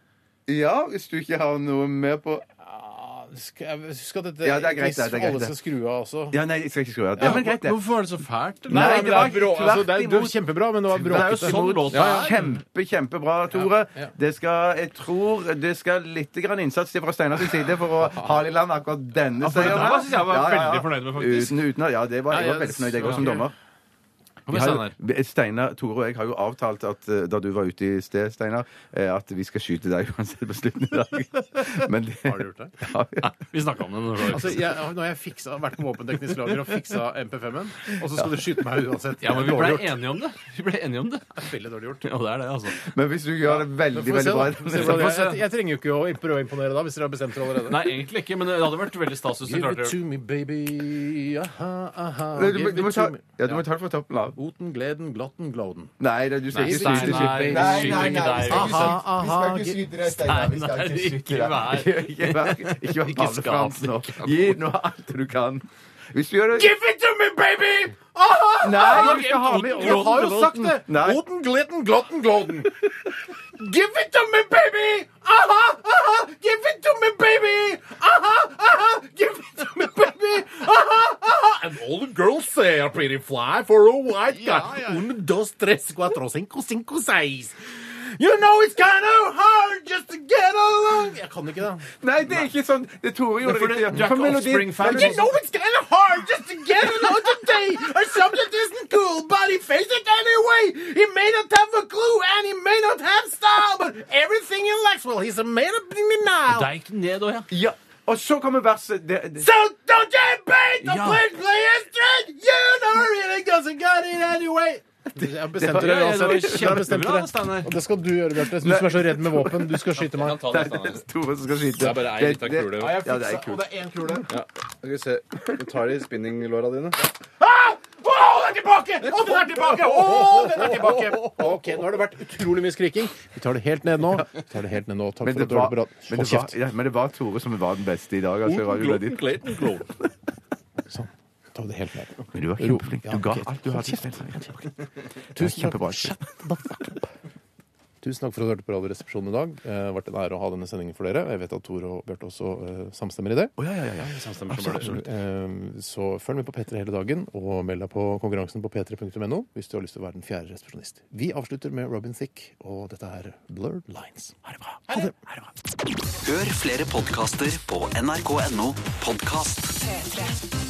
Speaker 4: Ja, hvis du ikke har noe mer på
Speaker 3: Skal, husk at dette
Speaker 4: Ja, det er greit, det er greit,
Speaker 3: alle
Speaker 4: det.
Speaker 3: skal skru av også.
Speaker 4: Ja, nei, jeg skal ikke skru av. Ja, men greit, det.
Speaker 5: Hvorfor var det så fælt?
Speaker 4: Nei,
Speaker 3: Nei,
Speaker 4: det
Speaker 3: men det
Speaker 4: var
Speaker 3: er brå, altså, det er, det
Speaker 4: tvert
Speaker 3: er kjempebra, men det var
Speaker 4: Det er jo
Speaker 3: bråkete.
Speaker 4: sånn
Speaker 5: låt
Speaker 4: Ja, ja.
Speaker 5: er.
Speaker 4: Kjempe, kjempebra, Tore.
Speaker 3: ja.
Speaker 4: Det skal, jeg tror det skal litt grann innsats til fra Steinars side for å
Speaker 5: (laughs)
Speaker 4: ha i land akkurat denne
Speaker 5: for det
Speaker 4: seieren.
Speaker 5: der synes jeg jeg var veldig fornøyd med, faktisk.
Speaker 4: Uten, uten, ja, det var, jeg
Speaker 3: Ja,
Speaker 4: var
Speaker 3: ja,
Speaker 4: veldig fornøyd, jeg òg, som
Speaker 3: ja.
Speaker 4: dommer.
Speaker 5: Kom igjen, Steinar.
Speaker 4: Vi har- Steinar, Tore og jeg har jo avtalt at eh, da du var ute i sted, Steinar, eh, at vi skal skyte deg (laughs) uansett på slutten i dag. Men det,
Speaker 5: Har du gjort det?
Speaker 4: (laughs)
Speaker 5: Vi snakka om det. når det var-
Speaker 3: Altså, jeg, når jeg fiksa, vært på våpenteknisk lager og fiksa MP5-en, og så skal du skyte meg uansett.
Speaker 5: Ja, men vi
Speaker 3: Dårlig
Speaker 5: ble
Speaker 3: gjort.
Speaker 5: enige om det. Vi ble enige om det.
Speaker 3: Veldig dårlig gjort.
Speaker 5: Ja, det er det, altså.
Speaker 4: Men hvis du gjør det
Speaker 3: Men
Speaker 4: veldig,
Speaker 3: får vi se,
Speaker 4: veldig
Speaker 3: da.
Speaker 4: bra
Speaker 3: Vi ser hvordan
Speaker 5: Får
Speaker 3: det
Speaker 5: vi se.
Speaker 3: er. Jeg, jeg trenger jo ikke å prøve å imponere da, hvis dere har bestemt dere allerede.
Speaker 5: Nei, egentlig ikke, men det hadde vært veldig stas hvis du
Speaker 3: Give it
Speaker 5: klarte det.
Speaker 3: to me, baby. Aha, aha.
Speaker 4: Nei, du,
Speaker 3: Give
Speaker 4: må- du, må
Speaker 3: it
Speaker 4: ta,
Speaker 3: to me.
Speaker 4: ja, du må ta det fra toppen av.
Speaker 3: Oten, gleden, glatten, gloden.
Speaker 4: Nei, det- du skal
Speaker 5: Nei,
Speaker 4: ikke
Speaker 5: Steinar,
Speaker 4: skyte. skyte.
Speaker 5: vi
Speaker 9: Nei,
Speaker 5: skyter
Speaker 9: nei, nei, vi
Speaker 5: ikke
Speaker 9: skal
Speaker 5: deg.
Speaker 9: ikke
Speaker 3: Aha,
Speaker 9: skyte- vi skal
Speaker 3: aha,
Speaker 9: ikke
Speaker 3: gi-
Speaker 9: skyte deg, Steinar. Vi skal
Speaker 5: Steinar,
Speaker 9: ikke skyte
Speaker 5: ikke vær
Speaker 4: Ikke vær ikke vær
Speaker 5: Ikke
Speaker 4: Palle
Speaker 5: skap
Speaker 4: Fransen nå.
Speaker 5: deg.
Speaker 4: Gi nå alt du kan. Hvis du gjør det
Speaker 8: Give it to me, baby!
Speaker 4: Nei, vi skal ha med
Speaker 5: Jeg har jo sagt
Speaker 4: det! Nei.
Speaker 3: Oten, gleden, glatten, gloden.
Speaker 8: Give it to me, baby! Aha, aha! Give it to me, baby! Aha, aha! Give it to me, baby! Aha, aha! And all the girls say I'm pretty fly for a white guy. Un, dos, tres, cuatro, cinco, cinco, seis. You know it's kind of hard just to get along.
Speaker 3: Jeg kan ikke det.
Speaker 4: Nei, det er ikke sånn. Det er Tore gjorde
Speaker 5: for det-
Speaker 4: riktig.
Speaker 5: du er
Speaker 4: For
Speaker 5: ikke
Speaker 4: melodi-
Speaker 5: Offspring-fan.
Speaker 4: Men
Speaker 8: You
Speaker 4: det-
Speaker 8: know it's kind of hard just to get along today. A subject isn't cool, but he faced it anyway. He may not have a clue, and he may not have style, but everything he lacks, well, he's a man of denial.
Speaker 5: Deik ned òg, ja.
Speaker 4: Ja. Og så kommer verset. Det, det.
Speaker 8: So don't you bait the
Speaker 5: Ja.
Speaker 8: prickly instrument! You know really doesn't got it anyway!
Speaker 3: Jeg har bestemt
Speaker 4: Det var-
Speaker 3: dere
Speaker 5: Ja, ja, det var
Speaker 3: uansett. Jeg har bestemt
Speaker 5: kjempebra,
Speaker 3: dere.
Speaker 5: Steinar.
Speaker 3: Og det skal du gjøre, Bjarte. Du som er så redd med våpen. Du skal skyte meg.
Speaker 4: (laughs) Det er Tore som skal skyte.
Speaker 5: Det er bare ei lita kule.
Speaker 4: Ja, det er kult.
Speaker 9: Skal vi se. Du tar i spinninglåra dine.
Speaker 8: Oh,
Speaker 7: den er tilbake! Å, den er tilbake! Å, den er tilbake!
Speaker 3: Ok, nå har det vært utrolig mye skriking. Vi tar det helt ned nå. Vi tar det helt ned nå. Takk
Speaker 4: Men
Speaker 3: for
Speaker 4: det,
Speaker 3: at du hørte
Speaker 4: var,
Speaker 3: på radio.
Speaker 4: men, det
Speaker 3: Hold
Speaker 4: var,
Speaker 3: kjeft.
Speaker 4: ja, men det var Tore som var den beste i dag. Altså, i Radio Reddit.
Speaker 3: Sånn. Ta det helt ned.
Speaker 4: men du var kjempeflink. Du ga alt du hadde.
Speaker 3: Tusen
Speaker 4: Kjempebra.
Speaker 3: takk. Tusen takk for at du hørte på Radioresepsjonen i dag. Eh, Det har vært en ære å ha denne sendingen for dere. Jeg vet at Tor og Bjarte også eh, samstemmer i det.
Speaker 4: Å, ja, ja, ja.
Speaker 3: Eh, Så følg med på P3 hele dagen, og meld deg på konkurransen på p3.no hvis du har lyst til å være den fjerde resepsjonist. Vi avslutter med Robin Thicke, og dette er Blurred Lines. Ha det bra. Ha det. Ha det bra.
Speaker 1: Hør flere podkaster på nrk.no podkast.
Speaker 9: 3